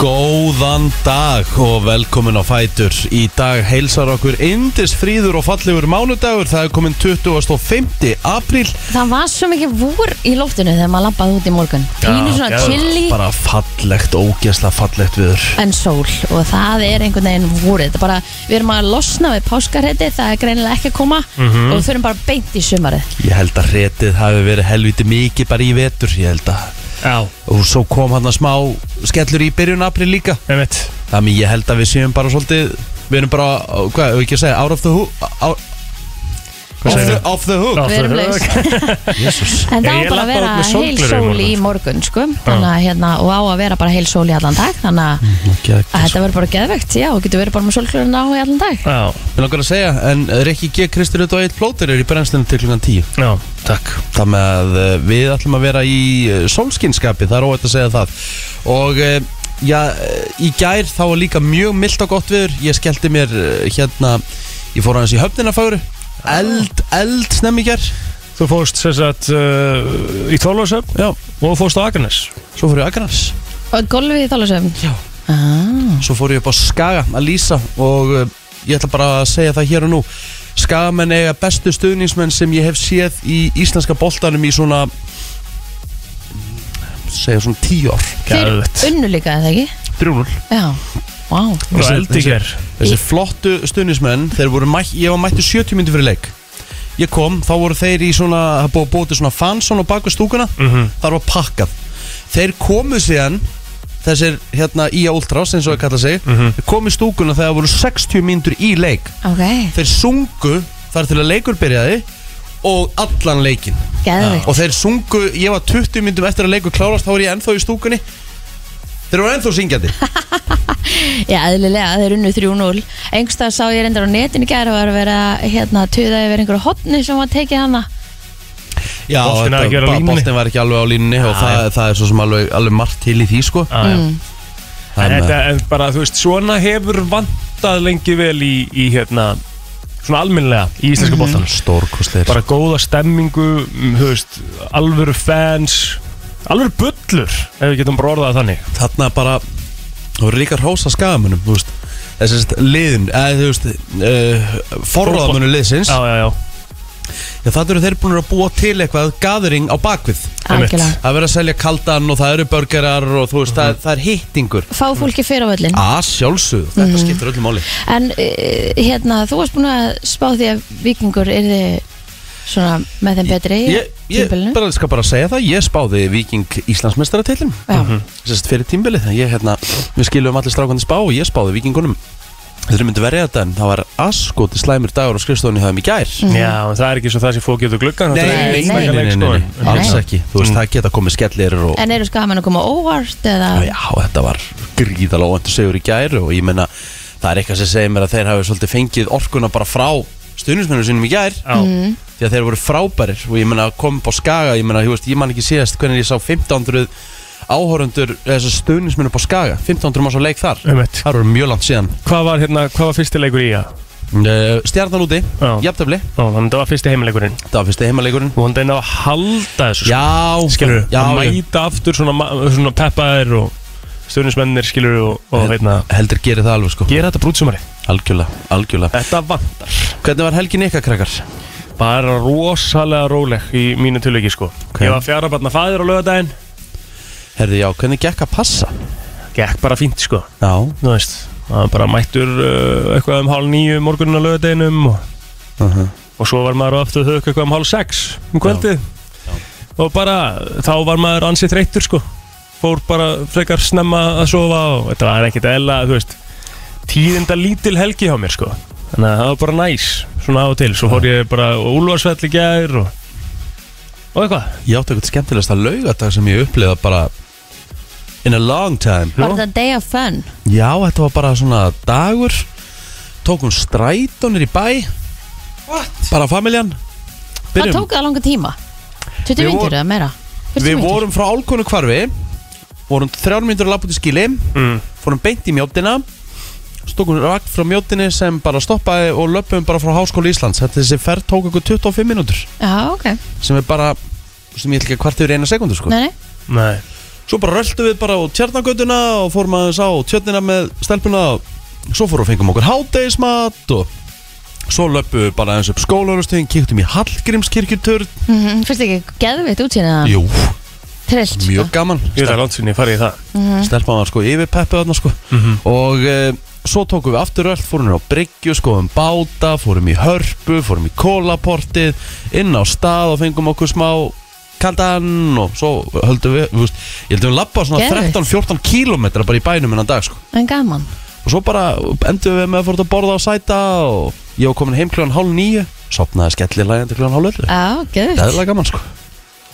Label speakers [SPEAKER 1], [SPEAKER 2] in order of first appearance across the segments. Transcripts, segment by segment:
[SPEAKER 1] Góðan dag og velkomin á Fætur Í dag heilsar okkur Indis fríður og fallegur mánudagur Það er komin 25. apríl
[SPEAKER 2] Það var svo mikið vor í loftinu þegar maður labbaði út í morgun Pínu svona chilli
[SPEAKER 1] Bara fallegt, ógeðslega fallegt viður
[SPEAKER 2] en sól og það er einhvern veginn vorið Þetta er bara, við erum að losna við páskarheiti það er greinilega ekki að koma
[SPEAKER 1] Mhm.
[SPEAKER 2] og við fyrir bara beint í sumarið
[SPEAKER 1] Ég held að hretið hafi verið helviti mikið bara í vetur Ég held að
[SPEAKER 3] Já
[SPEAKER 1] Og svo kom hann að smá skellur í byrjun apríl líka
[SPEAKER 3] Einmitt.
[SPEAKER 1] Þannig ég held að við séum bara svolítið Við erum bara, uh, hvað, ef við ekki að segja Out of the hook out,
[SPEAKER 3] Hvað
[SPEAKER 1] Off
[SPEAKER 3] segir
[SPEAKER 1] the,
[SPEAKER 3] þú?
[SPEAKER 1] off the hook
[SPEAKER 3] Off
[SPEAKER 2] Við
[SPEAKER 3] the
[SPEAKER 2] erum
[SPEAKER 3] hook.
[SPEAKER 2] laus
[SPEAKER 1] Jesus.
[SPEAKER 2] En það
[SPEAKER 3] Ég-
[SPEAKER 2] á bara
[SPEAKER 3] ég
[SPEAKER 2] að
[SPEAKER 3] labbaði
[SPEAKER 2] vera
[SPEAKER 3] út með
[SPEAKER 2] heil
[SPEAKER 3] sólgleraugun í
[SPEAKER 2] sól í
[SPEAKER 3] morgun.
[SPEAKER 2] morgun sko. þannig að hérna, og á að vera bara heil sól í allan dag þannig að
[SPEAKER 3] Mm.
[SPEAKER 2] að þetta verður bara geðvegt já, og getur verið bara með sólglurinn á í allan dag
[SPEAKER 3] Já,
[SPEAKER 1] Mér langar að segja, en Rikki G. Kristur og Eitt Plóter er í brennslunum til klukkan 10
[SPEAKER 3] já,
[SPEAKER 1] Takk Það með að eh, við ætlum að vera í eh, sólskinskapi, það er óvægt að segja það Og eh, já, eh, í gær þá var líka mjög mildt og gott viður Ég skellti mér eh, hérna, ég fór aðeins í höfninafagru Eld, eld snemmi í gær
[SPEAKER 3] Þú fórst sem sagt uh, í Þorlósöf
[SPEAKER 1] Já,
[SPEAKER 3] og fórst á Akranes
[SPEAKER 1] svo fór ég á Akranes
[SPEAKER 2] og golfið í þálusöfn
[SPEAKER 1] Já
[SPEAKER 3] Ah.
[SPEAKER 1] Svo fór ég upp á Skaga að lýsa og uh, ég ætla bara að segja það hér og nú Skagamenn eiga bestu stuðningsmenn sem ég hef séð í íslenska boltanum í svona segja svona tíu ár
[SPEAKER 2] þeir
[SPEAKER 3] Geðvegt.
[SPEAKER 2] unnu líka eða ekki
[SPEAKER 3] Drúl
[SPEAKER 2] já, wow.
[SPEAKER 3] Og eldi hér
[SPEAKER 1] Þessi flottu stuðningsmenn, þeir voru mætt, ég var mættu 70 myndir fyrir leik Ég kom, þá voru þeir í svona, það er búið að búið til svona fansón og baku stúkuna
[SPEAKER 3] Mhm.
[SPEAKER 1] Þar var pakkað Þeir komu síðan, þessir hérna í Ultras eins og það kalla sig Þeir komu í stúkuna þegar það voru 60 myndir í leik
[SPEAKER 2] ok,
[SPEAKER 1] þeir sungu þar til að leikur byrjaði og allan leikin
[SPEAKER 2] geðvegt
[SPEAKER 1] og þeir sungu, ég var 20 myndum eftir að leikur klárast þá var ég ennþá í stúkunni þeir voru ennþá syngjandi
[SPEAKER 2] Já, eðlilega, þeir unnu 3-0 Engstað sá ég reyndar á netinu í gær og var að vera hérna að tuða yfir einhverju hotni sem var tekið hana
[SPEAKER 1] Já,
[SPEAKER 3] Boltinn er
[SPEAKER 1] þetta-
[SPEAKER 3] ekki á
[SPEAKER 1] bara
[SPEAKER 3] línunni.
[SPEAKER 1] boltinn var ekki alveg á línunni og
[SPEAKER 3] Já,
[SPEAKER 1] það, það er svo sem alveg, alveg margt til í því sko
[SPEAKER 3] En
[SPEAKER 2] Mm.
[SPEAKER 1] Þannig
[SPEAKER 3] Ah, þetta
[SPEAKER 1] að-
[SPEAKER 3] er bara, þú veist, svona hefur vantað lengi vel í, í hérna Svona alminlega í
[SPEAKER 2] Mhm.
[SPEAKER 3] íslenska bóttan
[SPEAKER 1] stórkostleir
[SPEAKER 3] Bara góða stemmingu, mm, þú veist, alvöru fans Alvöru bullur, ef við getum bara orðað það þannig
[SPEAKER 1] þarna bara og líka hrósa skagamunum þú veist þessist liðin eða þú veist uh, forráðamunum liðsins
[SPEAKER 3] Já, já, já,
[SPEAKER 1] já það eru þeir búin að búa til eitthvað gathering á bakvið
[SPEAKER 3] Einmitt.
[SPEAKER 2] Algjörlega
[SPEAKER 1] Það er verið að selja kaldan og það eru börgarar og þú veist, það, það er hittingur
[SPEAKER 2] Fá fólki fyrir á öllin
[SPEAKER 1] Að sjálfsögðu, þetta
[SPEAKER 2] Mhm.
[SPEAKER 1] skiptir öllu máli
[SPEAKER 2] En eh, hérna, þú varst búin að spá því að vikingur yrði svona með þeim betri í
[SPEAKER 1] Ég, ég
[SPEAKER 2] tímabilinu.
[SPEAKER 1] bara, skal bara segja það, ég spáði Viking Íslandsmeistaratillin
[SPEAKER 2] Já,
[SPEAKER 1] Sérst fyrir tímbilið, þannig ég hérna, við skiljum allir strákandi spá og ég spáði Vikingunum Þeir myndu verið þetta en það var askoti slæmur dagur á skrifstofunni hjá þeim í gær
[SPEAKER 3] já, en það er ekki svo það sem fókið út úr gluggan þetta
[SPEAKER 2] Mhm. Nei,
[SPEAKER 3] er
[SPEAKER 2] Mm.
[SPEAKER 3] einstaklega
[SPEAKER 1] nei, nei, nei,
[SPEAKER 3] leikskói.
[SPEAKER 1] nei. alls ekki Þú veist, það geta komið skellir og
[SPEAKER 2] En eru skaman að koma óvart
[SPEAKER 1] Ah,
[SPEAKER 2] eða
[SPEAKER 1] Já, þetta var gríðalega óvæntu segur í gær og ég menna, það er eitthvað sem segir mér að þeir hafi svolítið fengið orkuna bara frá stuðnismennum sínum í gær
[SPEAKER 3] Já,
[SPEAKER 2] Mhm.
[SPEAKER 1] því að þeir voru frábærir og ég menna kom upp á skaga, ég menna, ég veist, ég man ekki síðast hvernig ég sá 1500 áhorundur þessar stuðnismenn upp á skaga, 1500 manns á leik þar
[SPEAKER 3] einmitt
[SPEAKER 1] það voru mjög langt síðan
[SPEAKER 3] Hvað var hérna, hvað var fyrsti leikur í það?
[SPEAKER 1] Eh, Stjarnan úti,
[SPEAKER 3] Já.
[SPEAKER 1] jafntöfli
[SPEAKER 3] Já, þannig að það var fyrsti heimileikurinn
[SPEAKER 1] það var fyrsti heimaleikurinn
[SPEAKER 3] og hann dæna að halda þessu sko.
[SPEAKER 1] Já,
[SPEAKER 3] skilur,
[SPEAKER 1] já,
[SPEAKER 3] að
[SPEAKER 1] já.
[SPEAKER 3] mæta aftur svona, ma- svona peppaðir og stjórnismennir skilur og, og heitna,
[SPEAKER 1] heldur gerir það alveg sko
[SPEAKER 3] gera þetta brútsumari
[SPEAKER 1] algjörlega, algjörlega
[SPEAKER 3] Þetta vantar
[SPEAKER 1] Hvernig var helgin ykkar krakkar?
[SPEAKER 3] Bara rosalega róleg í mínu tilviki sko Ég var fjara barna fæður á lögadaginn
[SPEAKER 1] Herði já, hvernig gekk að passa?
[SPEAKER 3] Gekk bara fínt sko,
[SPEAKER 1] Já,
[SPEAKER 3] þú veist Það var bara mættur uh, eitthvað um hálf nýju morgunin á lögadaginum og,
[SPEAKER 1] Mhm.
[SPEAKER 3] og svo var maður á aftur höfðu eitthvað um hálf sex um kvöldið Og bara, þá var maður ansið þreyttur sko Fór bara frekar snemma að sofa og þetta var ekkert eðla, þú veist Tíðinda lítil helgi hjá mér sko Þannig að það var bara næs, svona á og til Svo fór ég bara og úlfarsvell í gær og, og eitthvað
[SPEAKER 1] Ég átti eitthvað skemmtilegasta laugardag sem ég upplifa bara in a long time
[SPEAKER 2] var þetta day of fun?
[SPEAKER 1] Já, þetta var bara svona dagur Tókum strætónir í bæ What? Bara familjan
[SPEAKER 2] Hvað
[SPEAKER 1] Byrjum.
[SPEAKER 2] tók það langa tíma? 20
[SPEAKER 1] Við
[SPEAKER 2] vindur
[SPEAKER 1] vor-
[SPEAKER 2] eða meira? 40
[SPEAKER 1] Við
[SPEAKER 2] mínútur?
[SPEAKER 1] vorum frá álkonu hvarfi Vorum þrjár myndur að lappa út í skili
[SPEAKER 3] mm.
[SPEAKER 1] Fórum beint í mjóttina Stókum rakt frá mjóttinni sem bara stoppaði Og löpum bara frá Háskóla Íslands Þetta þessi ferð tók okkur 25 mínútur
[SPEAKER 2] Já, ok,
[SPEAKER 1] Sem er bara, sem ég ætla ekki að kvarta yfir eina sekundu sko
[SPEAKER 2] nei, nei
[SPEAKER 3] Nei,
[SPEAKER 1] Svo bara röldu við bara á tjarnagötuna og fórum aðeins á tjörnina með stelpuna og svo fórum við og fengum okkur hádegismat og svo löpum við bara aðeins upp skólanustegin, kíktum í Hallgrímskirkjuturn
[SPEAKER 2] mm -hmm. Fyrst ekki geðvitt útsýna
[SPEAKER 1] Jú,
[SPEAKER 2] Trillt sko.
[SPEAKER 1] mjög gaman
[SPEAKER 3] Ah. Ég veit að langt sinni farið í það Mhm.
[SPEAKER 1] Stelpan var sko yfir peppu þarna sko Og e, svo tókum við afturöld Fórum við á Bryggju, skoðum báta Fórum í Hörpu, fórum í Kólaportið Inn á stað og fengum okkur smá Kaldan og svo höldum við þú veist, Ég heldum við labba svona
[SPEAKER 2] Geðveikt.
[SPEAKER 1] 13-14 kílómetra Bara í bænum innan dag sko
[SPEAKER 2] En gaman
[SPEAKER 1] Og svo bara endum við með að fórum að borða á sæta Og ég var komin heim kljóðan hálf nýju Sopnaði skellilægjandi kljóðan hálf öllu
[SPEAKER 2] Já, geðvitt
[SPEAKER 1] Það er gaman sko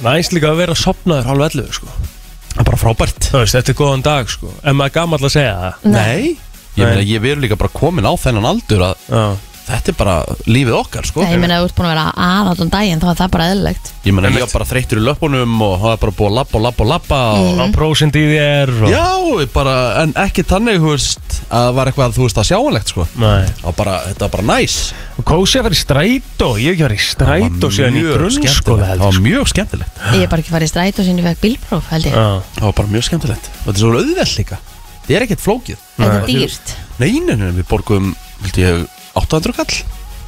[SPEAKER 3] Næst líka að vera sopnaður hálf 11 sko.
[SPEAKER 1] Það er bara frábært
[SPEAKER 3] Þú veist, þetta er góðan dag sko. En maður er gammal að segja það
[SPEAKER 1] Nei, ég meina ég verður líka bara komin á þennan aldur að
[SPEAKER 3] Já.
[SPEAKER 1] þetta er bara lífið okkar sko.
[SPEAKER 2] Nei, ég meina að þú ert búin að vera að allan daginn þá er það bara eðlilegt
[SPEAKER 1] ég meina ég var bara þreyttur í löpunum og það er bara búið að lappa og lappa og lappa
[SPEAKER 2] Mm.
[SPEAKER 1] og...
[SPEAKER 3] Og prósind í þér og...
[SPEAKER 1] Já, ég bara, en ekki þannig þú veist, að það var eitthvað þú veist að sjáanlegt sko.
[SPEAKER 3] Nei.
[SPEAKER 1] og bara, þetta var bara næs
[SPEAKER 3] Og kósi að vera í strætó Ég hef ekki verið í strætó síðan í
[SPEAKER 1] sko,
[SPEAKER 3] grunnskóla
[SPEAKER 1] skemmtilegt
[SPEAKER 3] held
[SPEAKER 1] það
[SPEAKER 3] ég,
[SPEAKER 1] var mjög skemmtilegt
[SPEAKER 2] Ég er bara ekki farið í stræt og sinni fekk bílpróf held ég
[SPEAKER 3] sko. Já.
[SPEAKER 1] það var bara mjög skemmtilegt og þetta er svo auðvelt líka þetta er ekkert flókið
[SPEAKER 2] Þetta
[SPEAKER 3] Nei.
[SPEAKER 2] er dýrt
[SPEAKER 1] nei, nei, nei, við borgum, vildi ég 800 kall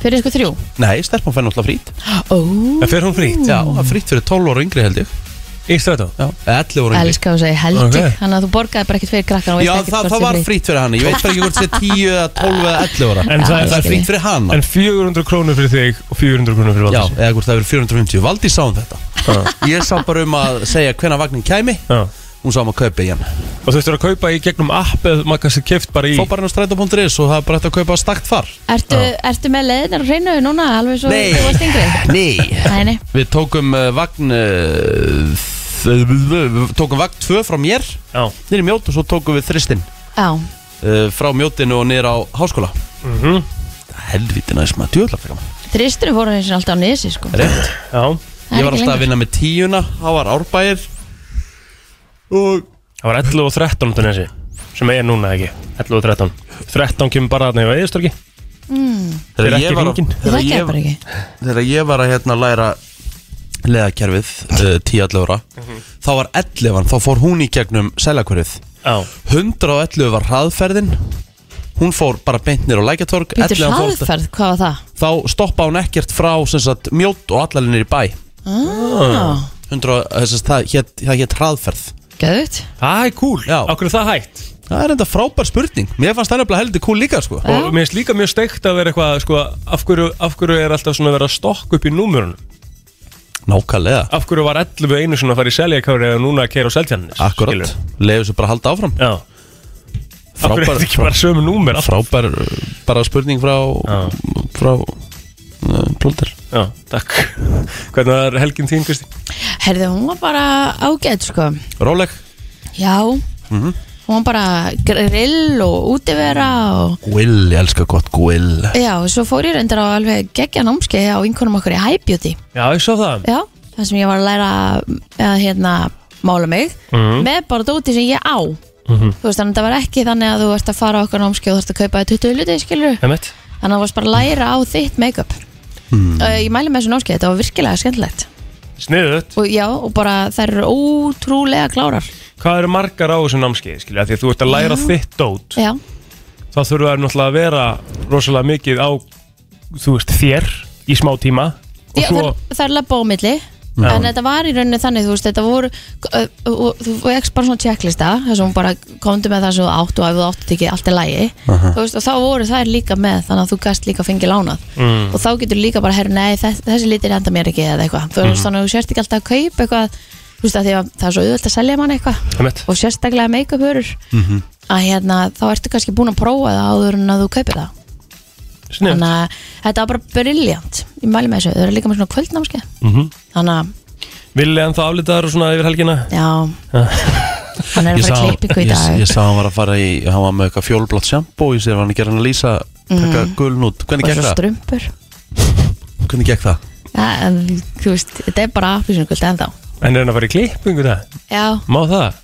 [SPEAKER 2] Fyrir sko þrjú
[SPEAKER 1] nei, stelpum fenni alltaf frít
[SPEAKER 2] Ó,
[SPEAKER 3] En fer hún frýtt
[SPEAKER 1] já, það er frít fyrir 12 ára yngri held ég
[SPEAKER 3] í strætó
[SPEAKER 1] já, 11 ára yngri
[SPEAKER 2] elska þú segi held ég
[SPEAKER 3] Ok.
[SPEAKER 2] Þannig að þú borgaði bara ekkert fyrir krakkan og veist
[SPEAKER 1] Já,
[SPEAKER 2] ekkert
[SPEAKER 1] það,
[SPEAKER 2] hvort
[SPEAKER 1] það
[SPEAKER 2] þið
[SPEAKER 1] var
[SPEAKER 2] frítt.
[SPEAKER 1] frýtt fyrir hann Ég veit bara ekki hvort það er 10 eða 12 eða 11 ára
[SPEAKER 3] En
[SPEAKER 2] Já,
[SPEAKER 3] það
[SPEAKER 1] Það er
[SPEAKER 2] ég
[SPEAKER 3] er-
[SPEAKER 2] skil
[SPEAKER 1] frýtt
[SPEAKER 2] ég.
[SPEAKER 1] fyrir hann
[SPEAKER 3] En 400 krónur fyrir þig og 400 krónur fyrir
[SPEAKER 1] Já,
[SPEAKER 3] Valdís
[SPEAKER 1] eða hvort það er 450 Valdi sá um þetta Ég sá bara um að segja hvenær vagnin kæmi
[SPEAKER 3] Já.
[SPEAKER 1] Hún sá um að kaupa í hann
[SPEAKER 3] Og þú þurftur að kaupa í gegnum app eða maður kannski keft bara í
[SPEAKER 1] Fó bara inn á strætó.is og það er bara hægt að kaupa stakt far
[SPEAKER 2] Ertu, ertu með leiðinar að reyna núna alveg svo
[SPEAKER 1] Nei.
[SPEAKER 2] þú varst yngri?
[SPEAKER 1] Nei
[SPEAKER 2] Nei, nei,
[SPEAKER 1] Við tókum uh, vagn uh, þ- Við tókum vagn 2 frá mér
[SPEAKER 3] Já.
[SPEAKER 1] Nýri mjót og svo tókum við þristinn
[SPEAKER 2] já,
[SPEAKER 1] uh, Frá mjótinu og nýra á háskóla
[SPEAKER 3] Mhm.
[SPEAKER 1] Helvítið næst maður djöðla fyrir maður
[SPEAKER 2] þristurinn voru eins og alltaf á nesi sko
[SPEAKER 1] Rétt
[SPEAKER 3] Já.
[SPEAKER 2] Það er
[SPEAKER 1] Ég var
[SPEAKER 2] ekki
[SPEAKER 1] alltaf að
[SPEAKER 2] lengur.
[SPEAKER 1] vinna með tíuna, það var árbæðir og
[SPEAKER 3] Það var 11 og 13 út af þessi sem er núna ekki 11 og 13 13 kemur bara þarna yfir eðistorki Þeir ekki
[SPEAKER 1] ég var að-
[SPEAKER 3] hringinn.
[SPEAKER 2] Ég
[SPEAKER 1] þegar
[SPEAKER 2] þekki það
[SPEAKER 1] ég-
[SPEAKER 2] bara ekki
[SPEAKER 1] Þegar ég var að hérna læra leðakerfið uh, 10-11 ára þá var 11, þá fór hún í gegnum seljakverfið
[SPEAKER 3] Já
[SPEAKER 1] 111 var hraðferðin hún fór bara beint nýr á lækjatorg
[SPEAKER 2] Býttu
[SPEAKER 1] 11 fór-
[SPEAKER 2] hraðferð, hvað var það?
[SPEAKER 1] þá stoppa hún ekkert frá sem sagt, mjótt og allalinir í bæ
[SPEAKER 2] Ah.
[SPEAKER 1] 100, þess, það hétt hét hraðferð
[SPEAKER 2] Gæðut
[SPEAKER 3] Það er cool
[SPEAKER 1] Já.
[SPEAKER 3] Akkur er það hægt
[SPEAKER 1] það er enda frábær spurning mér fannst það nefnilega heldur kúl líka sko.
[SPEAKER 2] Já.
[SPEAKER 3] Og mér finnst líka mjög steikt að vera eitthvað sko, af, hverju, af hverju er alltaf svona að vera stokk upp í númurunum
[SPEAKER 1] nákvæmlega,
[SPEAKER 3] Af hverju var 11 einu svona að fara í seljakári eða núna að keira á seltjarnis
[SPEAKER 1] akkurat leiðu sér bara að halda áfram
[SPEAKER 3] Já Af hverju er
[SPEAKER 1] Frábær-
[SPEAKER 3] þetta ekki bara sömu númer Já,
[SPEAKER 1] frábær uh, bara spurning frá
[SPEAKER 3] Já.
[SPEAKER 1] frá eh, plóter
[SPEAKER 3] takk Hvernig var helgin þín, Kristi?
[SPEAKER 2] Herði, hún var bara ágætt sko
[SPEAKER 1] Róleg
[SPEAKER 2] Já Hún var bara grill og útivera og
[SPEAKER 1] Guill, ég elska gott guill
[SPEAKER 2] Já, og svo fór ég reyndar á alveg geggja námskeið á vinkunum okkur í High Beauty
[SPEAKER 3] Já, ég sá það
[SPEAKER 2] Já, það sem ég var að læra að hérna mála mig með bara dóti sem ég á Þú veist, þannig að það var ekki þannig að þú ert að fara á okkur námskeið og þú ert að kaupa þér 20 hluti, skilur
[SPEAKER 3] Emmett
[SPEAKER 2] Þannig að þú varst bara að læra á þitt make-up uh, Ég mæli með þessu námskeið, þetta var virkilega skemmtilegt
[SPEAKER 3] Sniðut
[SPEAKER 2] og, Já, og bara þær eru ótrúlega klárar
[SPEAKER 3] Hvað eru margar á þessu námskeið, skilja? Því að þú ert að læra þitt dót
[SPEAKER 2] Já,
[SPEAKER 3] Þá þurfa þær náttúrulega að vera rosalega mikið á, þú veist, þér í smá tíma Og
[SPEAKER 2] Já
[SPEAKER 3] svo,
[SPEAKER 2] þær, þær labba á milli
[SPEAKER 3] Já.
[SPEAKER 2] En þetta var í rauninni þannig, þú veist, þetta voru uh, uh, Þú vext bara svona checklista Þess að hún bara komdu með það sem þú átt Og ef þú átt ekki allt er lægi Þú veist, og þá voru þær líka með Þannig að þú gast líka fengið lánað
[SPEAKER 3] Mm.
[SPEAKER 2] Og þá getur líka bara, herru, nei, þess, þessi litir enda mér ekki Eða eitthvað, þú
[SPEAKER 3] Mhm.
[SPEAKER 2] veist, þannig að þú sérst ekki alltaf að kaupa eitthvað Þú veist, að því að það er svo auðvöld að selja mann eitthvað
[SPEAKER 3] Emmett
[SPEAKER 2] Og sérstaklega make-up hörur
[SPEAKER 3] Mhm.
[SPEAKER 2] Að hérna, þá ertu kannski búin að prófa það áður en að þú kaupir það
[SPEAKER 3] Sniðut
[SPEAKER 2] Þannig að þetta var bara briljant Ég mæli með þessu, þau eru líka með svona kvöldnámskeið
[SPEAKER 3] Mhm.
[SPEAKER 2] Þannig að
[SPEAKER 3] Vilja en það aflitaður og svona yfir helgina
[SPEAKER 2] Já Hann er að fara að klippi í
[SPEAKER 1] ég,
[SPEAKER 2] dag
[SPEAKER 1] ég sá hann var að fara í hann var með eitthvað fjólblátt sjampo ég sér hann að gera hann að lýsa taka mm. guln út hvernig
[SPEAKER 2] Og
[SPEAKER 1] gekk
[SPEAKER 2] svo
[SPEAKER 1] það?
[SPEAKER 2] strumpur
[SPEAKER 1] hvernig gekk það?
[SPEAKER 2] ja, en, Þú veist, þetta er bara appisnugult ennþá
[SPEAKER 3] En er hann að fara í klippingu það?
[SPEAKER 2] Já,
[SPEAKER 3] Má það?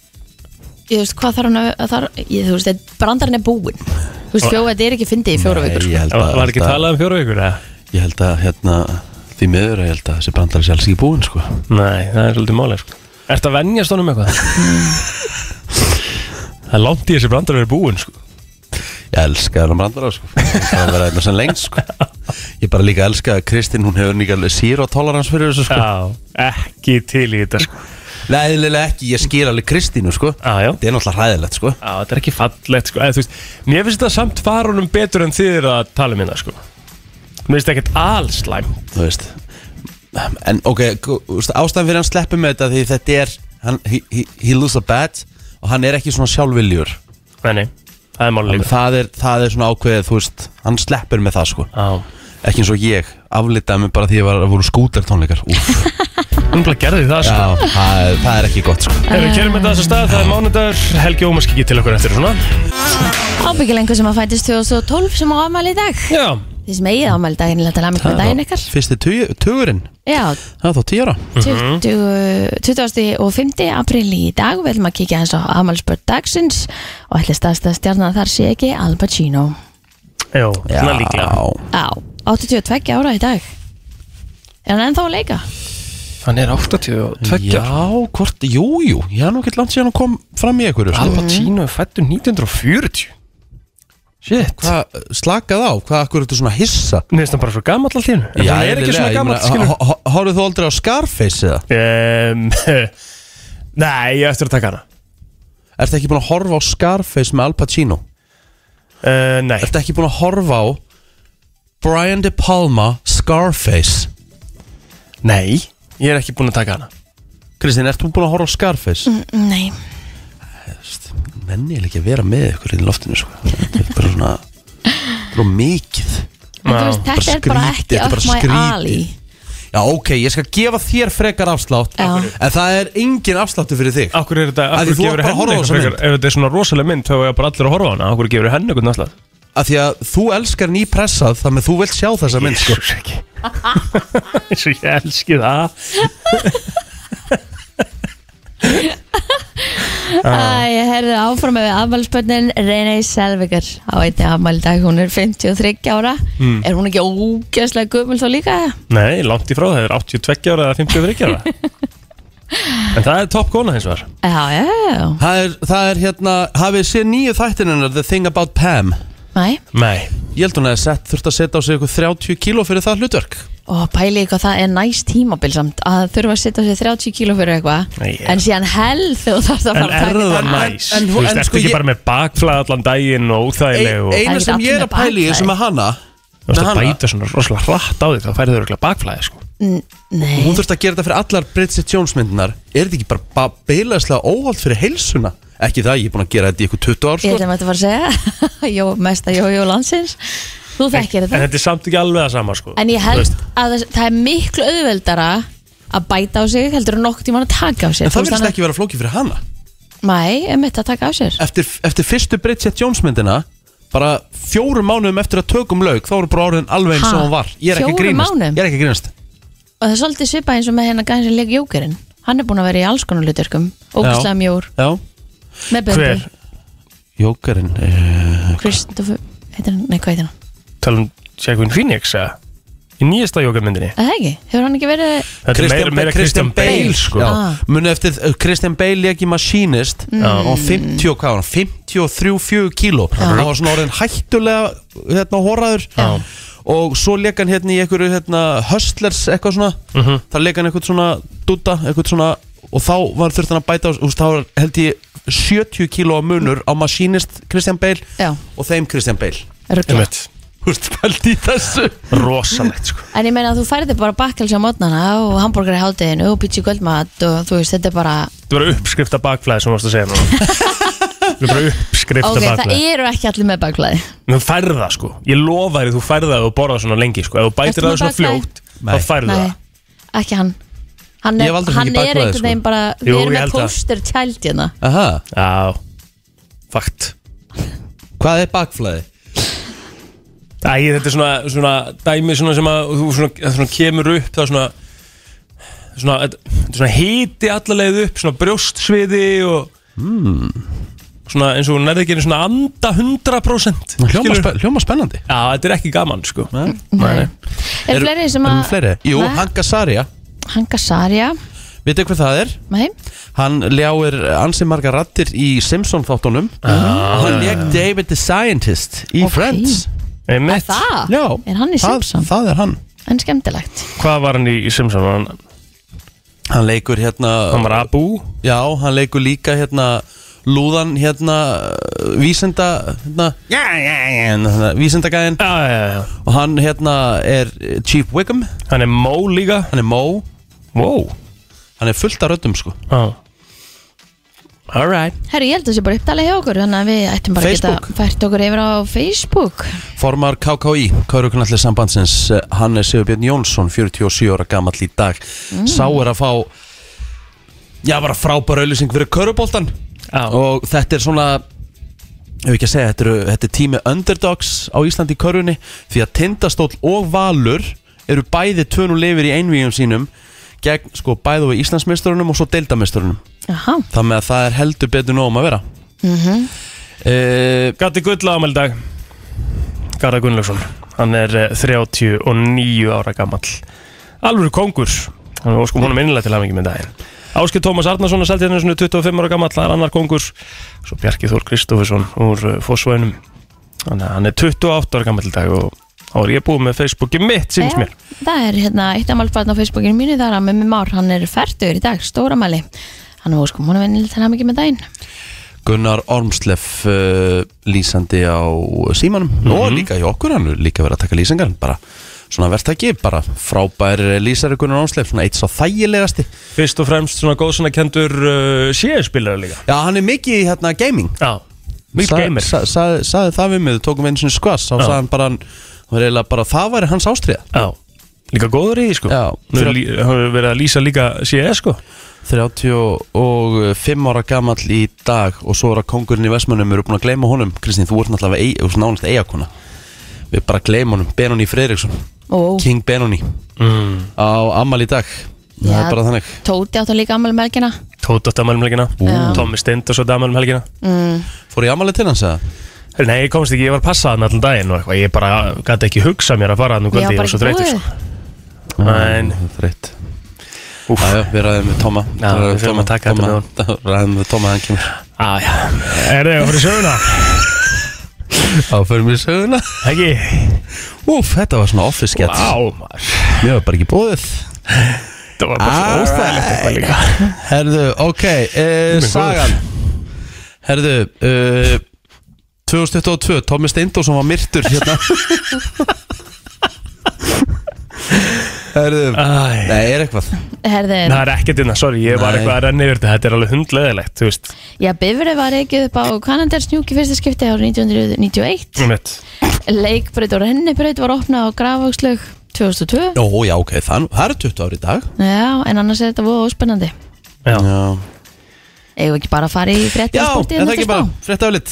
[SPEAKER 2] ég veist, hvað þarf hann að þar, ég, Þú veist, þetta- brandarinn er búinn Þú veist, fjóða, þetta er ekki fyndið í fjóra vikur
[SPEAKER 1] Nei,
[SPEAKER 2] sko.
[SPEAKER 1] ég held að,
[SPEAKER 3] Var ekki talað um fjóra vikur, eða?
[SPEAKER 1] ég held að hérna því miður að ég held að þessi brandar sé alls ekki búinn sko
[SPEAKER 3] Nei, það er svolítið málega sko. Ertu að venjast honum eitthvað? það er langt í þessi brandar að vera búinn sko.
[SPEAKER 1] Ég elska hennar brandara sko Það er að vera einnig sem lengst sko Ég bara líka elska að Kristín hún hefur líka zero tolerance fyrir þessu sko
[SPEAKER 3] Já, ekki til í þetta sko.
[SPEAKER 1] Leðilega ekki, ég skil alveg Kristínu sko
[SPEAKER 3] Já, já.
[SPEAKER 1] Þetta er náttúrulega hræðilegt sko
[SPEAKER 3] Já, þetta er ekki fallegt sko. Eða, þú veist, Mér finnst þetta samt farunum betur en þið er að tala um hérna sko. Mér finnst þetta ekkert allslæm
[SPEAKER 1] Þú veist En ok, gú- þú veist, ástæðan fyrir hann sleppum með þetta Því þetta er, hann, he, he, he lose a bet Og hann er ekki svona sjálfviljur
[SPEAKER 3] Nei, nei, það er máli líka
[SPEAKER 1] það er, það er svona ákveðið, þú veist Hann sleppur með það sko
[SPEAKER 3] Já
[SPEAKER 1] Ekki eins og ég, aflitaði mig bara því ég var að voru skútertónleikar Úff,
[SPEAKER 3] Hún bara gerði það sko
[SPEAKER 1] Já, það, er- það er ekki gott sko
[SPEAKER 3] Ef við kerum þetta þessu stað, það er mánudagur Helgi Ómars kikið til okkur eftir svona
[SPEAKER 2] Ábyggil einhver sem að fætist 2012 sem á afmæli í dag
[SPEAKER 3] Já,
[SPEAKER 2] Þið sem eigið afmæli í dag innlega til aðmæli með daginn ykkar
[SPEAKER 1] Fyrsti tugi- tugurinn,
[SPEAKER 2] Já,
[SPEAKER 1] það er þá tíu ára Mhm.
[SPEAKER 2] 20, 20. og 5. apríl í dag Við ætlum að kíkja hans á afmælisbörn dagsins og ætli staðstæða stjarnan þar sé ekki Al Pacino
[SPEAKER 3] já, svona líklega
[SPEAKER 2] Já, 82 ára í dag Er hann ennþá að leika?
[SPEAKER 3] Hann er 82
[SPEAKER 1] Já, hvort, jú, jú Ég er nú ekki langt síðan hún kom fram í einhverju
[SPEAKER 3] Al
[SPEAKER 1] sko.
[SPEAKER 3] Pacino er fættur 1940 Shit
[SPEAKER 1] Hvað, slakað á, hvað akkur ertu svona hissa
[SPEAKER 3] Mér finnst hann bara svo gammal alltaf hérna En hann er ekki svona gammal, skilur
[SPEAKER 1] Hóruð þú aldrei á Scarface eða?
[SPEAKER 3] um, Nei, ég á eftir að taka hana
[SPEAKER 1] Ertu ekki búin að horfa á Scarface með Al Pacino?
[SPEAKER 3] uh, Nei,
[SPEAKER 1] Ertu ekki búin að horfa á Brian De Palma Scarface?
[SPEAKER 3] nei Ég er ekki búinn að taka hana
[SPEAKER 1] Kristín, ertu búin að horfa á Scarface? Mm.
[SPEAKER 2] Nei
[SPEAKER 1] Menni ég ekki að vera með ykkur í loftinu sko. Þetta er bara svona Þetta er mikið
[SPEAKER 2] En þú
[SPEAKER 3] Ah.
[SPEAKER 1] Bara
[SPEAKER 2] veist, Þetta er bara
[SPEAKER 1] skrítið,
[SPEAKER 2] ekki
[SPEAKER 1] þetta er bara
[SPEAKER 2] up my
[SPEAKER 1] skrítið.
[SPEAKER 2] alley
[SPEAKER 1] Já, ok, ég skal gefa þér frekar afslátt
[SPEAKER 2] Já.
[SPEAKER 1] En það er engin afsláttu fyrir þig
[SPEAKER 3] Akkur er þetta,
[SPEAKER 1] Af því þú
[SPEAKER 3] akkur
[SPEAKER 1] átt
[SPEAKER 3] gefur
[SPEAKER 1] bara að
[SPEAKER 3] henni
[SPEAKER 1] horfa á
[SPEAKER 3] eitthvað
[SPEAKER 1] þessa
[SPEAKER 3] frekar
[SPEAKER 1] mynd.
[SPEAKER 3] Ef þetta er svona rosalega mynd þá er bara allir að horfa á hana Akkur gefur henni eitthvað náttúrulega
[SPEAKER 1] að því að þú elskar nýpressað þannig að þú vilt sjá þessa mynd sko.
[SPEAKER 3] Jesús ekki Eins og ég elski það
[SPEAKER 2] Æ, ég herði áfram með afmælisbönnin Renei Selvigar á einni afmæli í dag, hún er 53 ára
[SPEAKER 1] Hmm.
[SPEAKER 2] er hún ekki ógæslega gömul þá líka?
[SPEAKER 3] Nei, langt í frá það er 82 ára eða 53 ára En það er topp kona hins vegar
[SPEAKER 2] Já, já, já,
[SPEAKER 1] það, er, það er hérna, hafið séð nýju þættinunnar The Thing About Pam
[SPEAKER 2] næ
[SPEAKER 3] Nei
[SPEAKER 1] ég held hún að sett, þurft að setja á sig ykkur 30 kíló fyrir það hlutverk
[SPEAKER 2] og pæli hvað það er næst tímabil samt að þurfa að setja sér 30 kíló fyrir eitthvað
[SPEAKER 3] Nei, já.
[SPEAKER 2] en síðan hell þegar það þarf að
[SPEAKER 3] En
[SPEAKER 2] fara
[SPEAKER 3] er það
[SPEAKER 1] en-
[SPEAKER 3] næs?
[SPEAKER 1] en- en-
[SPEAKER 3] Þú veist,
[SPEAKER 1] en sko
[SPEAKER 3] ertu ekki
[SPEAKER 1] ég-
[SPEAKER 3] bara með bakflæð allan daginn og óþægileg og
[SPEAKER 2] Það
[SPEAKER 1] eina
[SPEAKER 2] er
[SPEAKER 1] sem
[SPEAKER 2] ekki
[SPEAKER 1] ég er
[SPEAKER 2] allir
[SPEAKER 1] að pæli
[SPEAKER 2] með
[SPEAKER 1] í sem að hana
[SPEAKER 3] Þú veist
[SPEAKER 1] með
[SPEAKER 3] að
[SPEAKER 1] hana,
[SPEAKER 3] bæta svona rosalega hratt á því þá færið þau örgulega bakflæði sko
[SPEAKER 2] Nei,
[SPEAKER 1] hún þurft að gera þetta fyrir allar Bridget Jones myndinar er þetta ekki bara, bara beilaðslega óhald fyrir heilsuna ekki það, ég er búin að gera þetta í ykkur 20 ár sko.
[SPEAKER 2] ég ætlum að þetta fara að segja jó, mesta jójó landsins þú þekkir
[SPEAKER 3] En
[SPEAKER 2] þetta
[SPEAKER 3] þetta er samt ekki alveg það sama sko
[SPEAKER 2] en ég
[SPEAKER 3] Þú
[SPEAKER 2] held
[SPEAKER 3] veist,
[SPEAKER 2] að það- það er miklu auðveldara að bæta á sig heldur en nokkuð tíma að taka á sig
[SPEAKER 1] en það verðist ekki vera flókið fyrir hana
[SPEAKER 2] Mæ, emitt að taka á sér
[SPEAKER 1] eftir, eftir fyrstu Bridget Jones myndina bara fjórum mánuðum eftir að tökum lauk þá voru bara orðin alveg eins
[SPEAKER 2] Ha?
[SPEAKER 1] og hún var ég er ekki að
[SPEAKER 2] Fjórum
[SPEAKER 1] grínast,
[SPEAKER 2] mánuðum?
[SPEAKER 1] ég er ekki að grínast.
[SPEAKER 2] og það er svolítið svipað eins og með hennar gæðin sem leik jókerinn hann er búin að vera í alls konar hlutverkum ógustlega mjór,
[SPEAKER 1] Já, eh,
[SPEAKER 2] með böndi
[SPEAKER 3] Hver?
[SPEAKER 1] Jókarinn
[SPEAKER 2] Kristoffer, heitir hann, nei hvað heitir hann
[SPEAKER 3] Tala um Jacqueline Phoenix eða Í nýjasta jókamyndinni
[SPEAKER 2] að það ekki, hefur hann ekki verið
[SPEAKER 3] Þetta er meira, meira Christian Bale, sko
[SPEAKER 1] Já,
[SPEAKER 2] Ah. Mm.
[SPEAKER 1] munið eftir uh, Christian Bale leik í Machinist og 50 og hvað var hann, 53-4 kíló hann var svona orðin hættulega hérna horraður
[SPEAKER 2] Já.
[SPEAKER 1] og svo leik hann hérna í einhverju hérna, hustlers eitthvað svona mm
[SPEAKER 3] Mhm.
[SPEAKER 1] -hmm. það leik hann eitthvað svona dutta eitthvað svona og þá var þurft hann að bæta á úst, þá var, held ég 70 kíló á munur á Machinist Christian Bale
[SPEAKER 2] Já.
[SPEAKER 1] og þeim Christian Bale
[SPEAKER 2] ruggla
[SPEAKER 3] Einmitt.
[SPEAKER 1] Þú veist, pælt í þessu
[SPEAKER 3] Rosalegt sko
[SPEAKER 2] en ég meina að þú færði bara bakkelsi á mótnana og hambúrgar í hátteginu og pítsi kvöldmat og þú veist, þetta er bara
[SPEAKER 3] Þetta var uppskrift af bakflæði sem þú varst að segja núna Þetta var bara uppskrift af
[SPEAKER 2] ok, það
[SPEAKER 3] bakflæði
[SPEAKER 2] eru ekki allir með bakklaði
[SPEAKER 3] Þú færð það sko Ég lofa þér að þú færð það og borðað svona lengi sko Ef þú
[SPEAKER 2] Ertu
[SPEAKER 3] bætir
[SPEAKER 2] með
[SPEAKER 3] það svona
[SPEAKER 2] bakflæði?
[SPEAKER 3] fljótt
[SPEAKER 1] Nei.
[SPEAKER 3] þá færð
[SPEAKER 2] nei,
[SPEAKER 3] það
[SPEAKER 2] ekki hann hann
[SPEAKER 1] Ég
[SPEAKER 2] er,
[SPEAKER 1] hef aldrei
[SPEAKER 2] hann
[SPEAKER 1] fengið bakflæði,
[SPEAKER 2] er einhvern
[SPEAKER 1] sko.
[SPEAKER 2] veginn bara við
[SPEAKER 3] Jú,
[SPEAKER 2] erum
[SPEAKER 3] ég
[SPEAKER 2] með
[SPEAKER 3] held það.
[SPEAKER 2] póster tjæld hérna
[SPEAKER 1] Aha,
[SPEAKER 3] Já, fakt
[SPEAKER 1] hvað er bakflæði?
[SPEAKER 3] Æ, þetta er svona, svona dæmi svona sem að þú svona, svona kemur upp það er svona svona, þetta þetta er svona hiti allarleið upp svona brjóstsviði og
[SPEAKER 1] Hmm.
[SPEAKER 3] mm. svona eins og nærði ekki einu svona anda 100%
[SPEAKER 1] Hljóma,
[SPEAKER 3] skilurðu?
[SPEAKER 1] spe, hljóma spennandi
[SPEAKER 3] Já, þetta er ekki gaman sko
[SPEAKER 1] Nei.
[SPEAKER 3] Nei.
[SPEAKER 2] er fleiri sem
[SPEAKER 1] Erum
[SPEAKER 2] að
[SPEAKER 1] við fleiri? Jú,
[SPEAKER 2] Nei.
[SPEAKER 1] Hanka Sarja
[SPEAKER 2] Hanga Sarja
[SPEAKER 1] Vitið hvað það er?
[SPEAKER 2] Nei,
[SPEAKER 1] Hann ljáir ansið margar rattir í Simpson-þáttunum og hann lék David the Scientist í
[SPEAKER 2] Ok.
[SPEAKER 1] Friends
[SPEAKER 2] er
[SPEAKER 3] Einmitt.
[SPEAKER 2] það?
[SPEAKER 1] Já,
[SPEAKER 2] Er hann í
[SPEAKER 1] það,
[SPEAKER 2] Simpson?
[SPEAKER 1] það er hann
[SPEAKER 2] En skemmtilegt
[SPEAKER 3] Hvað var hann í í Simpson? Var Hann,
[SPEAKER 1] Hann leikur
[SPEAKER 3] hann
[SPEAKER 1] hérna
[SPEAKER 3] var Abu
[SPEAKER 1] Já, hann leikur líka hérna Lúðan hérna uh, Vísinda hérna, já, já, já, hérna, Vísindagæðin
[SPEAKER 3] Já, já, já
[SPEAKER 1] Og hann hérna er eh, Chief Wiggum
[SPEAKER 3] Hann er Mó líka
[SPEAKER 1] Hann er Mo
[SPEAKER 3] Wow
[SPEAKER 1] Hann er fullt af röddum sko
[SPEAKER 3] ah. Alright
[SPEAKER 2] Herru, ég held að það sé bara upptalið hjá okkur Þannig að við ættum bara að
[SPEAKER 1] Facebook.
[SPEAKER 2] geta fært okkur yfir á Facebook
[SPEAKER 1] Formar KKI, Kauruknallir sambandsins eh, Hann er Sigurbjörn Jónsson 47 ára gamall í dag Sá er að fá Já, bara frábær auðlýsing fyrir Kauruboltan
[SPEAKER 3] Já.
[SPEAKER 1] Og þetta er svona Ég vil ekki að segja, þetta, eru, þetta er tími underdogs á Íslandi í körfunni Því að Tindastóll og Valur eru bæði tvönu lifir í einvíum sínum gegn sko bæði við Íslandsmeisturunum og svo deildamesturunum
[SPEAKER 2] Jaha,
[SPEAKER 1] Það með að það er heldur betur nóg um að vera Eh,
[SPEAKER 3] Gatti Gull ámæli dag Garðar Gunnlaugsson Hann er eh, 39 ára gamall Alvöru kongur Hann er óskum honum innlega til hafingi með daginn Áskil Tómas Arnarsson er hérna seltið hennar 25 ára gamall Það er annar kongur Svo Bjarki Þór Kristoffersson úr Fossvænum Þannig að hann er 28 ára gamall í dag og þá er ég búið með Facebooki mitt síns mér
[SPEAKER 2] Já, það er hérna eitt amalbarn á Facebookinu mínu þar að Mimmi Már, hann er færtur í dag, stóramæli hann var sko múnum ennil til hann ekki með daginn
[SPEAKER 1] Gunnar Ormsleff uh, lýsandi á símanum
[SPEAKER 3] Mhm.
[SPEAKER 1] og líka í okkur hann er líka verið að taka lýsingar bara svona verðtæki, bara frábær lýsari Gunnar Ormsleff, svona eitt svo þægilegasti
[SPEAKER 3] Fyrst og fremst svona góðsuna kendur uh, CS-spilar líka
[SPEAKER 1] Já, hann er mikið í hérna gaming
[SPEAKER 3] Já, mikil
[SPEAKER 1] Sa-
[SPEAKER 3] gamer
[SPEAKER 1] sa- sa- Sagði það við mig, við tókum einu sinni skvass þá
[SPEAKER 3] Já.
[SPEAKER 1] sagði hann bara, hann hann var eiginlega bara það væri hans ástriða
[SPEAKER 3] Já, líka góður í því sko
[SPEAKER 1] Já.
[SPEAKER 3] Nú er lí- hann hefur verið að lýsa líka CS sko
[SPEAKER 1] 35 ára gamall í dag og svo er að kongurinn í Vestmönnum eru búin að gleyma honum, Kristín, þú ert náttúrulega ei, þú ert nánast eigakona við bara gleyma honum, Benóni Freiriksson
[SPEAKER 2] Ó.
[SPEAKER 1] King Benóni
[SPEAKER 3] mm.
[SPEAKER 1] á ammal í dag það
[SPEAKER 2] Já.
[SPEAKER 1] er bara þannig
[SPEAKER 2] Tóti átt að líka um amal melgina
[SPEAKER 3] Tóta átti ammælum helgina
[SPEAKER 2] Já.
[SPEAKER 3] Tommi Steindos átti ammælum helgina
[SPEAKER 2] mm.
[SPEAKER 1] fór ég ammalið til hans að
[SPEAKER 3] Heyrðu, Nei, ég komst ekki, ég var passaðan allan daginn og eitthvað Ég bara gæti ekki hugsa mér að fara þannig
[SPEAKER 2] Já,
[SPEAKER 3] kvöldi Ég
[SPEAKER 2] bara
[SPEAKER 3] var svo
[SPEAKER 2] ekki
[SPEAKER 3] þreytur
[SPEAKER 2] búið.
[SPEAKER 3] sko En
[SPEAKER 1] þreitt Jájá, við ræðum við Tóma
[SPEAKER 3] Já, við þurfum að taka þetta með
[SPEAKER 1] þetta með Ræðum við Tóma, hann kemur
[SPEAKER 3] Æja, er þið, voru söguna?
[SPEAKER 1] Þá förum við í söguna
[SPEAKER 3] Ekki
[SPEAKER 1] Úf, þetta var svona office sketch
[SPEAKER 3] Vá, maður
[SPEAKER 1] Mér var bara ekki búið
[SPEAKER 3] Það var bara svo óstæðilegt eitthvað líka
[SPEAKER 1] Herðu, ok, uh, sagan Herðu, uh, 2022, Tómi Steindórsson var myrtur hérna Herðu,
[SPEAKER 3] Æ.
[SPEAKER 1] nei, er eitthvað
[SPEAKER 2] Herði,
[SPEAKER 3] Það er ekkert innan, sorry, ég var
[SPEAKER 1] Nei.
[SPEAKER 3] eitthvað að renna yfir þetta Þetta er alveg hundleðilegt, þú veist
[SPEAKER 2] já, Bifrið var ekki upp á Kanaders njúki fyrsta skipti árið 1991
[SPEAKER 3] Einmitt.
[SPEAKER 2] Leikbreyt og rennibreyt var opnað á Grafvöxlög 2002
[SPEAKER 1] Ó, já, ok, það, það eru 20 ári í dag
[SPEAKER 2] Já, en annars er þetta voða óspennandi
[SPEAKER 3] Já.
[SPEAKER 1] Já,
[SPEAKER 2] Eigum við ekki bara að fara í fréttir
[SPEAKER 1] já
[SPEAKER 2] og sportið
[SPEAKER 1] en það
[SPEAKER 2] næsta
[SPEAKER 1] ekki
[SPEAKER 2] spá?
[SPEAKER 1] bara, frétt aflitt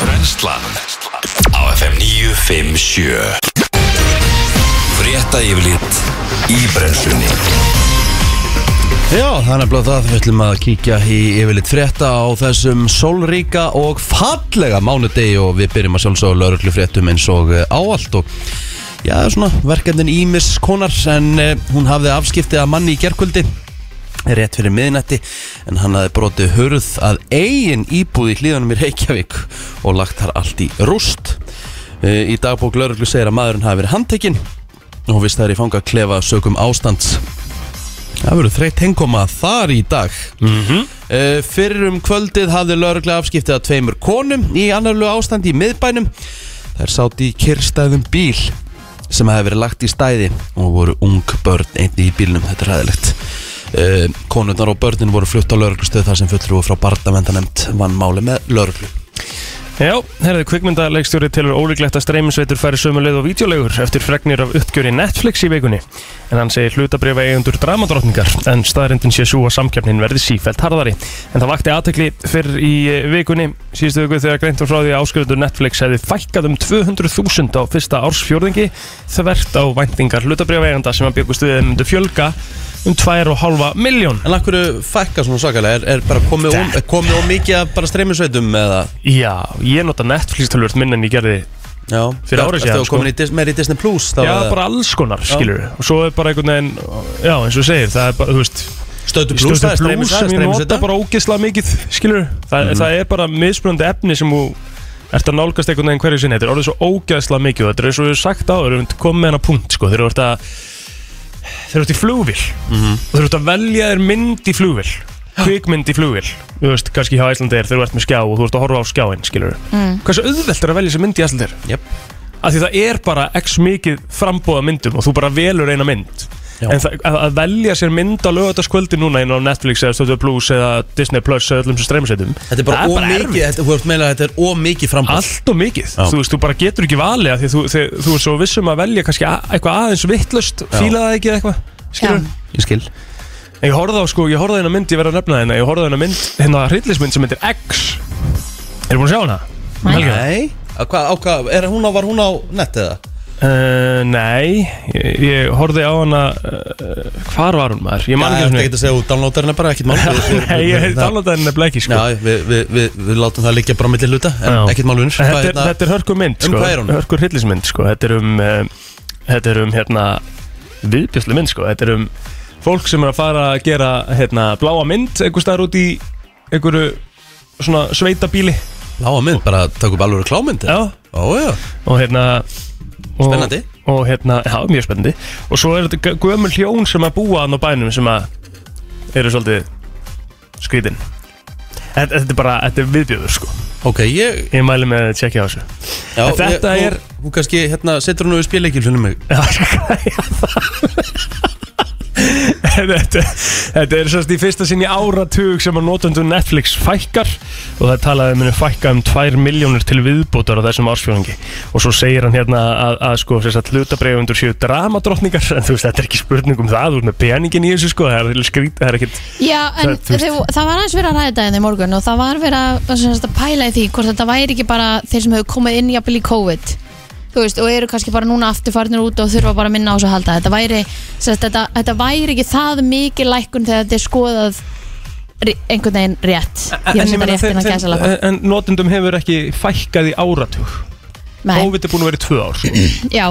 [SPEAKER 4] Brenslan Á FM 957 Frétta yfirlit Í brenslunni
[SPEAKER 1] Já, það er nefnilega það, við ætlum að kíkja í yfirleitt frétta á þessum sólríka og fallega mánudegi og við byrjum að sjálfsögja lauruglu fréttum eins og eh, áallt og já, svona verkefnin Ímis konar en eh, hún hafði afskiptið að manni í gerkvöldi rétt fyrir miðnætti en hann hafði brotið hurð að eigin íbúð í hlýðanum í Reykjavík og lagt þar allt í rúst. Eh, Í dagbók lauruglu segir að maðurinn hafi verið handtekinn og vist það er í fanga að klefa sökum ástands Það verður þreytt hengkoma þar í dag mm Fyrir um kvöldið hafði lögreglega afskiptið að tveimur konum í annarlu ástandi í miðbænum Þær sátt í kyrstæðum bíl sem hefði verið lagt í stæði og voru ung börn einni í bílnum, þetta er ræðilegt Uh, konurnar og börnin voru flutt á lauruglustöð þar sem fulltrúi frá barndavendanemt vann máli með lauruglu
[SPEAKER 3] Já, herðið kvikmyndaleikstjóri telur ólíklegt að streyminsveitur færi sömu leið og videolegur eftir fregnir af uppgjöri Netflix í vikunni. En hann segir hlutabrifa eigundur dramadrottningar en staðrindin sé svo að samkjöfnin verði sífælt harðari. En það vakti aðtekli fyrr í eh, vikunni síðustu viku þegar greint var frá því að áskrifundur Netflix hefði fækkað um 200.000 á fyrsta ársfjórðingi þvert á væntingar hlutabrifa eigunda sem að byggust við að þeim myndu fjölga um 2,5 miljón.
[SPEAKER 1] En akkur fækka svona svakalega, er, er bara komið, um, er komið um mikið að bara streymisveitum eða
[SPEAKER 3] Já, ég nota Netflix tölvöld minn en ég gerði
[SPEAKER 1] Já,
[SPEAKER 3] Fyrir ári síðan,
[SPEAKER 1] Ertu
[SPEAKER 3] sko.
[SPEAKER 1] komin í Dis- meira í Disney Plus þá
[SPEAKER 3] Já,
[SPEAKER 1] eða?
[SPEAKER 3] bara alls konar, skilur Og svo er bara einhvern veginn, já, eins og þú segir Það er bara, þú veist
[SPEAKER 1] Stötu blús, það er Mhm. streymi
[SPEAKER 3] Blús sem ég
[SPEAKER 1] streymi
[SPEAKER 3] nota
[SPEAKER 1] þetta
[SPEAKER 3] bara ógeðslega mikið skilur, Þa, það er bara mismunandi efni sem þú ert að nálgast einhvern veginn hverju sinni þetta er orðið svo ógeðslega mikið og þetta er eins og við sagt áður, við komum með hana punkt sko, þegar þú ert að þegar þú ert í flugvill
[SPEAKER 1] Mhm.
[SPEAKER 3] og þegar þú ert að velja þér mynd í flugvill kvikmynd í flugvill, þú veist, kannski hjá Æslandir þegar þú ert með skjá og þú ert að horfa á skjáin skilur,
[SPEAKER 2] Mm.
[SPEAKER 3] hversu auðvelt er að velja sér mynd í Æslandir
[SPEAKER 1] Jöp.
[SPEAKER 3] af því það er bara x mikið frambóða myndum og þú bara velur eina mynd
[SPEAKER 1] Já.
[SPEAKER 3] en það, að, að velja sér mynd á lögataskvöldi núna inn á Netflix eða Stöðu Plus eða Disney Plus eða öllum sem streymisveitum
[SPEAKER 1] Þetta er bara
[SPEAKER 3] það er bara
[SPEAKER 1] ómikið, þetta- þú ert meila að þetta er ómikið frambúð
[SPEAKER 3] allt og mikið, þú veist, þú bara getur ekki valið af því þú, þið, þú er svo vissum að velja kannski a- eitthvað aðeins vittlust, fíla það ekki eða eitthvað skilur,
[SPEAKER 2] Já.
[SPEAKER 1] Ég skil
[SPEAKER 3] en ég horfði á sko, ég horfði á eina mynd ég verði að nefna hérna, ég horfði á eina mynd hérna hryllismynd sem heitir X Erum búin að sjá hana? Helga?
[SPEAKER 1] Nei Að Hvað, á hvað, er hún á, var hún á nett eða?
[SPEAKER 3] Uh, nei, ég, ég horfði á hana uh, hvar var hún maður? Ég man
[SPEAKER 1] Já, þetta
[SPEAKER 3] ekki svona
[SPEAKER 1] getur að segja út, downloadar hennar bara, ekkert mál Við-
[SPEAKER 3] Nei,
[SPEAKER 1] við- það-
[SPEAKER 3] ég downloada henni nefnilega ekki sko.
[SPEAKER 1] Já, við, við, við, við látum það liggja bara á milli hluta
[SPEAKER 3] Já.
[SPEAKER 1] En ekkert mál vinnur
[SPEAKER 3] En Þetta, er- þetta er hörku mynd
[SPEAKER 1] Um
[SPEAKER 3] sko.
[SPEAKER 1] hvað er hún?
[SPEAKER 3] Hörku hryllismynd sko. Þetta er um eh, Þetta er um hérna Viðbjörslu mynd sko. Þetta er um fólk sem er að fara að gera hérna, Bláa mynd einhver staðar út í einhverju svona sveitabíli
[SPEAKER 1] Láa mynd, bara takk upp alveg klámynd eða?
[SPEAKER 3] Já
[SPEAKER 1] Ó, já,
[SPEAKER 3] Og hérna og,
[SPEAKER 1] Spennandi.
[SPEAKER 3] Og hérna Já, mjög spennandi Og svo er þetta gö- gömul hjón sem að búa hann á bænum sem að eru svolítið skrítin Þetta þetta er bara, þetta er viðbjöður sko
[SPEAKER 1] ok, ég
[SPEAKER 3] Ég mæli með að tjekka á þessu
[SPEAKER 1] já,
[SPEAKER 3] En þetta
[SPEAKER 1] ég,
[SPEAKER 3] er-
[SPEAKER 1] Hún, hún kannski, hérna, setur hún við spilleikilunum mig
[SPEAKER 3] Já, ég skal græja það þetta, þetta er sérst í fyrsta sinni áratug sem að notendur Netflix fækkar og það er talað um að fækka um 2 miljónir til viðbótar á þessum ársfjóðingi og svo segir hann hérna að, að sko sérst að hlutabreifundur séu dramadrottningar en þú veist þetta er ekki spurning um það þú ert með peningin í þessu sko það er, skrít, það er ekkit
[SPEAKER 2] Já, en
[SPEAKER 3] Það- þú veist-
[SPEAKER 2] það, það var aðeins verið að ræða daginn í morgun og það var verið að, sem sagt, að pæla í því hvort þetta væri ekki bara þeir sem hefur komið inn jafnvel í COVID þú veist, og eru kannski bara núna afturfarnir út og þurfa bara að minna á þessu að halda þetta væri, sem sagt, þetta, þetta væri ekki það mikið lækkun þegar þetta er skoðað ri- einhvern veginn rétt ég finnst þetta rétt innan gæsalappa
[SPEAKER 3] en notendum hefur ekki fækkað í áratug
[SPEAKER 2] Nei,
[SPEAKER 3] COVID er búin að vera í tvö ár
[SPEAKER 2] já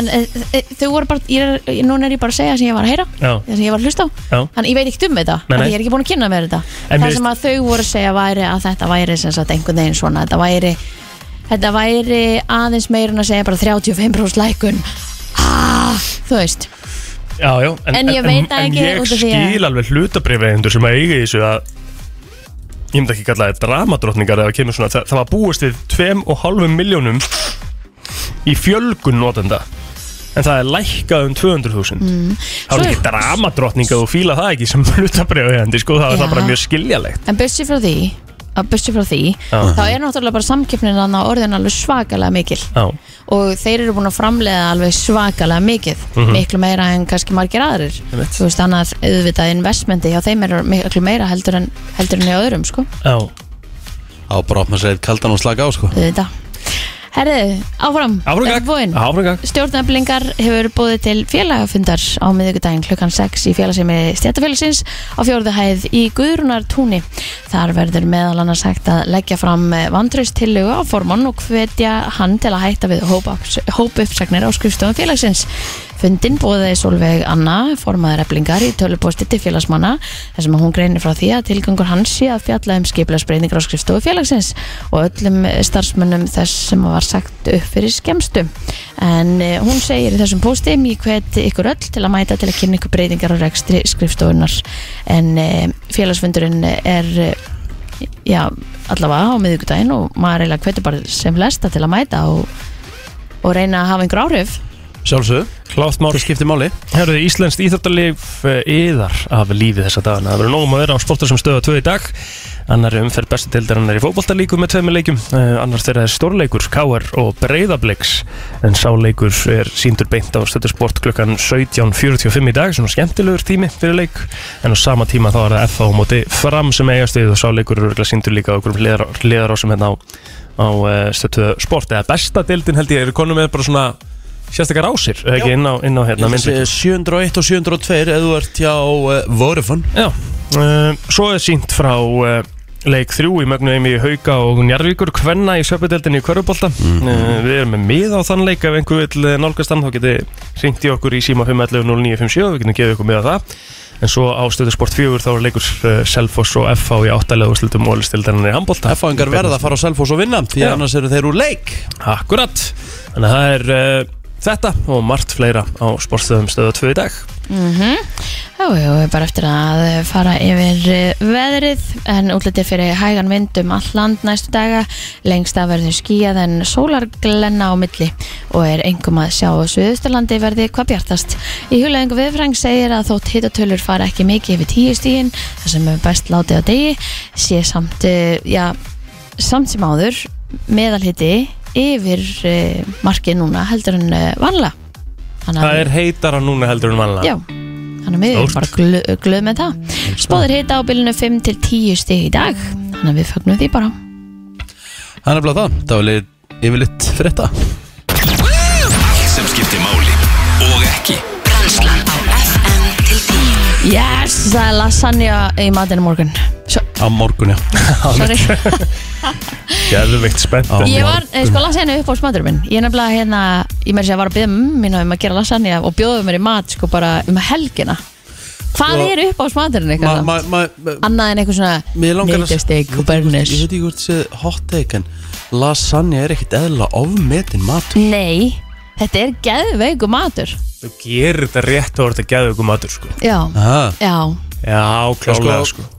[SPEAKER 2] en e, e, þau voru bara, ég er, núna er ég bara að segja það sem ég var að heyra
[SPEAKER 3] Já,
[SPEAKER 2] það sem ég var að hlusta á
[SPEAKER 3] já
[SPEAKER 2] Þannig ég veit ekkert um þetta, af
[SPEAKER 3] Nei,
[SPEAKER 2] því
[SPEAKER 3] nei.
[SPEAKER 2] ég er ekki búin að kynna mér þetta
[SPEAKER 3] En
[SPEAKER 2] Það
[SPEAKER 3] mér
[SPEAKER 2] sem að þau voru að segja væri að þetta væri sem sagt einhvern veginn svona Þetta væri, þetta væri aðeins meira en að segja bara 35% lækun ah, Þú veist,
[SPEAKER 3] Já, já,
[SPEAKER 2] En ég veit það ekki
[SPEAKER 3] En ég
[SPEAKER 2] út af því að-
[SPEAKER 3] skil alveg hlutabriðveigendur sem að eiga í þessu að ég myndi ekki kalla það dramadrottningar eða kemur svona, það, það var búist við 2,5 miljónum í fjölgun notenda en það er lækkað um 200.000 mm. það
[SPEAKER 2] Svo-
[SPEAKER 3] er ekki dramadrottninga og fíla það ekki sem hlutabriðveigandi sko, það er það
[SPEAKER 2] Já.
[SPEAKER 3] bara mjög skiljalegt
[SPEAKER 2] en busi frá því að busi frá því,
[SPEAKER 3] Já.
[SPEAKER 2] þá er náttúrulega bara samkeppnin hann á orðin alveg svakalega mikil
[SPEAKER 3] Já,
[SPEAKER 2] og þeir eru búin að framleiða alveg svakalega mikið miklu meira en kannski margir aðrir
[SPEAKER 3] Mhm. Einmitt.
[SPEAKER 2] þú veist, annað auðvitað investmenti hjá þeim er miklu meira heldur en, heldur en hjá öðrum, sko
[SPEAKER 3] já,
[SPEAKER 1] Á, bara opna sér eitt kaldan og slaka á, sko
[SPEAKER 2] auðvitað Herðu, áfram,
[SPEAKER 3] áframgag
[SPEAKER 2] Tilbúin.
[SPEAKER 3] Áframgag
[SPEAKER 2] Stjórnablingar hefur búið til félagafundar á miðvikudaginn klukkan 6 í félagsemi stjættafélagsins á fjórðu hæð í Guðrunartúni. Þar verður meðal annars hægt að leggja fram vandraustillugu á formann og hvetja hann til að hætta við hópuppsagnir á skrifstofum félagsins. Fundin bóðaði Solveig Anna, formaður eblingar í tölupósti til félagsmanna þar sem að hún greinir frá því að tilgangur hans sé að fjalla um skipilagsbreyningar á skrifstofu félagsins og öllum starfsmönnum þess sem var sagt upp fyrir skemstu. En eh, hún segir í þessum pósti, ég hvet ykkur öll til að mæta til að kynna ykkur breytingar á rekstri skrifstofunar en eh, félagsfundurinn er eh, já, allavega á miðvikudaginn og maður eiginlega hvetur bara sem flesta til að mæta og, og reyna að hafa einhver áhrif
[SPEAKER 1] Sjálfsög,
[SPEAKER 3] Klátt mál
[SPEAKER 1] það skiptir máli
[SPEAKER 3] Herðu, Íslenskt íþjóttarlif yðar af lífi þessa dagana. Það verður nógum að vera á sportar sem stöða tvö í dag. Annar umferð bestu deildarinnar í fótboltalíkum með tveimur leikum. Eh, Annar þeirra er stórleikur, káar og breyðabliks. En sáleikur er síndur beint á stöðusport klukkan 17.45 í dag, svona skemmtilegur tími fyrir leik. En á sama tíma þá er það FH á móti fram sem eigast við og sáleikur eru örugglega síndur líka á einhverjum hliðar- hliðarásum hérna á, á eh, stöðu sport. Eða besta deildin held ég eru konum með bara svona sérstakar ásir, eða ekki inn á, inn á hérna, myndlík.
[SPEAKER 1] 701 og 702 eða þú ert hjá uh, Vorifon
[SPEAKER 3] Já, uh, svo er sínt frá uh, leik þrjú í mögnuðum í Hauka og Njarvíkur Hvenna í söpudeldinni í Körubólta uh, Við erum með mið á þann leik ef einhver vil eh, nálgast hann þá geti ringt í okkur í síma 511 0957 við getum gefið ykkur mið á það en svo á stöðu sport 4 þá er leikur uh, Selfoss og FH í áttalega úrslutum og listildarinn í handbólta
[SPEAKER 1] F-fangar verða að fara á Selfoss og vinna Því
[SPEAKER 3] Já.
[SPEAKER 1] annars eru þeir úr leik
[SPEAKER 3] Akkurat, þannig að það er uh, þetta og margt fleira á sportstöðum stöðu 2 í dag
[SPEAKER 2] Já, Mhm. já, við bara eftir að eh, fara yfir eh, veðrið en útlitið fyrir hægan vind um all land næstu daga lengst að verður skíjað en sólarglenna á milli og er engum að sjá á Suðusturlandi verði hvað bjartast. Í hulaðingu viðfrang segir að þótt hitatölur fara ekki mikið yfir tíu stígin, það sem er best látið á degi, sé samt, eh, já, samt sem áður meðalhiti yfir eh, markið núna heldur en eh, vanlega. Þannig að-
[SPEAKER 3] Það er heitara núna heldur en vanlega
[SPEAKER 2] Já, þannig að við erum
[SPEAKER 3] Stórt.
[SPEAKER 2] bara glöð, glöð með það. Spáður hita á bylunu 5 til 10 stig í dag, þannig að við fögnum því bara.
[SPEAKER 1] Það er bara það, það var lit- yfirleitt frétta
[SPEAKER 4] Allt sem skiptir máli og ekki
[SPEAKER 5] Brennslan á FM til 10
[SPEAKER 2] Yes, það er lasagna í matinu morgun. Svo,
[SPEAKER 1] Á morgun, já
[SPEAKER 2] sorry,
[SPEAKER 3] Geðveikt spennt
[SPEAKER 1] Já.
[SPEAKER 2] ég var, eh, sko lasagna upp á smadurum minn. Ég er nefnilega hérna, ég með þess að var að byrja mínu um að gera lasagna og bjóðu mér í mat sko bara um helgina. Hvað
[SPEAKER 1] Sko,
[SPEAKER 2] er upp á smadurinn
[SPEAKER 1] ma,
[SPEAKER 2] eitthvað?
[SPEAKER 1] ma, ma, ma,
[SPEAKER 2] Annað en eitthvað
[SPEAKER 1] Mér
[SPEAKER 2] svona
[SPEAKER 1] langar að-
[SPEAKER 2] neytjasteg og
[SPEAKER 1] Ég
[SPEAKER 2] bernis.
[SPEAKER 1] veit ekki hvort þið hot take en lasagna er ekkit eðla ofmetin matur
[SPEAKER 2] Nei, þetta er geðveiku matur.
[SPEAKER 3] Þú gerir þetta rétt og þetta geður ykkur matur sko
[SPEAKER 2] Já,
[SPEAKER 1] Aha,
[SPEAKER 2] já,
[SPEAKER 3] Já,
[SPEAKER 1] Sko-
[SPEAKER 3] klálega sko
[SPEAKER 1] náttúrulega,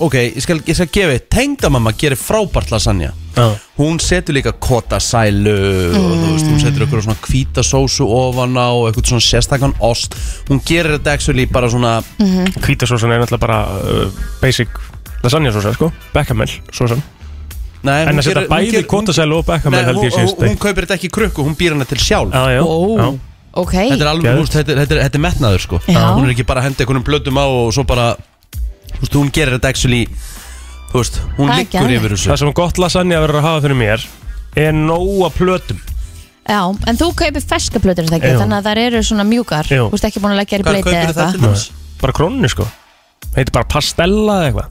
[SPEAKER 1] Ok, ég skal, ég skal gefa eitt Tengdamamma gerir frábært lasagna
[SPEAKER 3] Já.
[SPEAKER 1] Hún setur líka kotasælu og
[SPEAKER 2] Mm.
[SPEAKER 1] þú veist, hún setur eitthvað svona hvítasósu ofan á og eitthvað svona sérstakann ost Hún gerir þetta actually bara svona
[SPEAKER 3] Hvítasósan er náttúrulega bara uh, basic lasagna sósa sko Bechamel sósan
[SPEAKER 1] nei, hún
[SPEAKER 3] En að setja
[SPEAKER 1] gerir- hún
[SPEAKER 3] bæði
[SPEAKER 1] gerir-
[SPEAKER 3] kótasælu og
[SPEAKER 1] Nei,
[SPEAKER 3] bechamel
[SPEAKER 1] hún,
[SPEAKER 3] held ég
[SPEAKER 1] hún,
[SPEAKER 3] síðust
[SPEAKER 1] hún kaupir þetta ekki í krukku, hún býr hana til sjálf
[SPEAKER 3] Já, já,
[SPEAKER 2] Ó.
[SPEAKER 3] já
[SPEAKER 2] ok.
[SPEAKER 1] Þetta er alveg,
[SPEAKER 3] Geðveikt.
[SPEAKER 1] húst, þetta, er- þetta, er- þetta er metnaður sko
[SPEAKER 2] Já.
[SPEAKER 1] Hún er ekki bara að henda einhvernum blöddum á og svo bara húst, Hún gerir þetta actually þú veist, Hún
[SPEAKER 2] Það er
[SPEAKER 1] liggur
[SPEAKER 2] geðveikt.
[SPEAKER 1] yfir þessu
[SPEAKER 3] Það sem gott lasagna verður að hafa fyrir mér er nóga plötum
[SPEAKER 2] Já, en þú kaupir ferska plötur er það ekki,
[SPEAKER 3] Jú.
[SPEAKER 2] þannig að þær eru svona mjúkar
[SPEAKER 3] Jú.
[SPEAKER 2] Þú veist ekki búin að leggja þær í
[SPEAKER 1] Hvað
[SPEAKER 2] bleiti
[SPEAKER 1] kaupir
[SPEAKER 2] eða
[SPEAKER 1] þetta
[SPEAKER 2] eitthvað
[SPEAKER 1] til þess?
[SPEAKER 3] Bara krónni sko Heitir bara pastella eða eitthvað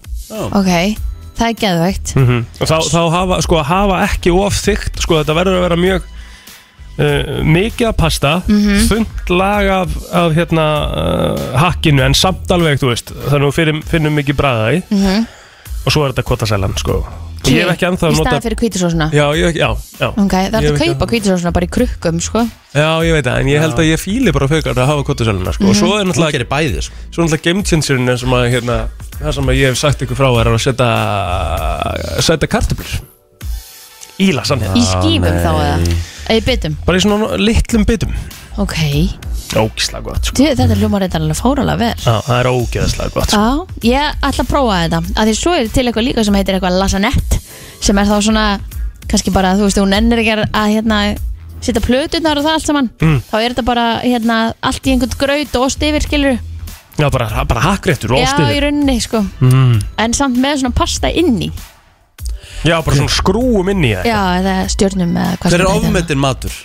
[SPEAKER 2] Ok, það er geðvægt
[SPEAKER 3] mm og þá, þá hafa, sko, hafa ekki of þygt sko, þetta verður að vera mjög uh, mikið af pasta mm
[SPEAKER 2] Mhm.
[SPEAKER 3] þungt lag af, af hérna, uh, hakkinu en samt alveg þú veist, þannig að við finnum, finnum mikið bræða í og svo er þetta kotasælan sko. Og ég hef ekki ennþá
[SPEAKER 2] Mhm. Í
[SPEAKER 3] notað-
[SPEAKER 2] staðan fyrir kvítisósuna
[SPEAKER 3] já, ég hef ekki, já, já.
[SPEAKER 2] Ok, það er
[SPEAKER 3] Ég
[SPEAKER 2] að
[SPEAKER 3] hef ekki
[SPEAKER 2] kaupa kvítisósuna bara í krukkum, sko
[SPEAKER 3] já, ég veit það, en ég held að ég fíli bara fjögar að hafa kotasæluna sko. og
[SPEAKER 2] Mhm.
[SPEAKER 3] svo er
[SPEAKER 1] Hún
[SPEAKER 3] náttúrulega,
[SPEAKER 1] gerir bæði sko
[SPEAKER 3] svo er náttúrulega game changerinn sem að, hérna, það sem að ég hef sagt ykkur frá er að setja setja kartöflur í lasagna
[SPEAKER 2] Í skífum þá eða Eða í bitum,
[SPEAKER 3] bara í svona litlum bitum
[SPEAKER 2] ok
[SPEAKER 3] Ógislega gott sko.
[SPEAKER 2] Djú, Þetta hljómar þetta alveg fáralega vel
[SPEAKER 3] Já, það er ógeðslega gott sko.
[SPEAKER 2] Já, ég ætla að prófa þetta að Því svo er til eitthvað líka sem heitir eitthvað lasanett sem er þá svona, kannski bara þú veist, hún ennir ekki að hérna setja plötunar og það allt saman
[SPEAKER 3] Hm.
[SPEAKER 2] þá er þetta bara hérna, allt í einhvern graut og ost yfir skilur
[SPEAKER 3] Já, bara, bara hakkréttur og
[SPEAKER 2] Já, í
[SPEAKER 3] ástuður
[SPEAKER 2] rauninni sko
[SPEAKER 1] Mm.
[SPEAKER 2] En samt með svona pasta inn í
[SPEAKER 3] Já, bara svona skrúum inn í það
[SPEAKER 2] Já, eða stjórnum eða hvað
[SPEAKER 1] Hver er
[SPEAKER 2] sem þetta heitir.
[SPEAKER 1] ofmetin matur?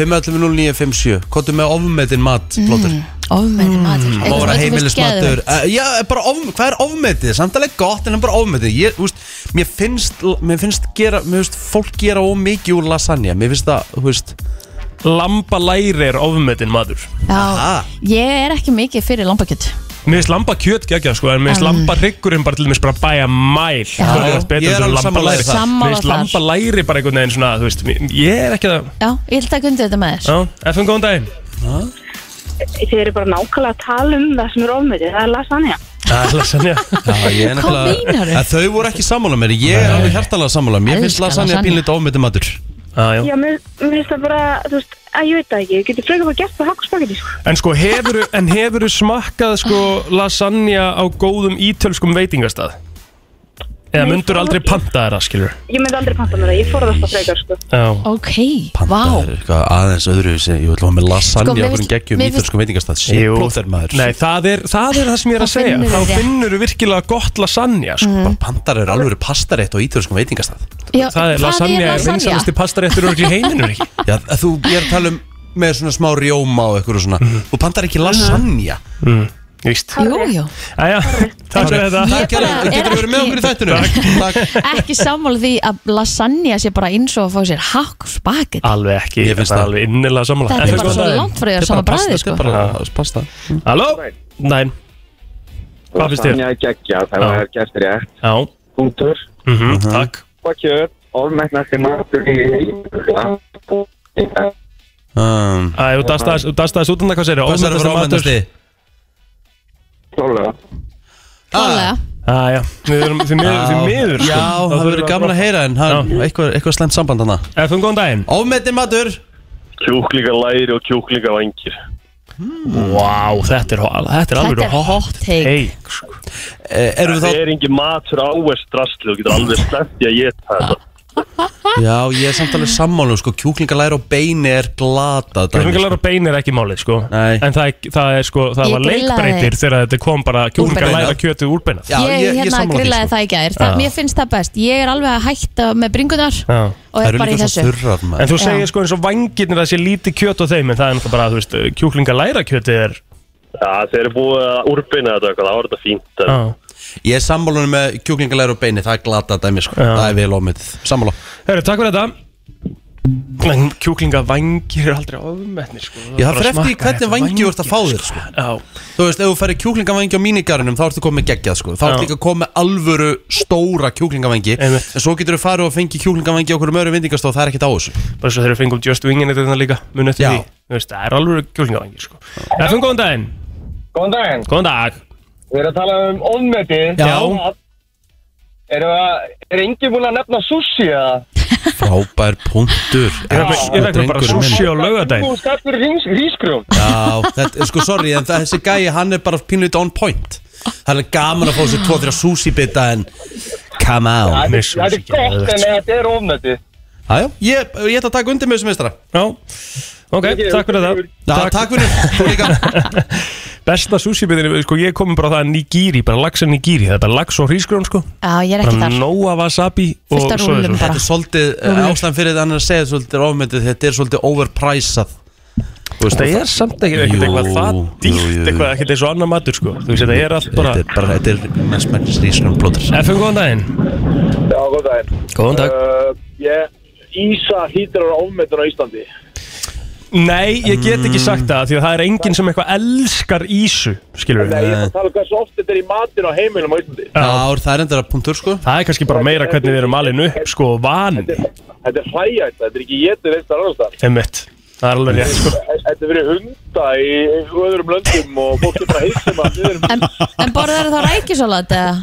[SPEAKER 1] 5.11.09.57 Kottu með ofmetin mat plótur
[SPEAKER 2] Mm. Ofmetin matur
[SPEAKER 1] Mm. Má vera
[SPEAKER 2] Eitthvað sem þú finnst
[SPEAKER 1] heimilismatur
[SPEAKER 2] geðveikt.
[SPEAKER 1] Eh, Já, bara of, hvað er ofmetið? Samtalið gott en hann bara ofmetið ég, úst, mér, finnst, mér finnst gera Mér finnst fólk gera ómikið úr lasagna Mér finnst það, þú veist
[SPEAKER 3] Lambalæri er ofmetin maður
[SPEAKER 2] Já,
[SPEAKER 1] Aha.
[SPEAKER 2] ég er ekki mikið fyrir lambakjöt
[SPEAKER 3] Mér finnst lambakjöt geggjað sko En mér finnst
[SPEAKER 2] Mm.
[SPEAKER 3] lambaryggurinn bara til dæmis bara bæja mæl
[SPEAKER 2] Já.
[SPEAKER 1] Ég er
[SPEAKER 3] Ég er
[SPEAKER 1] alveg
[SPEAKER 3] alveg
[SPEAKER 1] sammála
[SPEAKER 3] sammálaðir
[SPEAKER 1] þér þar.
[SPEAKER 2] Sammála
[SPEAKER 3] Mér finnst
[SPEAKER 2] þar.
[SPEAKER 3] lambalæri bara einhvern veginn svona Þú veist, mér- ég er ekki það
[SPEAKER 2] Já, ég ætla að kundi þetta með þér
[SPEAKER 3] Já, FN góðan daginn
[SPEAKER 6] Þið eru bara nákvæmlega að tala um það sem er ofmyndið, það er lasagna.
[SPEAKER 3] Það er lasagna
[SPEAKER 1] Já, ég er
[SPEAKER 2] Hvað
[SPEAKER 1] nefnilega-
[SPEAKER 2] meinarðu?
[SPEAKER 1] Eh, Þau voru ekki sammála mér, ég er alveg hjartalega sammála Mér finnst
[SPEAKER 2] Elskar
[SPEAKER 1] lasagna
[SPEAKER 2] lasagna.
[SPEAKER 1] pínlítið ofmetið matur
[SPEAKER 3] Já, já.
[SPEAKER 6] Ah, Já, mér mér finnst það bara, þú veist, að ég veit það ekki, ég geti frekar bara gert það hakk og spagetti, sko.
[SPEAKER 3] En sko, hefur, en hefur smakkað sko lasagna á góðum ítölskum veitingastað? Eða
[SPEAKER 6] Nei,
[SPEAKER 3] myndur
[SPEAKER 6] það
[SPEAKER 3] aldrei
[SPEAKER 6] ekki.
[SPEAKER 3] panta þeirra, skilur?
[SPEAKER 6] Ég myndi aldrei panta mér það, ég forðast það frekar, sko.
[SPEAKER 3] Já,
[SPEAKER 2] Ok, vá
[SPEAKER 1] Panta er eitthvað aðeins öðru Ég vil hafa með lasagna
[SPEAKER 2] Sko, mér
[SPEAKER 1] og hvernig
[SPEAKER 2] finnst-
[SPEAKER 1] geggjum í
[SPEAKER 2] mér finnst-
[SPEAKER 1] þessum veitingastæð
[SPEAKER 3] Jú.
[SPEAKER 1] Sérplóter maður
[SPEAKER 3] Nei, það er, það er það sem ég er að
[SPEAKER 2] Þá
[SPEAKER 3] segja
[SPEAKER 2] finnur þú
[SPEAKER 3] Þá
[SPEAKER 2] rétt.
[SPEAKER 3] finnur þú virkilega gott lasagna sko.
[SPEAKER 1] Mhm. Pandar eru alveg pastarétt á ítölskum veitingastæð
[SPEAKER 2] Já,
[SPEAKER 3] Það er lasagna, er vinsalasti pastaréttur og ekki heiminur ekki
[SPEAKER 1] Já, að þú, ég er að tala um með svona smá rjóma og eitthvað svona
[SPEAKER 3] Mhm.
[SPEAKER 1] Þú pandar ekki lasagna
[SPEAKER 3] Víst
[SPEAKER 2] Jú, jú,
[SPEAKER 3] Æja, takk fyrir þetta
[SPEAKER 1] Takk, Ellen,
[SPEAKER 2] bara er
[SPEAKER 1] getur þú verið með
[SPEAKER 2] ekki-
[SPEAKER 1] okkur í þættinu Takk
[SPEAKER 2] ekki sammála því að lasagna sé bara eins og að fá sér hakk og spagetti
[SPEAKER 1] Ah,
[SPEAKER 3] Alveg ekki,
[SPEAKER 1] Ég finnst
[SPEAKER 3] þetta er
[SPEAKER 1] það.
[SPEAKER 3] alveg innilega sammála
[SPEAKER 2] Þetta er
[SPEAKER 3] Ef
[SPEAKER 2] bara
[SPEAKER 3] við
[SPEAKER 2] svo
[SPEAKER 3] góðan daginn.
[SPEAKER 2] langt frá því að sama bræði sko
[SPEAKER 1] Þetta er bara pasta
[SPEAKER 3] Halló? Næn Hvað finnst þér?
[SPEAKER 7] Lasagna er geggja, það
[SPEAKER 3] Já.
[SPEAKER 7] var gert rétt.
[SPEAKER 3] Já,
[SPEAKER 7] Punktur.
[SPEAKER 3] mm takk
[SPEAKER 7] Og kjöt. Ormæknasti matur í heim.
[SPEAKER 1] um,
[SPEAKER 3] Æ, Þú dast aðeins- þú dast aðeins út undan hvað sér
[SPEAKER 1] Hvað er það ámættasti?
[SPEAKER 7] Klálega.
[SPEAKER 1] ah.
[SPEAKER 2] Klálega
[SPEAKER 3] Æja, við erum því miður, því miður sko.
[SPEAKER 1] Já, það
[SPEAKER 3] Þá þurfum
[SPEAKER 1] verður
[SPEAKER 3] við
[SPEAKER 1] gaman að heyra en hann,
[SPEAKER 3] Já.
[SPEAKER 1] eitthvað, eitthvað slemt samband hana
[SPEAKER 3] Efum góðan daginn
[SPEAKER 1] Ofmettin matur
[SPEAKER 8] Kjúklinga læri og kjúklinga vangir
[SPEAKER 3] Vá, þetta er, ho- þetta er sko.
[SPEAKER 2] Þetta
[SPEAKER 3] alveg
[SPEAKER 2] er hot take
[SPEAKER 3] Hey,
[SPEAKER 1] Eh, Erum við
[SPEAKER 8] Það
[SPEAKER 1] þá?
[SPEAKER 8] er engin matur áverst drastli og getur alveg sleppti að geta þetta
[SPEAKER 1] Já, ég er samt alveg sammálu sko, kjúklingalæra og beini er sko. glata dæmi,
[SPEAKER 3] kjúklingalæra og bein er ekki málið sko
[SPEAKER 1] Nei.
[SPEAKER 3] En það, er- það er sko, það
[SPEAKER 2] Ég
[SPEAKER 3] var
[SPEAKER 2] grillaði-
[SPEAKER 3] leikbreytir þegar þetta kom bara kjúklingalæra
[SPEAKER 1] Úrbeina.
[SPEAKER 3] kjötið úrbeinað
[SPEAKER 1] Já,
[SPEAKER 2] ég,
[SPEAKER 1] ég- ég
[SPEAKER 2] hérna
[SPEAKER 1] sammála því,
[SPEAKER 2] grillaði
[SPEAKER 1] sko.
[SPEAKER 2] það í gær það,
[SPEAKER 3] Já.
[SPEAKER 2] Mér finnst það best, ég er alveg að hætta með bringunar
[SPEAKER 3] Já.
[SPEAKER 2] og
[SPEAKER 1] Það
[SPEAKER 2] er
[SPEAKER 1] eru
[SPEAKER 2] bara í
[SPEAKER 1] líka
[SPEAKER 2] þessu
[SPEAKER 1] svo þurrar
[SPEAKER 3] En
[SPEAKER 1] maður
[SPEAKER 3] þú segir sko eins og vangirnir að sé lítið kjöt á þeim En það er náttúrulega bara, þú veist, kjúklingalæra kjötið er
[SPEAKER 8] Já, þeir eru búið að úrbeina þetta eitthvað, það var þetta fínt en...
[SPEAKER 3] Já
[SPEAKER 1] Ég er sammálunum með kjúklingalæra og beini, það er glata dæmi sko,
[SPEAKER 3] Já.
[SPEAKER 1] það er vel ofmetið Sammála
[SPEAKER 3] Hörru, takk fyrir þetta En kjúklingavangir er aldrei ofmetnir sko
[SPEAKER 1] Já, það
[SPEAKER 3] bara
[SPEAKER 1] fer eftir í
[SPEAKER 3] smakka
[SPEAKER 1] hvernig
[SPEAKER 3] þetta
[SPEAKER 1] vangi þú ert að fá
[SPEAKER 3] vængir,
[SPEAKER 1] þér sko.
[SPEAKER 3] Já,
[SPEAKER 1] Þú veist, ef þú færir kjúklingavengi á mínigarinum þá ertu komið geggjað sko Þá ertu
[SPEAKER 3] Já.
[SPEAKER 1] líka komið alvöru stóra kjúklingavengi
[SPEAKER 3] Einmitt.
[SPEAKER 1] En svo getur þú farið og fengið kjúklingavengi á hverjum öru vindingastóð Það er ekkert á þessu
[SPEAKER 3] bara svo þegar við fengum Just Wingin þetta líka Munu eftir
[SPEAKER 1] Já.
[SPEAKER 3] því Þú veist, það er alveg kjúklingavangir sko Efum góðan daginn
[SPEAKER 7] Góðan daginn.
[SPEAKER 3] Góðan dag
[SPEAKER 7] Við erum að tala um ofnmeti.
[SPEAKER 3] Já.
[SPEAKER 7] Erum að, er enginn búin að nefna sushi eða?
[SPEAKER 1] Frábær punktur
[SPEAKER 3] Ég er
[SPEAKER 1] elsku
[SPEAKER 3] ekki- ég er ekki bara
[SPEAKER 1] drengurinn minn.
[SPEAKER 3] sushi á laugardaginn
[SPEAKER 7] Þú skapur hrísgrjón.
[SPEAKER 1] Já, þetta, sko sorry, en þessi gæi hann er bara pínlítið on point Það er alveg gaman að fá sér tvo þrjá sushi bita en come on
[SPEAKER 3] Nei, sushi
[SPEAKER 7] Það er gott en þetta er ofnmeti.
[SPEAKER 1] Æjá, ég, ég ætla að taka undir með þessu meistara
[SPEAKER 3] Já, ok, takk fyrir það
[SPEAKER 1] Já, takk, takk fyrir, þú líka
[SPEAKER 3] Besta sushi bitinni, sko, ég komin bara á það að Nigiri, bara laxa Nigiri Það er bara lax og hrísgrjón, sko
[SPEAKER 2] Já, ég er ekki
[SPEAKER 3] Bara
[SPEAKER 2] þar
[SPEAKER 3] nóa wasabi og
[SPEAKER 2] Fullt af
[SPEAKER 3] soja
[SPEAKER 2] rúllum
[SPEAKER 3] sósu.
[SPEAKER 1] Þetta er svolítið, eh, ástæðan fyrir þetta hann er að segja svolítið ofmyndið Þetta er svolítið overpræsað
[SPEAKER 3] Það er samt ekki
[SPEAKER 1] Jú,
[SPEAKER 3] ekkert eitthvað það
[SPEAKER 1] jú, jú, jú.
[SPEAKER 3] dýrt Eitthvað ekkert eins og annar matur, sko Þú veist, þetta er allt bara
[SPEAKER 1] Þetta er bara, þetta er mest mennins rísnum blóttur
[SPEAKER 3] FM, góðan daginn
[SPEAKER 7] Já, góð daginn.
[SPEAKER 3] Góðan dag
[SPEAKER 7] Ísa hýtir á ofnmetun á Íslandi.
[SPEAKER 3] Nei, ég get ekki sagt það Því að það er enginn sem eitthvað elskar ísu Skilur við
[SPEAKER 7] Ég er að tala um hversu oft þetta er í matin á heimilum á Íslandi.
[SPEAKER 1] Já, það er endur að punktur sko
[SPEAKER 3] Það er kannski bara meira hvernig við erum alveg upp Sko, vani
[SPEAKER 7] Þetta er hlægjætt, þetta er ekki getur eitt að ráðast það.
[SPEAKER 3] Einmitt Það er alveg rétt sko
[SPEAKER 7] Þetta er verið hunda í öðrum löndum og fólk er bara heilsum að við erum
[SPEAKER 2] En, en borðar þá rækisalat eða?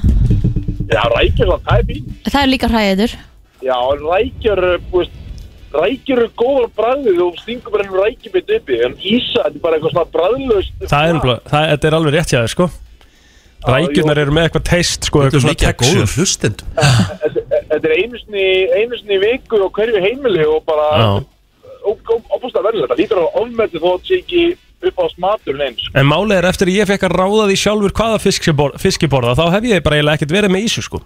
[SPEAKER 7] Já, rækjur það, það er fín.
[SPEAKER 2] Það er líka hræðiður
[SPEAKER 7] Já, en rækjur, þú veist, rækjur eru góðar bræðið og stingur bara ennum rækjubitt uppi. En ísa, þetta er bara eitthvað svona bræðlaust.
[SPEAKER 3] Það er, nefnilega- það, þetta er alveg rétt hjá þér sko Rækjurnar eru með eitthvað taste sko
[SPEAKER 1] Þetta
[SPEAKER 3] Eitthvað
[SPEAKER 1] er
[SPEAKER 3] svona
[SPEAKER 1] mikið að
[SPEAKER 3] texture
[SPEAKER 1] góðum hlustendum
[SPEAKER 7] Þetta þetta er einu sinni, einu sinni í viku og hverju heimili og bara
[SPEAKER 3] Já.
[SPEAKER 7] óbúst að verða þetta. Lítur á ofmætti þó að sé ekki upp á smatur neins.
[SPEAKER 3] En málið er eftir að ég fekk að ráða því sjálfur hvaða fisk ég bor- fisk ég borða Þá hef ég bara eiginlega ekkert verið með ísu sko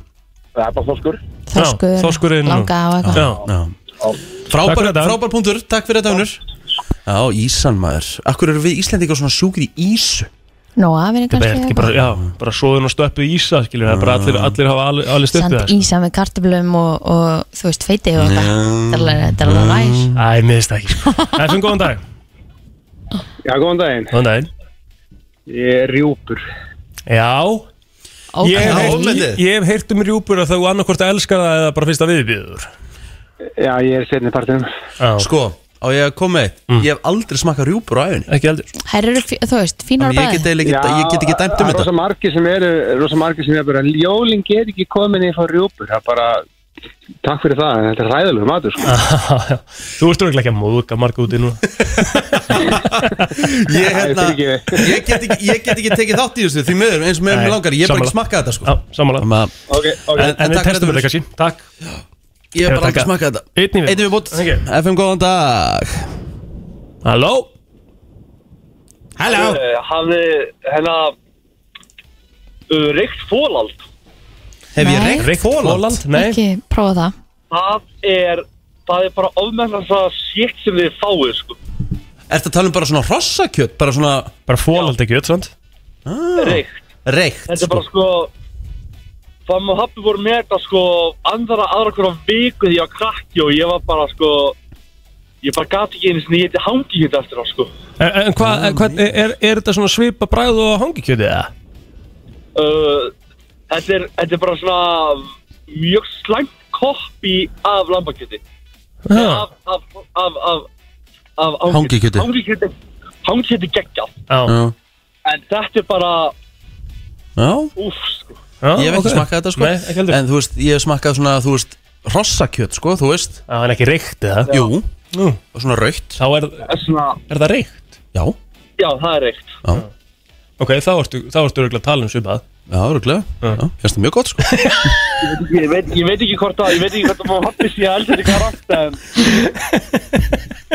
[SPEAKER 7] Það er bara þoskur.
[SPEAKER 2] Þorskur,
[SPEAKER 3] Já, þorskurinn og-
[SPEAKER 2] langa og eitthvað
[SPEAKER 3] Já, Takk
[SPEAKER 1] Frábær,
[SPEAKER 3] fyrir þetta.
[SPEAKER 1] frábær punktur, takk fyrir þetta unnur Já, Ísan maður Akkur eru við Íslendingar svona sjúkir í Ísu?
[SPEAKER 2] Nó, afinni
[SPEAKER 3] það er
[SPEAKER 2] kannski
[SPEAKER 3] ekki bara, já, bara svoðun og stöppu í ísa skilur Það er bara allir, allir hafa alveg- alveg stöppu
[SPEAKER 2] Sand
[SPEAKER 3] það sko.
[SPEAKER 2] ísa með kartöflum og, og þú veist, feiti og eitthvað Þetta er alveg- Þetta er alveg
[SPEAKER 3] Mm.
[SPEAKER 2] næs
[SPEAKER 3] Æ, mér finnst það ekki sko. Efum góðan dag
[SPEAKER 7] Já, góðan daginn.
[SPEAKER 3] Góðan daginn
[SPEAKER 7] Ég er rjúpur.
[SPEAKER 3] Já,
[SPEAKER 2] Ókei.
[SPEAKER 3] ég hef, heyrt,
[SPEAKER 1] ofmetið.
[SPEAKER 3] ég hef heyrt um rjúpur að þú annarkvort elskar það eða bara finnst það viðbjöður
[SPEAKER 7] Já, ég er setni partinum.
[SPEAKER 1] Sko, á ég að koma með eitt Ég hef aldrei smakað rjúpur á æfinni
[SPEAKER 3] Ekki heldur
[SPEAKER 2] Þær eru, fí- þú veist, fínar
[SPEAKER 1] Þannig ég
[SPEAKER 2] bæði
[SPEAKER 1] get, eiginlega ekki, ég get ekki dæmt um
[SPEAKER 7] það er rosa
[SPEAKER 1] þetta
[SPEAKER 7] margir sem eru, rosa margir sem eru bara, jóling er ekki komin í frá rjúpur, það er bara, takk fyrir það, en þetta er ræðilegu matur, sko.
[SPEAKER 3] Þú ert örugglega ekki að móðuka marga úti núna
[SPEAKER 1] ég, hérna,
[SPEAKER 7] Æ, fyrirgefið.
[SPEAKER 1] ég, get ekki, ég get ekki tekið þátt í þessu Því miður, eins og með
[SPEAKER 3] Nei,
[SPEAKER 1] mér langar Ég hef bara ekki
[SPEAKER 3] sammála.
[SPEAKER 1] smakað þetta
[SPEAKER 3] Já,
[SPEAKER 1] sko
[SPEAKER 3] samanlega
[SPEAKER 1] Þannig að
[SPEAKER 7] Ok, ok.
[SPEAKER 1] En-
[SPEAKER 3] En við
[SPEAKER 1] takk fyrir
[SPEAKER 3] testum
[SPEAKER 1] þetta,
[SPEAKER 3] þetta kannski Takk
[SPEAKER 1] Ég hef bara aldrei
[SPEAKER 3] Taka-
[SPEAKER 1] smakað þetta
[SPEAKER 3] Einnig við
[SPEAKER 1] Einnig við bútt
[SPEAKER 3] Ok.
[SPEAKER 1] FM, góðan dag
[SPEAKER 3] Halló Halló
[SPEAKER 7] eh, Hafði, hérna, uh, reykt fólald,
[SPEAKER 1] Hef ég
[SPEAKER 2] Nei.
[SPEAKER 1] reykt fóland?
[SPEAKER 3] Nei
[SPEAKER 2] Ekki prófa það
[SPEAKER 7] það er, það er bara ofmennan það sétt sem þið fáið, sko.
[SPEAKER 1] Ertu að tala um bara svona hrossakjött? Bara svona
[SPEAKER 3] Bara fólald ekki öll, sant?
[SPEAKER 7] Reykt.
[SPEAKER 1] reykt
[SPEAKER 7] Þetta er bara, sko, Fann og Happi voru með þetta, sko, andara aðra hverja viku því ég var krakki og ég var bara, sko, ég bara gati ekki einu sinni, ég heiti hangi hérna eftir það, sko.
[SPEAKER 3] En, en hvað, hva, er, er þetta svona svipa bræð og hangikjöti eða?
[SPEAKER 7] uh, þetta, er, þetta er bara svona mjög slæmt koppi af lambakjöti
[SPEAKER 3] Já.
[SPEAKER 7] af, af, af, af, af af-
[SPEAKER 1] Hangikjöti.
[SPEAKER 7] hangikjöti hangikjöti geggjað
[SPEAKER 3] Já.
[SPEAKER 7] en þetta er bara
[SPEAKER 1] Já,
[SPEAKER 7] úf sko.
[SPEAKER 3] Já,
[SPEAKER 1] ég hef ekki
[SPEAKER 3] ok.
[SPEAKER 1] smakkað þetta sko
[SPEAKER 3] Nei, ekki heldur
[SPEAKER 1] En þú veist, ég hef smakkað svona, þú veist, hrossakjöt sko, þú veist
[SPEAKER 3] Já, en ekki reykt eða
[SPEAKER 1] Jú,
[SPEAKER 3] Nú.
[SPEAKER 1] og svona raukt
[SPEAKER 3] Þá er,
[SPEAKER 7] það er svona,
[SPEAKER 3] er það reykt
[SPEAKER 1] Já,
[SPEAKER 7] já það er reykt
[SPEAKER 1] já,
[SPEAKER 3] Ok, þá ertu, þá ertu örugglega að tala um svipað
[SPEAKER 1] já, öruglega Já, finnst það mjög gott sko
[SPEAKER 7] ég veit, ég veit ekki hvort að ég veit ekki hvort að maður hafði sér alls þetta karakt en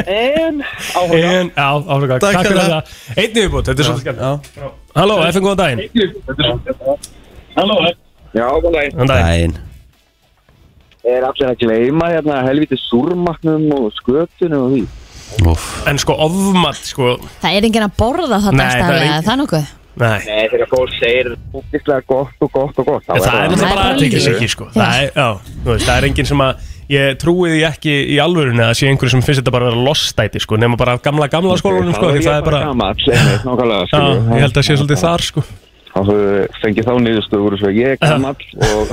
[SPEAKER 7] en áhuga
[SPEAKER 3] En, já, áfram
[SPEAKER 1] Takk
[SPEAKER 3] Takk fyrir
[SPEAKER 1] fyrir
[SPEAKER 3] það Einn yfirbútt, þetta er svolítið skemmt
[SPEAKER 1] Já,
[SPEAKER 3] Halló, FN, góðan daginn
[SPEAKER 7] Halló
[SPEAKER 9] Já, góðlega,
[SPEAKER 3] Góðan daginn
[SPEAKER 1] dæn
[SPEAKER 9] er allir að gleyma hérna helviti súrmaknum og skötunum og því
[SPEAKER 1] Úf,
[SPEAKER 3] En sko, ofmat, sko
[SPEAKER 2] Það er enginn að borða
[SPEAKER 3] Nei,
[SPEAKER 2] þarna
[SPEAKER 3] það er
[SPEAKER 2] staðlega,
[SPEAKER 3] enginn.
[SPEAKER 2] það er nokkuð
[SPEAKER 3] Nei,
[SPEAKER 9] Nei, þegar fólk segir útislega gott og gott og gott þá
[SPEAKER 3] það er
[SPEAKER 2] það
[SPEAKER 3] náttúrulega bara
[SPEAKER 2] bara
[SPEAKER 3] aðtekis
[SPEAKER 2] lygi.
[SPEAKER 3] ekki, sko Það er, já, þú veist, það er enginn sem að Ég trúi því ekki í alvörunni að sé einhverju sem finnst þetta bara að vera lostæti, sko Nefna bara af gamla, gamla skólanum, sko
[SPEAKER 9] Þá
[SPEAKER 3] Því það er bara,
[SPEAKER 9] gamall, einmitt, nákvæmlega
[SPEAKER 3] já,
[SPEAKER 9] skilur.
[SPEAKER 3] ég held að sé svolítið þar, sko
[SPEAKER 9] Þá þú fengið þá niðurstöður svo ég er gamall og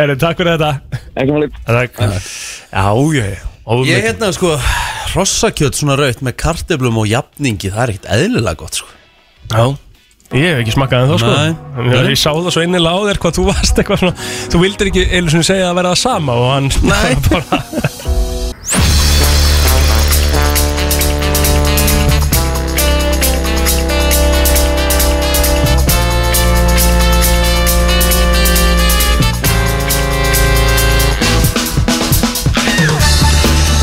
[SPEAKER 3] Herru, takk fyrir þetta
[SPEAKER 9] ekki máli
[SPEAKER 3] Takk Já, já, já ofmat.
[SPEAKER 1] Ég hérna sko, hrossakjöt svona raut með kartöflum og jafningi, það er ekkert eðlilega gott sko
[SPEAKER 3] Já Ég hef ekki smakkað en þá sko
[SPEAKER 1] Nei.
[SPEAKER 3] En Ég sá það svo innilega á þér hvað þú varst eitthvað svona Þú vildir ekki einu sinni segja að vera það sama og hann Nei bara,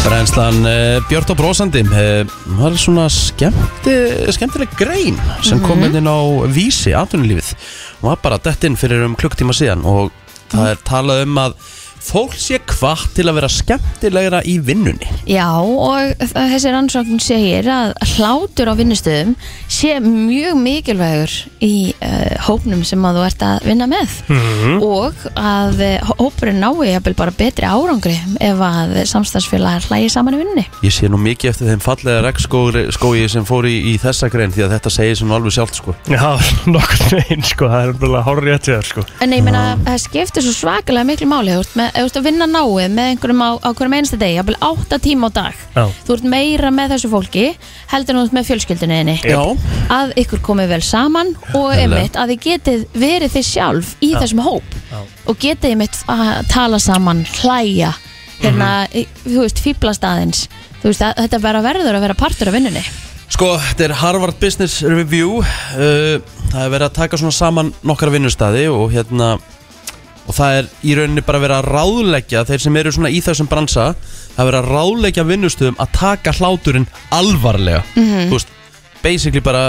[SPEAKER 1] Brennslan uh, Björn og Brósandi uh, var svona skemmti, skemmtileg grein sem kom hérna inn á vísi atvinnulífið og var bara dett inn fyrir um klukktíma síðan og það er talað um að fólk sé kvart til að vera skemmtilegra í vinnunni
[SPEAKER 2] Já, og þessi rannsókn segir að hlátur á vinnustöðum sé mjög mikilvægur í uh, hópnum sem að þú ert að vinna með og að uh, hópurinn nái jafnvel bara betri árangri ef að samstagsfélagar hlægi saman í vinnunni.
[SPEAKER 1] Ég sé nú mikið eftir þeim fallega regnskói sem fór í, í þessa grein því að þetta segir sem alveg sjálft sko
[SPEAKER 3] Já, nokkurn veginn sko Það er bara hárið rétt hjá þér sko
[SPEAKER 2] En nei, ég meina, það skiptir svo svakalega miklu máli, þú ert, með, ef þú ert að vinna náið með einhverjum á, á hverjum einasta degi, jafnvel 8 tíma á dag.
[SPEAKER 3] Já.
[SPEAKER 2] Þú ert meira með þessu fólki, heldur en þú ert með fjölskyldunni þinni.
[SPEAKER 1] Já,
[SPEAKER 2] að ykkur komið vel saman og
[SPEAKER 1] Nefnilega.
[SPEAKER 2] einmitt að þið getið verið þið sjálf í þessum hóp
[SPEAKER 3] Já.
[SPEAKER 2] og getið einmitt að tala saman, hlæja hérna, mm þú veist, fýblast aðeins þú veist, að, þetta bara verður að vera partur af vinnunni
[SPEAKER 1] Sko, þetta er Harvard Business Review uh, Það er verið að taka svona saman nokkra vinnustæði og hérna og það er í rauninni bara verið að ráðleggja þeir sem eru svona í þessum bransa það er verið að ráðleggja vinnustöðum að taka hláturinn alvarlega Þú veist, basically bara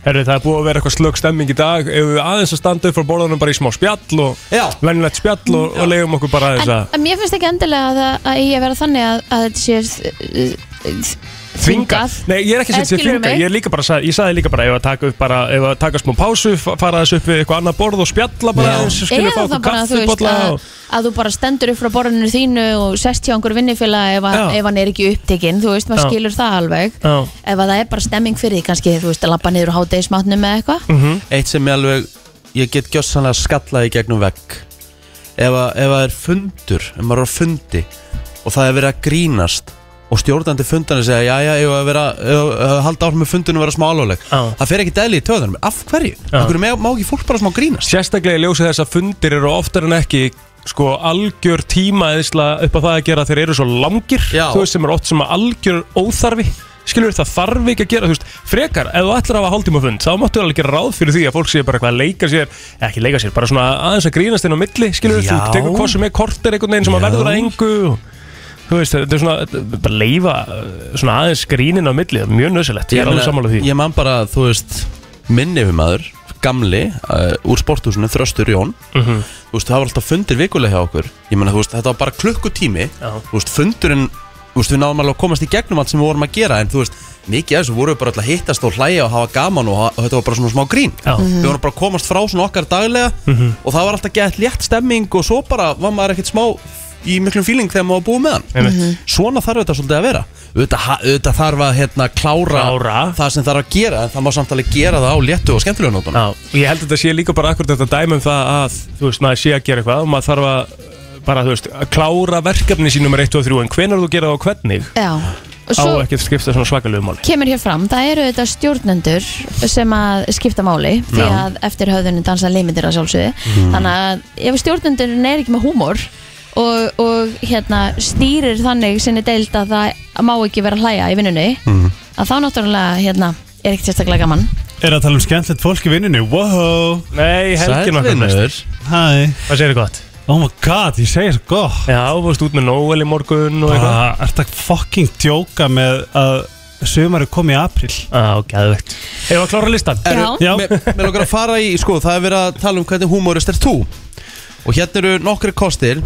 [SPEAKER 3] Herri, það er búið að vera eitthvað slögg stemming í dag Ef við aðeins að standa upp frá borðunum bara í smá spjall og
[SPEAKER 1] Já.
[SPEAKER 3] Venjulegt spjall og, og leiðum okkur bara aðeins
[SPEAKER 2] en,
[SPEAKER 3] að
[SPEAKER 2] en mér finnst ekki endilega að, að, að ég vera þannig að, að þetta sé uh, uh,
[SPEAKER 3] Þvinga
[SPEAKER 2] þvingað.
[SPEAKER 3] Nei, ég er ekki
[SPEAKER 2] Eh,
[SPEAKER 3] sem sé
[SPEAKER 2] skilurðu
[SPEAKER 3] þvinga
[SPEAKER 2] mig?
[SPEAKER 3] Ég, er líka bara, sa- ég sagði líka bara Ef að taka upp bara Ef að taka smá pásu fa- Fara þessu upp við eitthvað annað borð og spjalla bara
[SPEAKER 1] Já.
[SPEAKER 3] aðeins Skilja
[SPEAKER 2] eða
[SPEAKER 3] fá
[SPEAKER 2] það
[SPEAKER 3] okkur
[SPEAKER 2] bara, þú veist,
[SPEAKER 3] kaffibolla
[SPEAKER 2] að,
[SPEAKER 3] og-
[SPEAKER 2] að þú bara stendur upp frá borðinu þínu og sest hjá einhver vinnifélag ef, að-
[SPEAKER 3] Já.
[SPEAKER 2] ef hann er ekki upptekinn, þú veist, maður
[SPEAKER 3] Já.
[SPEAKER 2] skilur það alveg
[SPEAKER 3] Já.
[SPEAKER 2] ef að það er bara stemming fyrir því, kannski, þú veist, að labba niður á hádegismatnum eða eitthvað
[SPEAKER 3] Mhm.
[SPEAKER 1] eitt sem ég alveg ég get gjössanlega skallaði í gegnum vegg ef, að, ef að er fundur ef maður er á fundi og það er verið að grínast og stjórnandi fundarnir segja já já, ég að vera ef að halda áhrif með fundinu að vera smá alvarleg
[SPEAKER 3] Já.
[SPEAKER 1] það fer ekki dæli í töðunum, af hverju? af hverju má, má ekki fólk bara smá grínast?
[SPEAKER 3] Sérstaklega í ljósi þess að fundir eru oftar en ekki sko algjör tímaðisla upp á það að gera þeir eru svo langir
[SPEAKER 1] Já.
[SPEAKER 3] þú veist sem er oft sem að algjör óþarfi skilur það þarf ekki að gera þú veist frekar ef þú ætlar að hafa hálftíma fund þá máttu alveg gera ráð fyrir því að fólk sé bara eitthvað að leika sér ekki leika sér bara svona aðeins að grínast inn á milli skilur þú
[SPEAKER 1] Já.
[SPEAKER 3] tekur hvað sem er kortir einhvern veginn sem að
[SPEAKER 1] Já.
[SPEAKER 3] verður að engu þú veist þetta er svona þetta er bara leifa uh, svona aðeins grínin á milli það er mjög nöðsilegt ég er alveg sammála því
[SPEAKER 1] ég man bara, þú veist minni við maður, gamli uh, úr sporthúsinu, Þröstur Jón
[SPEAKER 3] Mhm.
[SPEAKER 1] þú veist, það var alltaf fundir vikulega hjá okkur ég meina, þú veist, þetta var bara klukkutími
[SPEAKER 3] Já.
[SPEAKER 1] þú veist, fundurinn, þú veist, við náðum alveg að komast í gegnum allt sem við vorum að gera, en þú veist mikið af þessu vorum við bara alltaf að hittast og hlæja og hafa gaman og, ha- og þetta var bara svona smá grín
[SPEAKER 3] Já. Mhm.
[SPEAKER 1] við vorum bara að komast frá svona okkar daglega og það var alltaf gett létt stemming og svo bara var maður ekkert smá í miklum fíling þegar maður búið með hann
[SPEAKER 3] Einmitt.
[SPEAKER 1] Svona þarf þetta svolítið að vera Auðvitað, ha- auðvitað þarf að hérna, klára,
[SPEAKER 3] Klára.
[SPEAKER 1] það sem þarf að gera en það má samtalið gera það á léttu og skemmtilegu nótum
[SPEAKER 3] Já, ég held að þetta sé líka bara akkur þetta dæmi um það að þú veist, maður sé að gera eitthvað og maður þarf að eh, bara, þú veist, að klára verkefni sín nummer 1 og 3 en hvenar þú gera það og hvernig
[SPEAKER 2] Já, og
[SPEAKER 3] á
[SPEAKER 2] svo
[SPEAKER 3] ekki að skipta svona svakalegu máli
[SPEAKER 2] kemur hér fram, það eru þetta stjórnendur sem að skipta máli því
[SPEAKER 3] Já.
[SPEAKER 2] að eftir höfðunum dansa limitir að sjálfsögðu þannig að ef stjórnendurinn er ekki með húmor og, og hérna stýrir þannig sinni deild að það má ekki vera að hlæja í vinnunni að þá náttúrulega hérna er ekkert sérstaklega gaman
[SPEAKER 10] Er að tala um skemmtilegt fólk í vinninu Wow,
[SPEAKER 3] Nei, helgin okkar
[SPEAKER 1] Sælvinur
[SPEAKER 3] næst.
[SPEAKER 10] hæ
[SPEAKER 3] Hvað segir þið gott?
[SPEAKER 10] Oh my god, ég segi svo gott
[SPEAKER 3] Já, þú veist, út með Noel í morgun og eitthvað
[SPEAKER 10] Bara, ert að fucking djóka með að sömari komi í april
[SPEAKER 3] Já, gæðvegt Hefur að klára listan?
[SPEAKER 2] Já,
[SPEAKER 10] Já,
[SPEAKER 1] Mér mér langar að fara í, sko, það er verið að tala um hvernig humorist er þú Og hérna eru nokkri kostir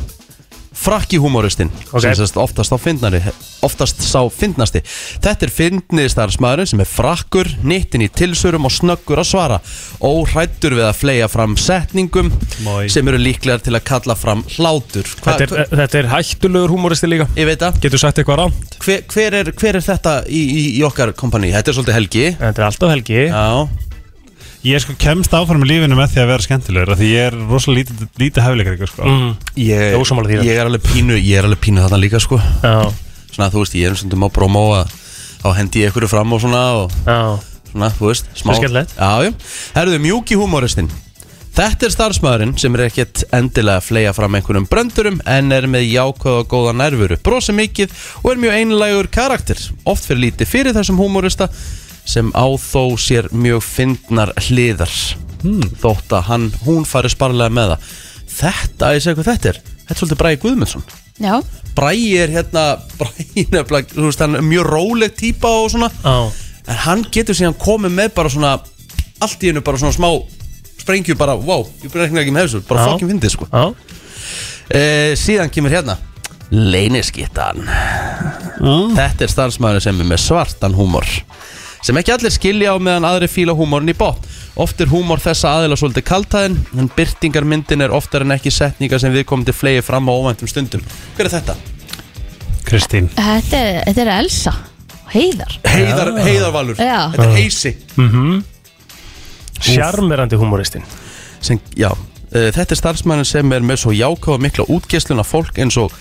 [SPEAKER 1] Frakki humoristinn
[SPEAKER 3] Ok.
[SPEAKER 1] Sem sérst oftast á fyndnari Oftast sá fyndnasti Þetta er fyndni starfsmæðurinn sem er frakkur Nittin í tilsurum og snöggur að svara Óhrættur við að fleja fram setningum
[SPEAKER 10] Moi.
[SPEAKER 1] Sem eru líklegar til að kalla fram hlátur Hva,
[SPEAKER 3] Þetta er, eh, þetta er hættulegur humoristi líka
[SPEAKER 1] Ég veit að
[SPEAKER 3] Getur sagt eitthvað rám
[SPEAKER 1] hver, hver, er, hver er þetta í, í, í okkar kompaní? Þetta er svolítið helgi
[SPEAKER 3] Þetta er alltaf helgi
[SPEAKER 1] Já
[SPEAKER 10] ég sko kemst áfram í lífinu með því að vera skemmtilegur af Því ég er rosalega lítið, lítið hæfileikar ykkur sko
[SPEAKER 3] mm,
[SPEAKER 1] Ég,
[SPEAKER 3] Ég er ósammála því,
[SPEAKER 1] ég er alveg pínu, ég er alveg pínu þarna líka sko
[SPEAKER 3] Já,
[SPEAKER 1] svona þú veist, ég er um stundum á promo að þá hendi ég ykkur fram og svona og
[SPEAKER 3] já
[SPEAKER 1] svona, þú veist, smá
[SPEAKER 3] Það er skemmtilegt.
[SPEAKER 1] Já, já, herruðu, mjúki humoristinn Þetta er starfsmæðurinn sem er ekkert endilega að fleja fram einhverjum bröndurum en er með jákvæða og góða nærvöru brosi mikið og er mjög einlægur karakter oft fyrir lítið fyrir þessum humorista sem á þó sér mjög fyndnar hliðar
[SPEAKER 3] Hmm.
[SPEAKER 1] þótt að hann, hún fari sparlega með það Þetta, að ég segja hvað þetta er Þetta er svolítið Bræði Guðmundsson
[SPEAKER 2] já,
[SPEAKER 1] Bræi er hérna Bræi nefnilega, þú veist, hann er mjög róleg típa og svona
[SPEAKER 3] Já.
[SPEAKER 1] En hann getur síðan komið með bara svona Allt í hennu bara svona smá Sprengju bara, wow, ég byrja ekki með þessu Bara
[SPEAKER 3] Já.
[SPEAKER 1] fokkin fyndið, sko
[SPEAKER 3] Já,
[SPEAKER 1] e, Síðan kemur hérna Leyniskittan Þetta er starfsmæður sem er með svartan húmor sem ekki allir skilja á meðan aðri fíla húmorn í bótt. Oft er húmor þessa aðila svolítið kaltæðin, en byrtingarmyndin er oftar en ekki setningar sem við komum til flegi fram á óvæntum stundum. Hver er þetta?
[SPEAKER 10] Kristín
[SPEAKER 2] þetta, er- þetta er Elsa Heiðar
[SPEAKER 1] Heiðar, heiðarvalur
[SPEAKER 2] Já.
[SPEAKER 1] Þetta er heisi
[SPEAKER 3] Mhm. sjarmerandi humoristin
[SPEAKER 1] sem, já, uh, Þetta er starfsmænin sem er með svo jákáða mikla útgeislun af fólk eins og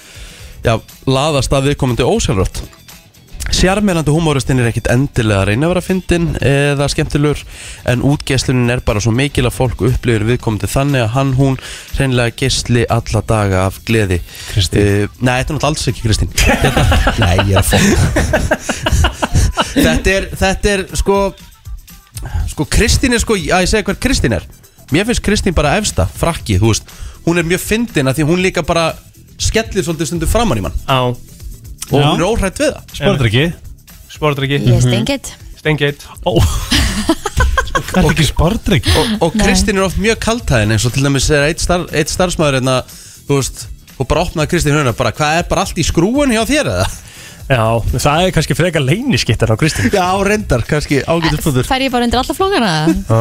[SPEAKER 1] já, laðast að viðkomandi ósjálfrátt Sjarmerandi humoristinn er ekkit endilega að reyna að vera fyndin eða skemmtilegur en útgeislunin er bara svo mikil að fólk upplifir viðkomandi þannig að hann hún reynlega geisli alla daga af gleði
[SPEAKER 10] Kristín.
[SPEAKER 1] Eh, Nei, þetta er náttúrulega alls ekki Kristín Þetta- Nei, ég er að fólk Þetta er, þetta er sko sko Kristín er sko, að ég segja hver Kristín er mér finnst Kristín bara efsta, frakki þú veist, hún er mjög fyndin að því hún líka bara skellir svolítið stundu framann í mann
[SPEAKER 3] Já,
[SPEAKER 1] og
[SPEAKER 10] Já.
[SPEAKER 1] hún er óhrætt við það
[SPEAKER 10] Spurður ekki?
[SPEAKER 3] sportryggi,
[SPEAKER 2] Ég stengið
[SPEAKER 3] steingeit
[SPEAKER 10] Ó Er ekki spurður ekki?
[SPEAKER 1] og, og
[SPEAKER 2] Nei.
[SPEAKER 1] Kristín er oft mjög kaltæðin eins og til dæmis er eitt, star, eitt starfsmæður einna, þú veist, og bara opnaði Kristín hérna bara, hvað er bara allt í skrúun hjá þér eða?
[SPEAKER 3] Já, það er kannski frekar leyniskittar á Kristín
[SPEAKER 1] Já, reyndar, kannski ágætur fóður
[SPEAKER 2] Fær ég bara undir alla flókana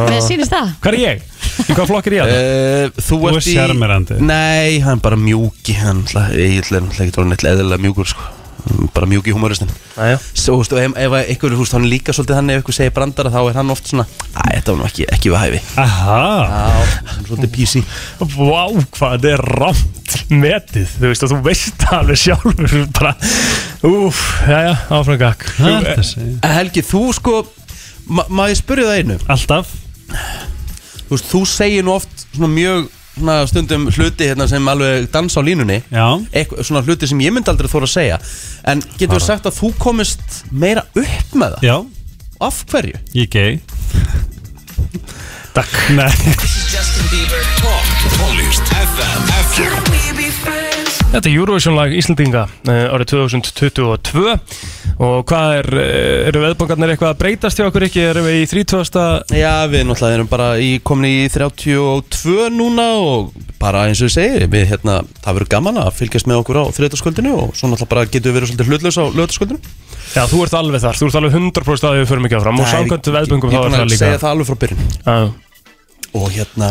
[SPEAKER 2] Mér sýnist það
[SPEAKER 3] Hvað er ég? Í hvað flokk er ég að það?
[SPEAKER 1] Uh, þú
[SPEAKER 10] Þú
[SPEAKER 1] ert
[SPEAKER 10] ert
[SPEAKER 1] í
[SPEAKER 10] sjarmerandi.
[SPEAKER 1] Nei, hann er bara mjúki Hann ætla- Egill er náttúrulega ekki orðin eitthvað eðlilega mjúkur sko. Hann er Bara mjúki humoristinn
[SPEAKER 3] Jæja.
[SPEAKER 1] Svo, þú veist, og ef, ef einhver, þú veist, hann er líka svolítið hann ef einhver segir brandara, þá er hann oft svona Æ, þetta var nú ekki, ekki við hæfi
[SPEAKER 10] Aha
[SPEAKER 1] Já, hann er svolítið písi
[SPEAKER 3] Vá, hvað þetta er rámt metið Þú veist að þú veist það alveg sjálfur bara, Úf, jæja, áfram gakk
[SPEAKER 10] Það er þessi
[SPEAKER 1] En Helgi, þú sko, ma má ég spyrja það einu
[SPEAKER 10] Alltaf
[SPEAKER 1] Þú veist, þú segir nú oft svona mjög svona stundum hluti hérna sem alveg dansa á línunni
[SPEAKER 10] Já
[SPEAKER 1] Eitthvað, svona hluti sem ég myndi aldrei þóra að segja En getur við sagt að þú komist meira upp með það?
[SPEAKER 10] Já
[SPEAKER 1] Af hverju?
[SPEAKER 10] Ég er gay
[SPEAKER 3] Takk
[SPEAKER 10] Nei
[SPEAKER 4] Tónlist FM FM
[SPEAKER 3] Þetta er Eurovision lag Íslandinga uh, árið 2022 og hvað er, uh, eru veðbankarnir eitthvað að breytast hjá okkur ekki, erum við í 30.
[SPEAKER 1] Já, við náttúrulega erum bara í, komin í 32 núna og bara eins og ég segi, við hérna, það verður gaman að fylgjast með okkur á þriðdagsköldinu og svo náttúrulega bara getum við verið svolítið hlutlaus á löðdagsköldinu.
[SPEAKER 3] Já, þú ert alveg þar, þú ert alveg 100% að við förum ekki áfram og samkvæmt veðböngum þá
[SPEAKER 1] Ég
[SPEAKER 3] er
[SPEAKER 1] er búin
[SPEAKER 3] það
[SPEAKER 1] að
[SPEAKER 3] líka
[SPEAKER 1] segja það alveg frá byrjun.
[SPEAKER 3] Já.
[SPEAKER 1] og hérna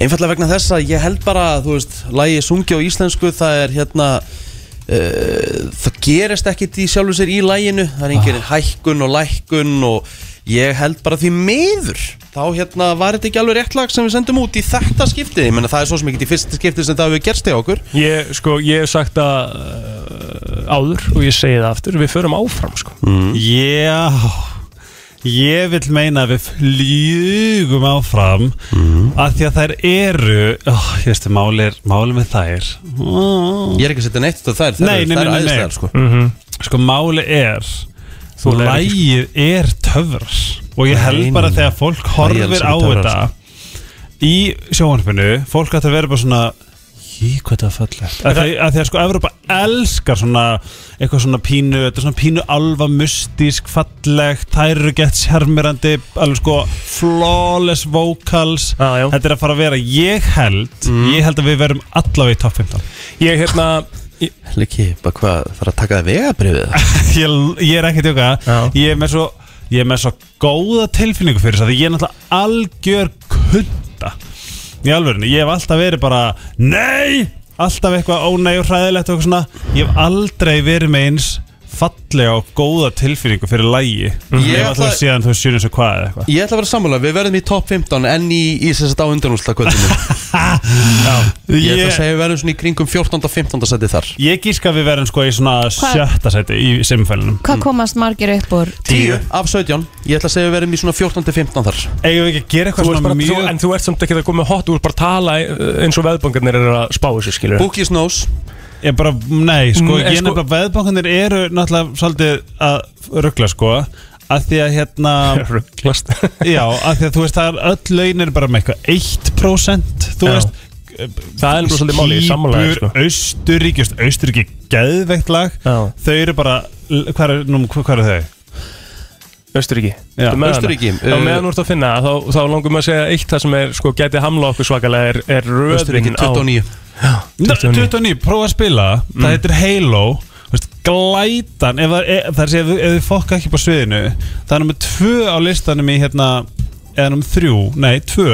[SPEAKER 1] einfallega vegna þess að ég held bara að, þú veist, lægi sungi á íslensku það er hérna uh, það gerist ekkit í sjálfu sér í læginu það er
[SPEAKER 10] Ah.
[SPEAKER 1] engin hækkun og lækkun og ég held bara því meður þá hérna var þetta ekki alveg rétt lag sem við sendum út í þetta skiptið, ég menna það er svo sem ekki í fyrsta skiptið sem það hefur gerst í okkur
[SPEAKER 3] Ég, sko, ég hef sagt það uh, áður og ég segi það aftur Við förum áfram, sko
[SPEAKER 10] Já Ég vil meina að við fljúgum áfram
[SPEAKER 3] Mm.
[SPEAKER 10] að því að þær eru oh, ég veist, máli, er- máli með þær
[SPEAKER 1] Ég er ekki að setja neitt á þær, þær
[SPEAKER 10] Nei,
[SPEAKER 1] eru- þær
[SPEAKER 10] nei, nei,
[SPEAKER 1] eru
[SPEAKER 10] nei, nei.
[SPEAKER 1] æðislegar, sko.
[SPEAKER 10] Mhm. sko máli er
[SPEAKER 1] Þú lærir ekki,
[SPEAKER 10] lægið er töfrar og ég held
[SPEAKER 1] Nei,
[SPEAKER 10] bara
[SPEAKER 1] nei, nei.
[SPEAKER 10] þegar
[SPEAKER 1] Æ,
[SPEAKER 10] fólk
[SPEAKER 1] ég
[SPEAKER 10] horfir
[SPEAKER 1] elska
[SPEAKER 10] á
[SPEAKER 1] töfrar, sko.
[SPEAKER 10] þetta í sjónvarpinu fólk ætti að vera bara svona Í hvað það fallegt að því, að því að sko Evrópa elskar svona eitthvað svona pínu, þetta er svona pínu alva mystísk, fallegt, þær eru gett sjarmirandi, alveg sko flawless vocals
[SPEAKER 3] ah,
[SPEAKER 10] þetta er að fara að vera, ég held
[SPEAKER 1] Mm.
[SPEAKER 10] ég held að við verum allavega í topp 15
[SPEAKER 3] Ég, hérna
[SPEAKER 1] Helgi, bara hvað, þarf að taka það vegabrifið
[SPEAKER 10] ég, ég er ekki að tjóka ég er með svo ég er með svo góða tilfinningu fyrir þess að ég er náttúrulega algjör kunda í alvörinu, ég hef alltaf verið bara nei, alltaf eitthvað ónei og hræðilegt og eitthvað svona ég hef aldrei verið með eins fallega og góða tilfinningu fyrir lægi
[SPEAKER 1] Ég
[SPEAKER 10] ég hef alltaf
[SPEAKER 1] ætla-
[SPEAKER 10] síðan þú sér eins og hvað eða eitthvað
[SPEAKER 1] Ég ætla að vera sammála, við verðum í topp 15 en í, í þess að á undanúsla kvöldinu Ég ætla að
[SPEAKER 10] Ég-
[SPEAKER 1] segja við verðum svona í kringum 14. og 15. seti þar
[SPEAKER 10] ég gíska að við verðum sko í svona sjötta seti í semifælinum
[SPEAKER 2] Hvað komast margir upp úr?
[SPEAKER 1] 10 af 17, ég ætla að segja við verðum í svona 14. til 15 þar
[SPEAKER 10] Eigum við ekki að gera
[SPEAKER 3] Þú ert bara, mjög... En þú ert samt ekki að koma með hot Þú ert bara að tala eh, eins og veðbankarnir eru að spá þessu, skilur
[SPEAKER 1] Bookies knows
[SPEAKER 10] Ég bara, nei,
[SPEAKER 3] Mm,
[SPEAKER 10] sko,
[SPEAKER 3] en
[SPEAKER 10] ég
[SPEAKER 3] sko-
[SPEAKER 10] nefnilega veðbankanir eru náttúrulega svolítið að ruggla, sko að því að hérna
[SPEAKER 3] Rugglast
[SPEAKER 10] Já, að því að þú veist, það er öll laun er bara með eitthvað 1% Þú
[SPEAKER 3] Já.
[SPEAKER 10] veist
[SPEAKER 3] Það er nú svolítið máli, ég sammála þér, sko.
[SPEAKER 10] Kýpur, Austuríki, veist, Austuríki geðveikt lag
[SPEAKER 3] Já.
[SPEAKER 10] Þau eru bara, hvað er, nú, hvað eru þau?
[SPEAKER 3] Östuríki
[SPEAKER 10] Já.
[SPEAKER 1] Austurríki,
[SPEAKER 3] Á
[SPEAKER 1] uh,
[SPEAKER 3] meðan þú ert að finna þá, þá langum við að segja eitt það sem er sko gæti hamla okkur svakalega er, er röðin
[SPEAKER 1] Austurríki
[SPEAKER 3] á-
[SPEAKER 1] 29
[SPEAKER 10] Nei,
[SPEAKER 3] 29.
[SPEAKER 10] 29, prófa að spila
[SPEAKER 1] Mm.
[SPEAKER 10] Það heitir Halo Þú veist, Glætan ef, það- e, Það er að segja, ef, ef þið fokka ekki upp á sviðinu Það er nummer tvö á listanum í hérna Eða nummer þrjú, nei, tvö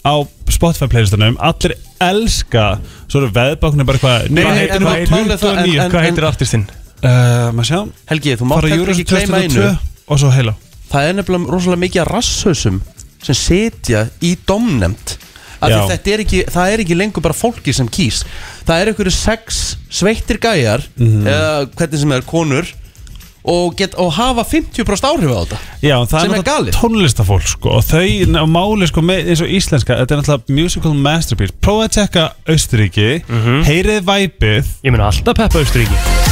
[SPEAKER 10] Á Spotify playlistanum Allir elska Svo eru veðbáknir bara eitthvað Nei,
[SPEAKER 1] Hvað
[SPEAKER 10] nei,
[SPEAKER 1] heitir-
[SPEAKER 10] heitir
[SPEAKER 1] hvað- málið það- en-
[SPEAKER 10] 29
[SPEAKER 1] en-
[SPEAKER 3] Hvað
[SPEAKER 1] en-
[SPEAKER 3] heitir artistinn?
[SPEAKER 10] Uh, Maður sjá
[SPEAKER 1] Helgi, þú mátt
[SPEAKER 10] Fara
[SPEAKER 1] heldur
[SPEAKER 10] Júrus
[SPEAKER 1] ekki gleyma einu
[SPEAKER 10] 2002 Og svo Halo
[SPEAKER 1] Það er nefnilega rosalega mikið af rasshausum sem setja í domnefnd Af því
[SPEAKER 10] Já.
[SPEAKER 1] þetta er ekki, það er ekki lengur bara fólki sem kýs Það er einhverju sex sveittir gæjar
[SPEAKER 10] Mhm.
[SPEAKER 1] eða hvernig sem er konur og, get, og hafa 50% áhrif á þetta
[SPEAKER 10] Já, en það
[SPEAKER 1] Sem er
[SPEAKER 10] náttúrulega
[SPEAKER 1] galið.
[SPEAKER 10] tónlistafólk sko, og þau og máli sko, með, eins og íslenska þetta er náttúrulega musical masterpiece prófa að tekka Austuríki
[SPEAKER 3] Mhm.
[SPEAKER 10] heyrið væpið
[SPEAKER 3] Ég meina alltaf Peppa Östuríki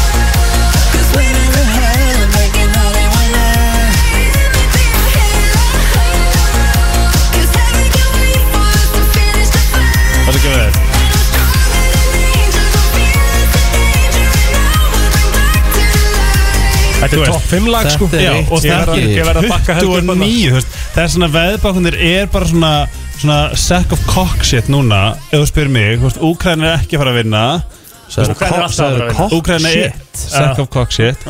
[SPEAKER 10] Hvað er ekki að vera?
[SPEAKER 3] Þetta
[SPEAKER 10] Þú
[SPEAKER 3] er
[SPEAKER 10] veist,
[SPEAKER 3] topp 5 lag sko
[SPEAKER 1] þetta er
[SPEAKER 10] Já,
[SPEAKER 1] eitt
[SPEAKER 10] og
[SPEAKER 1] sem
[SPEAKER 10] það
[SPEAKER 1] ég-
[SPEAKER 10] er
[SPEAKER 3] ég verð að bakka heldur upp á það.
[SPEAKER 10] 29 þú veist, það er svona veðbakundir er bara svona, svona sack of cock shit núna ef þú spyrir mig, þú veist, Úkræn er ekki að fara að vinna
[SPEAKER 1] Sagði
[SPEAKER 3] Úkraína er alltaf að fara að vinna.
[SPEAKER 10] Úkræn er Ah. sack of cock shit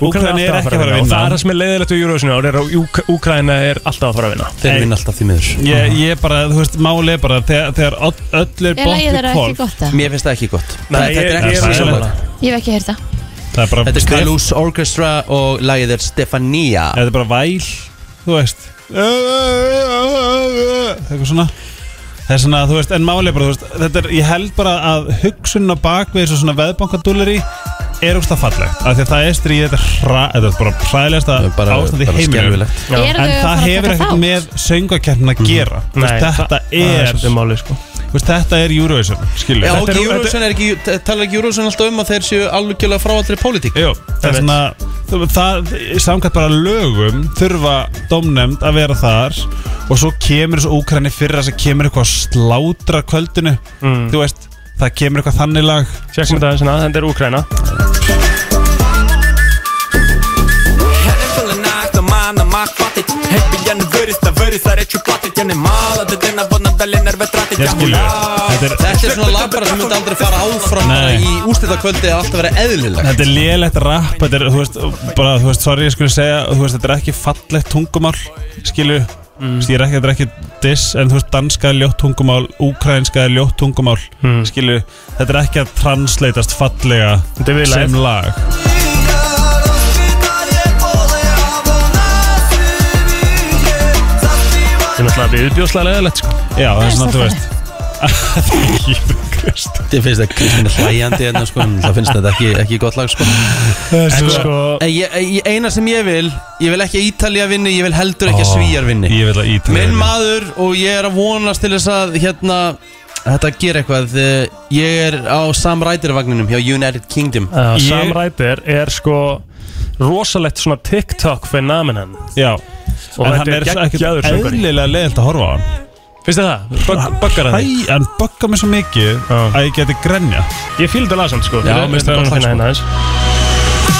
[SPEAKER 3] Úkraina
[SPEAKER 10] Úkræn er ekki að fara að
[SPEAKER 3] Og það er
[SPEAKER 10] vinna
[SPEAKER 3] það sem er leiðilegt úr Eurovision ári er að Úk- Úkraina er alltaf að fara að vinna
[SPEAKER 1] Þeir vinna alltaf því miður
[SPEAKER 10] ég, ég bara, þú veist, máli er bara þegar, þegar öll- öll er
[SPEAKER 2] Er lægið
[SPEAKER 10] bótt
[SPEAKER 2] þeirra
[SPEAKER 10] í
[SPEAKER 2] ekki
[SPEAKER 10] kvolf
[SPEAKER 2] gott það?
[SPEAKER 1] Mér finnst það ekki gott
[SPEAKER 3] Nei,
[SPEAKER 1] Þetta
[SPEAKER 3] ég-
[SPEAKER 1] er
[SPEAKER 3] ég
[SPEAKER 1] ekki
[SPEAKER 3] er
[SPEAKER 1] svona
[SPEAKER 3] sammála.
[SPEAKER 1] lag.
[SPEAKER 2] Ég hef ekki heyrt það
[SPEAKER 10] það er bara
[SPEAKER 1] Þetta er
[SPEAKER 10] stef-
[SPEAKER 1] Skalús Orchestra og lagið er Stefania
[SPEAKER 10] þetta er bara væl, þú veist eitthvað svona það er svona, þú veist, en máli er bara, þú veist þetta er, ég held bara að hugsunna bak við þessu svona veðbankadúleri er úrst að fallegt, af því að það er stríð þetta er, hra, þetta er bara hræðilegasta
[SPEAKER 1] Það er bara-
[SPEAKER 10] ástand í
[SPEAKER 1] bara
[SPEAKER 10] heiminum
[SPEAKER 1] skelfilegt.
[SPEAKER 3] Já.
[SPEAKER 2] Eru þau
[SPEAKER 10] en
[SPEAKER 2] að fara að
[SPEAKER 10] það hefur
[SPEAKER 2] taka
[SPEAKER 10] ekkert
[SPEAKER 2] þátt?
[SPEAKER 10] með söngakjarnin að
[SPEAKER 1] Mhm.
[SPEAKER 10] gera Þú veist, þetta
[SPEAKER 3] Það
[SPEAKER 10] er,
[SPEAKER 3] er svolítið máli sko
[SPEAKER 10] þú veist, þetta er Eurovision skilur
[SPEAKER 1] Já,
[SPEAKER 10] við.
[SPEAKER 1] og
[SPEAKER 10] þetta er,
[SPEAKER 1] Eurovision er ekki, talar ekki Eurovision alltaf um að þeir séu algjörlega frá allri pólitík
[SPEAKER 10] Jú, það er svona þú- það, samkvæmt bara lögum þurfa domnefnd að vera þar og svo kemur þessu ókræni fyrir þess að kemur eitthvað að slátra kvöldinu
[SPEAKER 3] Mm.
[SPEAKER 10] þú veist, það kemur eitthvað þannig lag
[SPEAKER 3] Sjákum þetta aðeins hérna, þetta er Úkraina
[SPEAKER 11] Hele nacht mama ma хватит Happy я не вырез, да вырез, а речи платит Я не мала, дитина, вона далі нерви тратить
[SPEAKER 4] е?
[SPEAKER 10] ég skilju, þetta er,
[SPEAKER 1] Þetta er svona lag bara sem myndi aldrei fara áfram bara
[SPEAKER 10] Nei.
[SPEAKER 1] í úrslitakvöldi að alltaf vera eðlilegt
[SPEAKER 10] þetta er lélegt rap þetta er, þú veist, bara, þú veist, sorry ég skulle segja þú veist, þetta er ekki fallegt tungumál skilju, mm. ég er ekki, þetta er ekki diss en þú veist, danska er ljótt tungumál ukrainska er ljótt tungumál
[SPEAKER 3] Mm.
[SPEAKER 10] skilu, þetta er ekki að translatast fallega
[SPEAKER 3] Þetta er við
[SPEAKER 10] sem
[SPEAKER 3] live.
[SPEAKER 10] lag
[SPEAKER 3] Þetta er náttúrulega viðbjóðslega leðilegt sko
[SPEAKER 10] Já, það er svona, þú veist
[SPEAKER 1] Ég finnst það Kristín er hlæjandi en sko, en það finnst þetta ekki, ekki gott lag sko.
[SPEAKER 10] er
[SPEAKER 1] En
[SPEAKER 10] svo-
[SPEAKER 1] sko en ég, ég, Eina sem ég vil Ég vil ekki að Ítalja vinni, ég vil heldur ekki að Svíjar vinni
[SPEAKER 10] Ég vil að ítalja
[SPEAKER 1] Minn maður og ég er að vonast til þess að hérna Þetta ger eitthvað eh, Ég er á Sam Ryder-vagninum hjá United Kingdom
[SPEAKER 3] Já, Sam Ryder er sko rosalegt svona TikTok fenómenan
[SPEAKER 10] Já
[SPEAKER 3] Og
[SPEAKER 10] en
[SPEAKER 3] þetta
[SPEAKER 10] hann
[SPEAKER 3] er
[SPEAKER 10] er ekki
[SPEAKER 3] geggjaður söngvari.
[SPEAKER 10] eðlilega leiðilt að horfa á hann
[SPEAKER 3] Finnst þið það? Bögg- Böggar það
[SPEAKER 10] Æ,
[SPEAKER 3] þig?
[SPEAKER 10] hann böggar mig svo mikið að ég geti grenja
[SPEAKER 3] Ég fíl þetta lagsamt sko
[SPEAKER 10] Já, mér finnst það gott lag, sko.
[SPEAKER 3] aðeins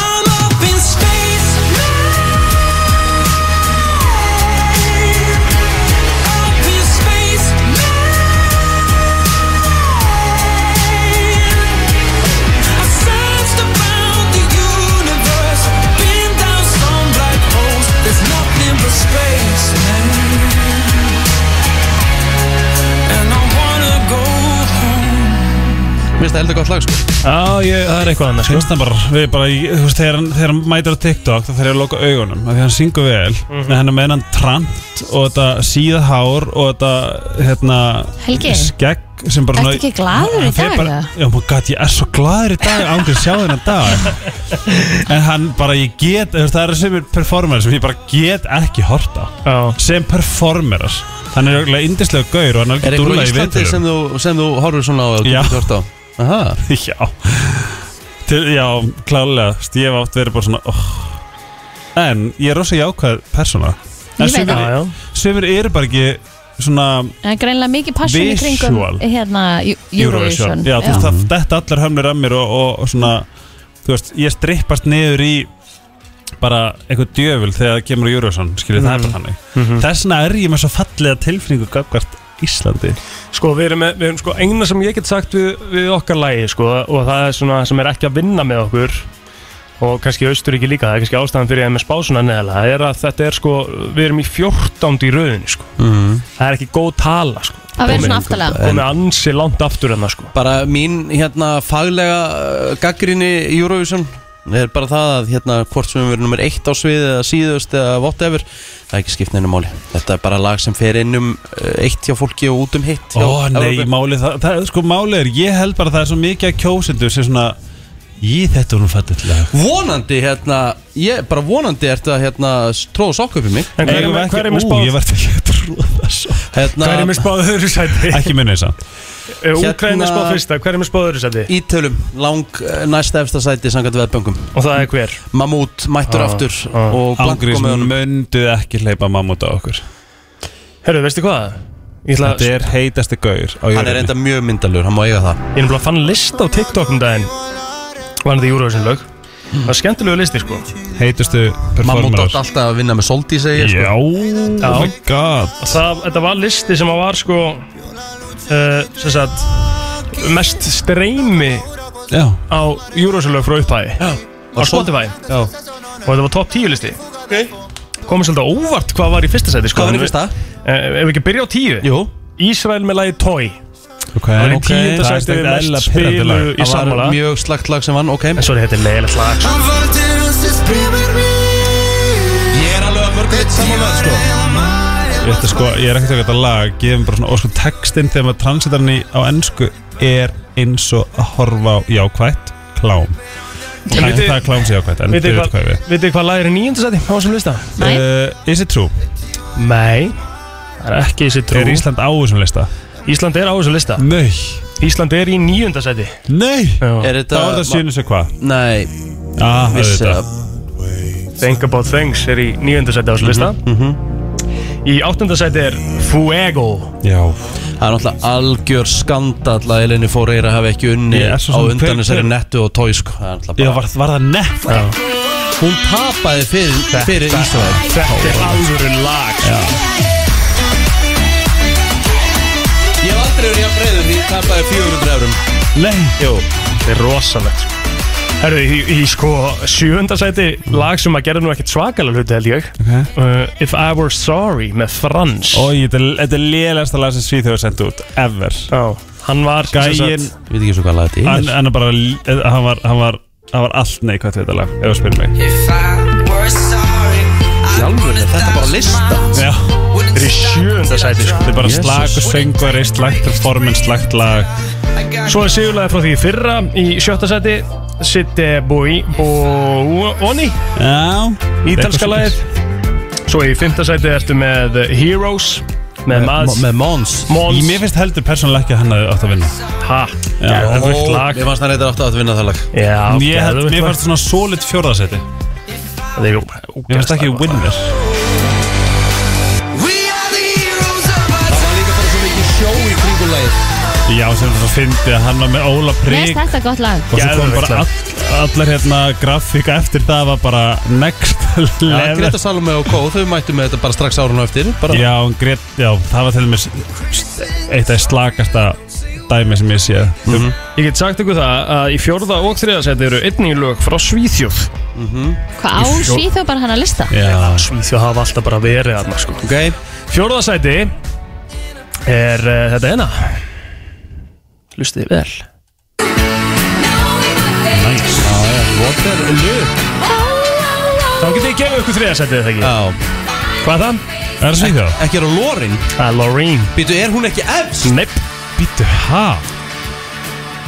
[SPEAKER 1] Mér finnst það heldur gott lag sko
[SPEAKER 3] Já, ég, það er eitthvað annað
[SPEAKER 10] sko. Hlustan bara, við bara, í- þú veist, þegar hann, þegar hann mætir á TikTok þá þarf ég að loka augunum af því hann syngur vel
[SPEAKER 2] Mhm.
[SPEAKER 10] en hann er með hann trant og þetta síða hár og þetta, hérna
[SPEAKER 2] Helgi?
[SPEAKER 10] skegg sem bara
[SPEAKER 2] Ertu ekki glaður í
[SPEAKER 10] Hann fer
[SPEAKER 2] dag,
[SPEAKER 10] bara-
[SPEAKER 2] eða?
[SPEAKER 10] Já, maður gæti, ég er svo glaður í dag ángrið sjá þennan dag en hann bara, ég get, þú veist, það eru sem performer sem ég bara get ekki horta
[SPEAKER 3] Já.
[SPEAKER 10] sem performerar hann er auðvitað indislega gaur og hann er
[SPEAKER 1] Er
[SPEAKER 10] alveg
[SPEAKER 1] eitthvað
[SPEAKER 10] dúlla
[SPEAKER 1] í
[SPEAKER 10] í
[SPEAKER 1] Íslandi
[SPEAKER 10] viðtölum
[SPEAKER 1] sem þú, sem þú horfir svona á og
[SPEAKER 10] Já.
[SPEAKER 1] getur hort á? Aha.
[SPEAKER 10] Já Til, Já, klálega Þú veist, Ég hef átt verið bara svona oh. En ég er rosa jákvæð persóna En
[SPEAKER 2] Ég veit
[SPEAKER 10] sumir-
[SPEAKER 2] það. Já,
[SPEAKER 10] Sumir eru bara ekki svona
[SPEAKER 2] Það er greinlega Eh, mikið passion í kringum
[SPEAKER 10] Visual.
[SPEAKER 2] hérna, Eu- Eurovision
[SPEAKER 10] Já, þú veist, það detta allar hömlur að mér og, og, og svona Þú veist, ég strippast niður í bara eitthvað djöful þegar það kemur í Eurovision skilur það er bara þannig mm
[SPEAKER 3] Mhm.
[SPEAKER 10] þess vegna er ég með svo fallega tilfinningu gagvart Íslandi
[SPEAKER 3] Sko, við erum, með, við erum sko, eina sem ég get sagt við, við okkar lægi, sko, og það er svona sem er ekki að vinna með okkur og kannski Austuríki líka, það er kannski ástæðan fyrir ég er með spásuna neðalega, það er að þetta er sko, við erum í 14. í rauðinni, sko.
[SPEAKER 1] Mhm.
[SPEAKER 3] Það er ekki góð tala, sko.
[SPEAKER 2] Að vera svona
[SPEAKER 3] Komin-
[SPEAKER 2] aftarlega.
[SPEAKER 3] Komin ansi langt aftur en það, sko.
[SPEAKER 1] Bara mín hérna faglega gaggrinni í Eurovision er bara það að hérna hvort sem við erum nummer eitt á sviði eða síðust eða whatever það er ekki skipt neina máli þetta er bara lag sem fer inn um eh, eitt hjá fólki og út um hitt hjá
[SPEAKER 10] Ó nei,
[SPEAKER 1] Evrópu.
[SPEAKER 10] máli, það, það, sko, máli er Ég held bara að það er svo mikið að kjósindu sem svona, ég þetta voru fættið lag
[SPEAKER 1] vonandi hérna ég bara vonandi er þetta hérna tróðu sokku upp í mig
[SPEAKER 3] En hver er
[SPEAKER 1] Eigum við
[SPEAKER 3] með-
[SPEAKER 1] ekki-
[SPEAKER 3] hver er með
[SPEAKER 1] Ú,
[SPEAKER 3] spáð?
[SPEAKER 1] ég
[SPEAKER 10] var til að tróða þessu
[SPEAKER 1] hérna,
[SPEAKER 3] Hver er með spáð öðru sæti?
[SPEAKER 10] Ekki minni þess
[SPEAKER 3] Eh, Úkraína spáð fyrsta, hver er með spáð öðru sæti?
[SPEAKER 1] Ítölum, lang eh, næst efsta sæti samkvæmt veðböngum
[SPEAKER 3] Og það er hver?
[SPEAKER 1] Mamút, mættur
[SPEAKER 3] Ah,
[SPEAKER 1] aftur
[SPEAKER 3] ah.
[SPEAKER 1] og blanko
[SPEAKER 10] Ángriðs
[SPEAKER 1] með honum
[SPEAKER 10] möndu ekki hleypa mammut á okkur
[SPEAKER 3] Herru, veistu hvað? Ég ætla að
[SPEAKER 10] Þetta er heitasti gaur á
[SPEAKER 1] Hann er
[SPEAKER 10] jörðinni.
[SPEAKER 1] enda mjög myndalur, hann má eiga það
[SPEAKER 3] Ég er nefnilega fann list á TikTok um daginn Var þetta Eurovision lög Það var skemmtilegu listi sko
[SPEAKER 10] Heitustu
[SPEAKER 1] Mammut átt
[SPEAKER 10] performerar
[SPEAKER 1] alltaf að vinna með Soldi segja
[SPEAKER 10] Já,
[SPEAKER 1] sko.
[SPEAKER 10] oh my god
[SPEAKER 3] Og það, Þetta var listi sem að var sko uh, sem sagt mest streymi
[SPEAKER 10] Já.
[SPEAKER 3] á Eurovision lög frá upphæði á
[SPEAKER 1] Og Sol-
[SPEAKER 3] Spotify
[SPEAKER 1] Já.
[SPEAKER 3] og þetta var topp 10 listi okay. komið svolítið á óvart hvað var í fyrsta seti sko.
[SPEAKER 1] Hvað var í fyrsta?
[SPEAKER 3] Eh, Ef við ekki byrja á 10
[SPEAKER 1] Jú
[SPEAKER 3] Ísrael með lagi Toy
[SPEAKER 10] Ok,
[SPEAKER 3] Það var í
[SPEAKER 10] ok.
[SPEAKER 3] tíunda
[SPEAKER 10] Það er
[SPEAKER 3] sæti
[SPEAKER 10] ekkert eðlilega
[SPEAKER 3] mest
[SPEAKER 10] pirrandi lag.
[SPEAKER 3] spilu í
[SPEAKER 1] Það
[SPEAKER 3] sammála
[SPEAKER 1] var mjög slagt lag sem vann, ok
[SPEAKER 3] En svo er þetta leiðilegt lag sko.
[SPEAKER 1] Ég er alveg að mörg eitt sammála sko.
[SPEAKER 10] Þetta sko, ég er ekkert eitthvað lag Gefum bara svona, og sko textinn þegar maður transitar hann í á ennsku Er eins og að horfa á jákvætt klám Það
[SPEAKER 3] vitið-
[SPEAKER 10] það er klám sér jákvætt En þið
[SPEAKER 3] Vitið
[SPEAKER 10] veit
[SPEAKER 3] hvað,
[SPEAKER 10] hvað við
[SPEAKER 3] vitið hvað lag er í nýjöndu seti á þessum lista?
[SPEAKER 10] Uh, is it true?
[SPEAKER 3] Nei Það er ekki þessi trú
[SPEAKER 10] Er Ísland á þessum lista?
[SPEAKER 3] Ísland er á þessum lista
[SPEAKER 10] Nei
[SPEAKER 3] Ísland er í nýjönda seti
[SPEAKER 10] Nei
[SPEAKER 1] Er
[SPEAKER 10] Þá er
[SPEAKER 1] þetta
[SPEAKER 10] það sýnir sig hvað
[SPEAKER 1] Nei,
[SPEAKER 10] Ah,
[SPEAKER 1] vissi
[SPEAKER 10] auðvitað.
[SPEAKER 1] það
[SPEAKER 3] Think About Things er í nýjönda seti á þessum lista Í áttunda seti er Fuego
[SPEAKER 10] Já
[SPEAKER 1] Það er náttúrulega algjör skandall að Eleni Fóreira hafi ekki unni
[SPEAKER 10] Ég er
[SPEAKER 1] á
[SPEAKER 10] svo sem- hver-
[SPEAKER 1] undan þessari
[SPEAKER 10] hver-
[SPEAKER 1] nettu og tói sko. Það er náttúrulega
[SPEAKER 10] Já,
[SPEAKER 1] bara
[SPEAKER 10] var, var það nefn?
[SPEAKER 1] Hún tapaði fyrir, fyrir Ísrael
[SPEAKER 3] Þetta er alvöru lag sko.
[SPEAKER 1] Ég hef aldrei verið að breyður því tapaði 400 eurum
[SPEAKER 10] Nei
[SPEAKER 3] Jú, þetta er rosalegt sko. Herru, í, í sko sjöunda sæti lag sem að gera nú ekkert svakalega hluti held ég uh, If I Were Sorry með Frans
[SPEAKER 10] Ói, þetta er- þetta er lélægsta lag sem Svíþjóð er sendt út, ever
[SPEAKER 3] Já, hann var
[SPEAKER 10] Gæin
[SPEAKER 1] Ég veit ekki svo hvað lag þetta
[SPEAKER 10] Hann
[SPEAKER 1] er.
[SPEAKER 10] hann er bara, hann var, hann var, hann var allt neikvægt við þetta lag Ef þú spyrir mig
[SPEAKER 1] Sjálfur, þetta er bara lista
[SPEAKER 10] Já
[SPEAKER 3] Þetta er í sjöunda sæti sko.
[SPEAKER 10] Þetta er bara slag og söngvari, slagt performance, slagt lag
[SPEAKER 3] Svo er sigurlega frá því í fyrra í sjötta sæti Sitte Boi Boni
[SPEAKER 10] Já
[SPEAKER 3] Ítalska
[SPEAKER 10] Eitthvað
[SPEAKER 3] lagið Svo í fymta sæti ertu með eh, Heroes Með Mads
[SPEAKER 1] með Mons
[SPEAKER 3] Mons.
[SPEAKER 10] Mér finnst heldur persónulega ekki að hann hafi átt að vinna
[SPEAKER 3] Ha, geðvögt lag
[SPEAKER 1] Ég fannst það reyndar átt að vinna það lag
[SPEAKER 3] Já,
[SPEAKER 10] Ég held,
[SPEAKER 3] geðveikt
[SPEAKER 10] mér
[SPEAKER 3] lag.
[SPEAKER 10] fannst svona solid fjórðasetti
[SPEAKER 3] Það er
[SPEAKER 10] Mér fannst ekki winner
[SPEAKER 1] Sjó í kringulagið
[SPEAKER 10] Já, sem þú fyndi að hann var með Óla
[SPEAKER 2] Mér
[SPEAKER 10] Prík
[SPEAKER 2] finnst þetta gott lag
[SPEAKER 10] Og svo kom
[SPEAKER 3] Geðveikt
[SPEAKER 10] bara
[SPEAKER 3] lag.
[SPEAKER 10] all, allar hérna grafíka eftir það var bara next
[SPEAKER 1] Já,
[SPEAKER 10] level
[SPEAKER 1] Greta Salome og Kó, þau mættu með þetta bara strax árun á eftir bara.
[SPEAKER 10] Já, hún grét, já, það var til dæmis eitt af slakasta dæmi sem ég séð
[SPEAKER 3] Ég get sagt ykkur það að í fjórða og þriða sæti eru einnig lög frá Svíþjóð
[SPEAKER 2] Hvað á
[SPEAKER 3] Í fjó-
[SPEAKER 2] Svíþjóð bara hann að lista?
[SPEAKER 10] Já.
[SPEAKER 3] Svíþjóð hafa alltaf bara verið þarna sko
[SPEAKER 1] Ok,
[SPEAKER 3] Fjórða sæti er uh, þetta eina Lustið vel
[SPEAKER 1] what a look
[SPEAKER 3] Þá get ég gefið ykkur þriða sætið þegar ekki
[SPEAKER 1] Já,
[SPEAKER 3] Hvað er það?
[SPEAKER 10] Er það svíþjóð?
[SPEAKER 1] ekki er á Lorin
[SPEAKER 3] Það er Loreen
[SPEAKER 1] Býtu, er hún ekki efst?
[SPEAKER 3] Nepp
[SPEAKER 10] Býtu, hæ?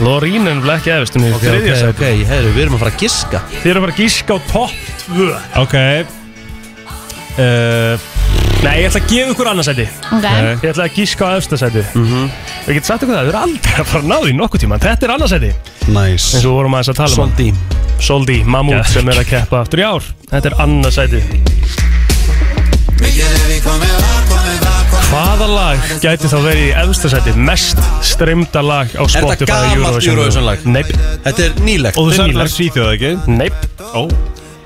[SPEAKER 3] Loreen er vel ekki efst Hún er
[SPEAKER 1] Ok,
[SPEAKER 3] okay,
[SPEAKER 1] ok,
[SPEAKER 3] þriðja sæti
[SPEAKER 1] ok, heyrðu, við erum að fara að giska
[SPEAKER 3] Þið eru bara að gíska á topp 2
[SPEAKER 10] Ok uh,
[SPEAKER 3] Nei, ég ætla að gefa ykkur annað sæti
[SPEAKER 2] Ok,
[SPEAKER 1] Eh,
[SPEAKER 3] Ég ætla að gíska á efsta sæti
[SPEAKER 1] Mhm.
[SPEAKER 3] Ég get sagt ykkur það, þau eru aldrei að fara að ná því nokkuð tíma Þetta er annað sæti
[SPEAKER 1] Nice
[SPEAKER 3] eins og við vorum aðeins að tala um hann.
[SPEAKER 1] Sondi
[SPEAKER 3] Soldi, Mammut sem er að keppa aftur í ár Þetta er annað sæti Hvaða lag gæti þá verið í efsta sæti mest streymda lag á
[SPEAKER 1] þetta
[SPEAKER 3] Spotify
[SPEAKER 1] gamalt
[SPEAKER 3] Eurovision?
[SPEAKER 1] Eurovision lag?
[SPEAKER 3] Neip,
[SPEAKER 1] Þetta er nýlegt
[SPEAKER 10] Og þú
[SPEAKER 3] Fimm í
[SPEAKER 10] sagði það
[SPEAKER 3] lag.
[SPEAKER 10] er svíþjóð, ekki?
[SPEAKER 3] neip,
[SPEAKER 10] Ó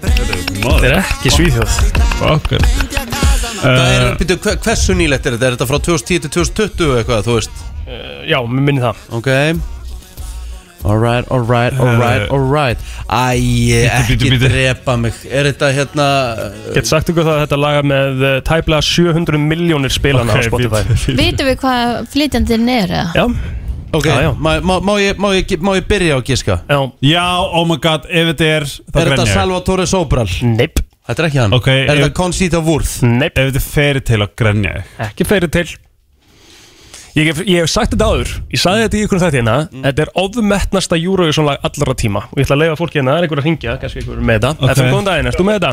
[SPEAKER 3] þetta er ekki svíþjóð
[SPEAKER 10] Okkur
[SPEAKER 1] Það er, býtu, hve- hversu nýlegt er þetta? Er þetta frá 2010 til 2020 eða eitthvað, þú veist?
[SPEAKER 3] Já, mér minni það
[SPEAKER 1] Ok Alright, alright, alright, alright Æ,
[SPEAKER 10] Eh. Bíddu,
[SPEAKER 1] ekki
[SPEAKER 10] bíddu, bíddu.
[SPEAKER 1] drepa mig Er þetta hérna
[SPEAKER 3] Get sagt ykkur það að þetta laga með eh, tæplega 700 miljónir spilana á Spotify
[SPEAKER 2] vitum við hvað flytjandinn er? eða?
[SPEAKER 1] Eh,
[SPEAKER 3] Já,
[SPEAKER 1] Ok,
[SPEAKER 3] Já, já.
[SPEAKER 1] Má, má, má, ég, má, ég, má ég byrja á að giska?
[SPEAKER 3] já,
[SPEAKER 10] Já, oh my god, ef þetta er þá
[SPEAKER 1] Er
[SPEAKER 10] grenja
[SPEAKER 1] þetta
[SPEAKER 10] ég.
[SPEAKER 1] Salvatore Sobral?
[SPEAKER 3] neip,
[SPEAKER 1] Þetta er ekki hann
[SPEAKER 10] Ok,
[SPEAKER 1] Er
[SPEAKER 10] ef-
[SPEAKER 1] þetta Conchita Wurth?
[SPEAKER 3] neip
[SPEAKER 10] Ef þetta er feri til að grenja ég
[SPEAKER 3] Ekki fyrir til Ég hef, ég hef sagt þetta áður Ég sagði þetta í ykkur þetta hérna Þetta er ofmetnasta júruvísónlag allra tíma Og ég ætla að leifa fólki hérna, það er einhver að hringja Kannski einhver er með þetta
[SPEAKER 10] Ok.
[SPEAKER 3] okay. FM, góðan daginn, ertu með þetta?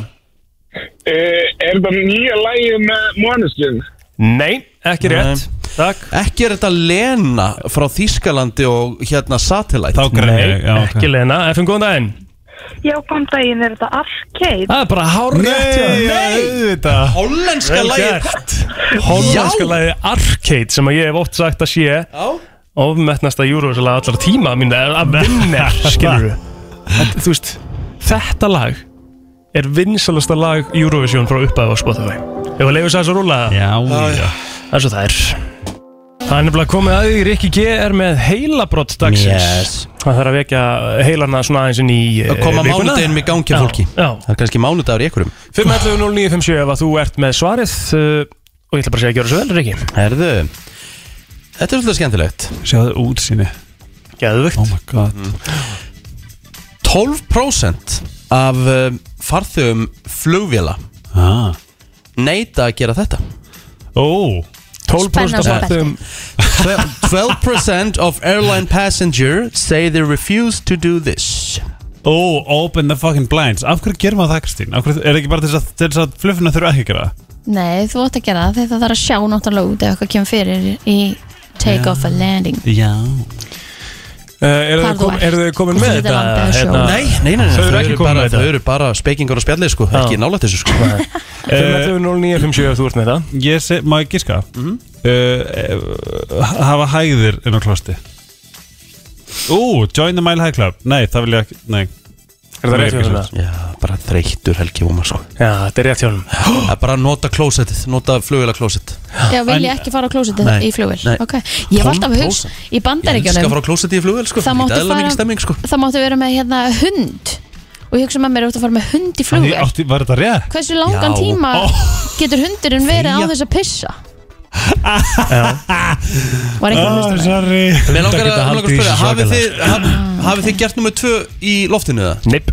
[SPEAKER 7] Eh, Er það nýja lægi með Måneskin?
[SPEAKER 3] Nei, ekki
[SPEAKER 1] Nei.
[SPEAKER 3] rétt Takk
[SPEAKER 1] Ekki er þetta Lena frá Þýskalandi og hérna Satellite
[SPEAKER 10] Þá grenja
[SPEAKER 3] Nei,
[SPEAKER 10] ég, já, ok
[SPEAKER 3] ekki Lena FM, góðan daginn
[SPEAKER 6] Já, kom daginn, er þetta arcade?
[SPEAKER 3] Það er bara hár rétt hjá
[SPEAKER 10] Nei, já, auðvitað
[SPEAKER 1] Hollenska
[SPEAKER 3] Vel
[SPEAKER 1] lagið
[SPEAKER 3] gert Hollandska
[SPEAKER 1] Já.
[SPEAKER 3] lagi Arcade sem að ég hef oft sagt að sé
[SPEAKER 1] Já.
[SPEAKER 3] ofmetnasta júruvísónlag allra tíma mín er að vinna, skilur við Þú veist, þetta lag er vinsalasta lag Eurovision frá upphæðu á Spotify Ef að leiðu þess að rúla það,
[SPEAKER 10] Já, já
[SPEAKER 3] það er svo það er Það er nefnilega komið að því Rikki G er með heilabrott dagsins
[SPEAKER 1] Yes.
[SPEAKER 3] Það þarf að vekja heilana svona aðeins inn í
[SPEAKER 10] Eh,
[SPEAKER 3] eh,
[SPEAKER 1] Að koma mánudeginum í gangi, fólki.
[SPEAKER 3] Já, já.
[SPEAKER 1] Það er kannski mánudagur í ekkurum
[SPEAKER 3] 5.11.09.57 ef að þú ert með svarið uh, og ég ætla bara að segja að gjöra svo vel Rikki
[SPEAKER 1] Herðu Þetta er svolítið skemmtilegt
[SPEAKER 10] Sjáðu útsinni
[SPEAKER 3] Geðvögt
[SPEAKER 10] Oh my god
[SPEAKER 3] Mm.
[SPEAKER 1] 12% af um, farþöfum flugvila
[SPEAKER 10] ah.
[SPEAKER 1] neita að gera þetta
[SPEAKER 10] Ó,
[SPEAKER 3] 12%
[SPEAKER 2] Spennan
[SPEAKER 3] af farþegum
[SPEAKER 1] 12% of airline passenger say they refuse to do this
[SPEAKER 10] ó, open the fucking blinds Af hverju gerum maður það, Kristín? Af hverju- Er það ekki bara til þess að, til þess að fluffuna þurfa ekki að gera það?
[SPEAKER 2] Nei, þú átt að gera það þegar það þarf að sjá náttúrulega út ef eitthvað kemur fyrir í take off and landing
[SPEAKER 10] Já
[SPEAKER 3] uh,
[SPEAKER 2] Hvar
[SPEAKER 3] Eru þau
[SPEAKER 2] þú
[SPEAKER 3] kom,
[SPEAKER 2] ert.
[SPEAKER 3] eru þau komin með
[SPEAKER 2] Þetta er
[SPEAKER 3] þetta?
[SPEAKER 2] landið að sjó.
[SPEAKER 3] hérna?
[SPEAKER 1] Nei, nei, nei, nei
[SPEAKER 3] Þau eru ekki komin
[SPEAKER 1] bara,
[SPEAKER 3] með
[SPEAKER 1] þau
[SPEAKER 3] þetta.
[SPEAKER 1] eru bara spekingar og spjallir sko, ekki
[SPEAKER 3] Já.
[SPEAKER 1] nálægt þessu sko
[SPEAKER 3] Eh, 5.11.09.57 ef þú ert með það
[SPEAKER 10] Ég sé, má ég giska? Mm
[SPEAKER 3] Mhm.
[SPEAKER 10] Hafa hægðir inn á klosti Ú, join the mile high club Nei, það vil ég ekki, nei
[SPEAKER 3] Er það rétt hjá honum,
[SPEAKER 1] Já, bara þreyttur Helgi Ómar sko
[SPEAKER 3] Já, þetta er rétt hjá honum
[SPEAKER 1] Það er bara að nota klósettið, nota flugvila klósett
[SPEAKER 2] Já, vil ég ekki fara á klósitið
[SPEAKER 1] Nei,
[SPEAKER 2] í flugvél
[SPEAKER 1] nei.
[SPEAKER 2] Ok, ég var alltaf að hugsa
[SPEAKER 1] 12%.
[SPEAKER 2] Í
[SPEAKER 1] Ég elska að
[SPEAKER 2] bandaríkjunum
[SPEAKER 1] fara á klósettið í flugvél sko
[SPEAKER 2] það máttu,
[SPEAKER 1] Þetta er
[SPEAKER 2] fara,
[SPEAKER 1] mikið stemming sko
[SPEAKER 2] það máttu vera með hérna hund Og ég hugsa með mér, þú ert að fara með hund í
[SPEAKER 10] Þannig
[SPEAKER 2] flugvél
[SPEAKER 10] átti- Var þetta rétt?
[SPEAKER 2] Hversu langan
[SPEAKER 10] Já.
[SPEAKER 2] tíma
[SPEAKER 10] Ó.
[SPEAKER 2] getur hundurinn verið á
[SPEAKER 10] Þegja.
[SPEAKER 2] þess að pissa?
[SPEAKER 10] Var ekki að hlusta Sorry
[SPEAKER 1] Mér langar að, langar að spyrja, hafið þið, haf,
[SPEAKER 3] sko.
[SPEAKER 1] hafið þið gert nummer tvö í loftinu eða?
[SPEAKER 3] Neip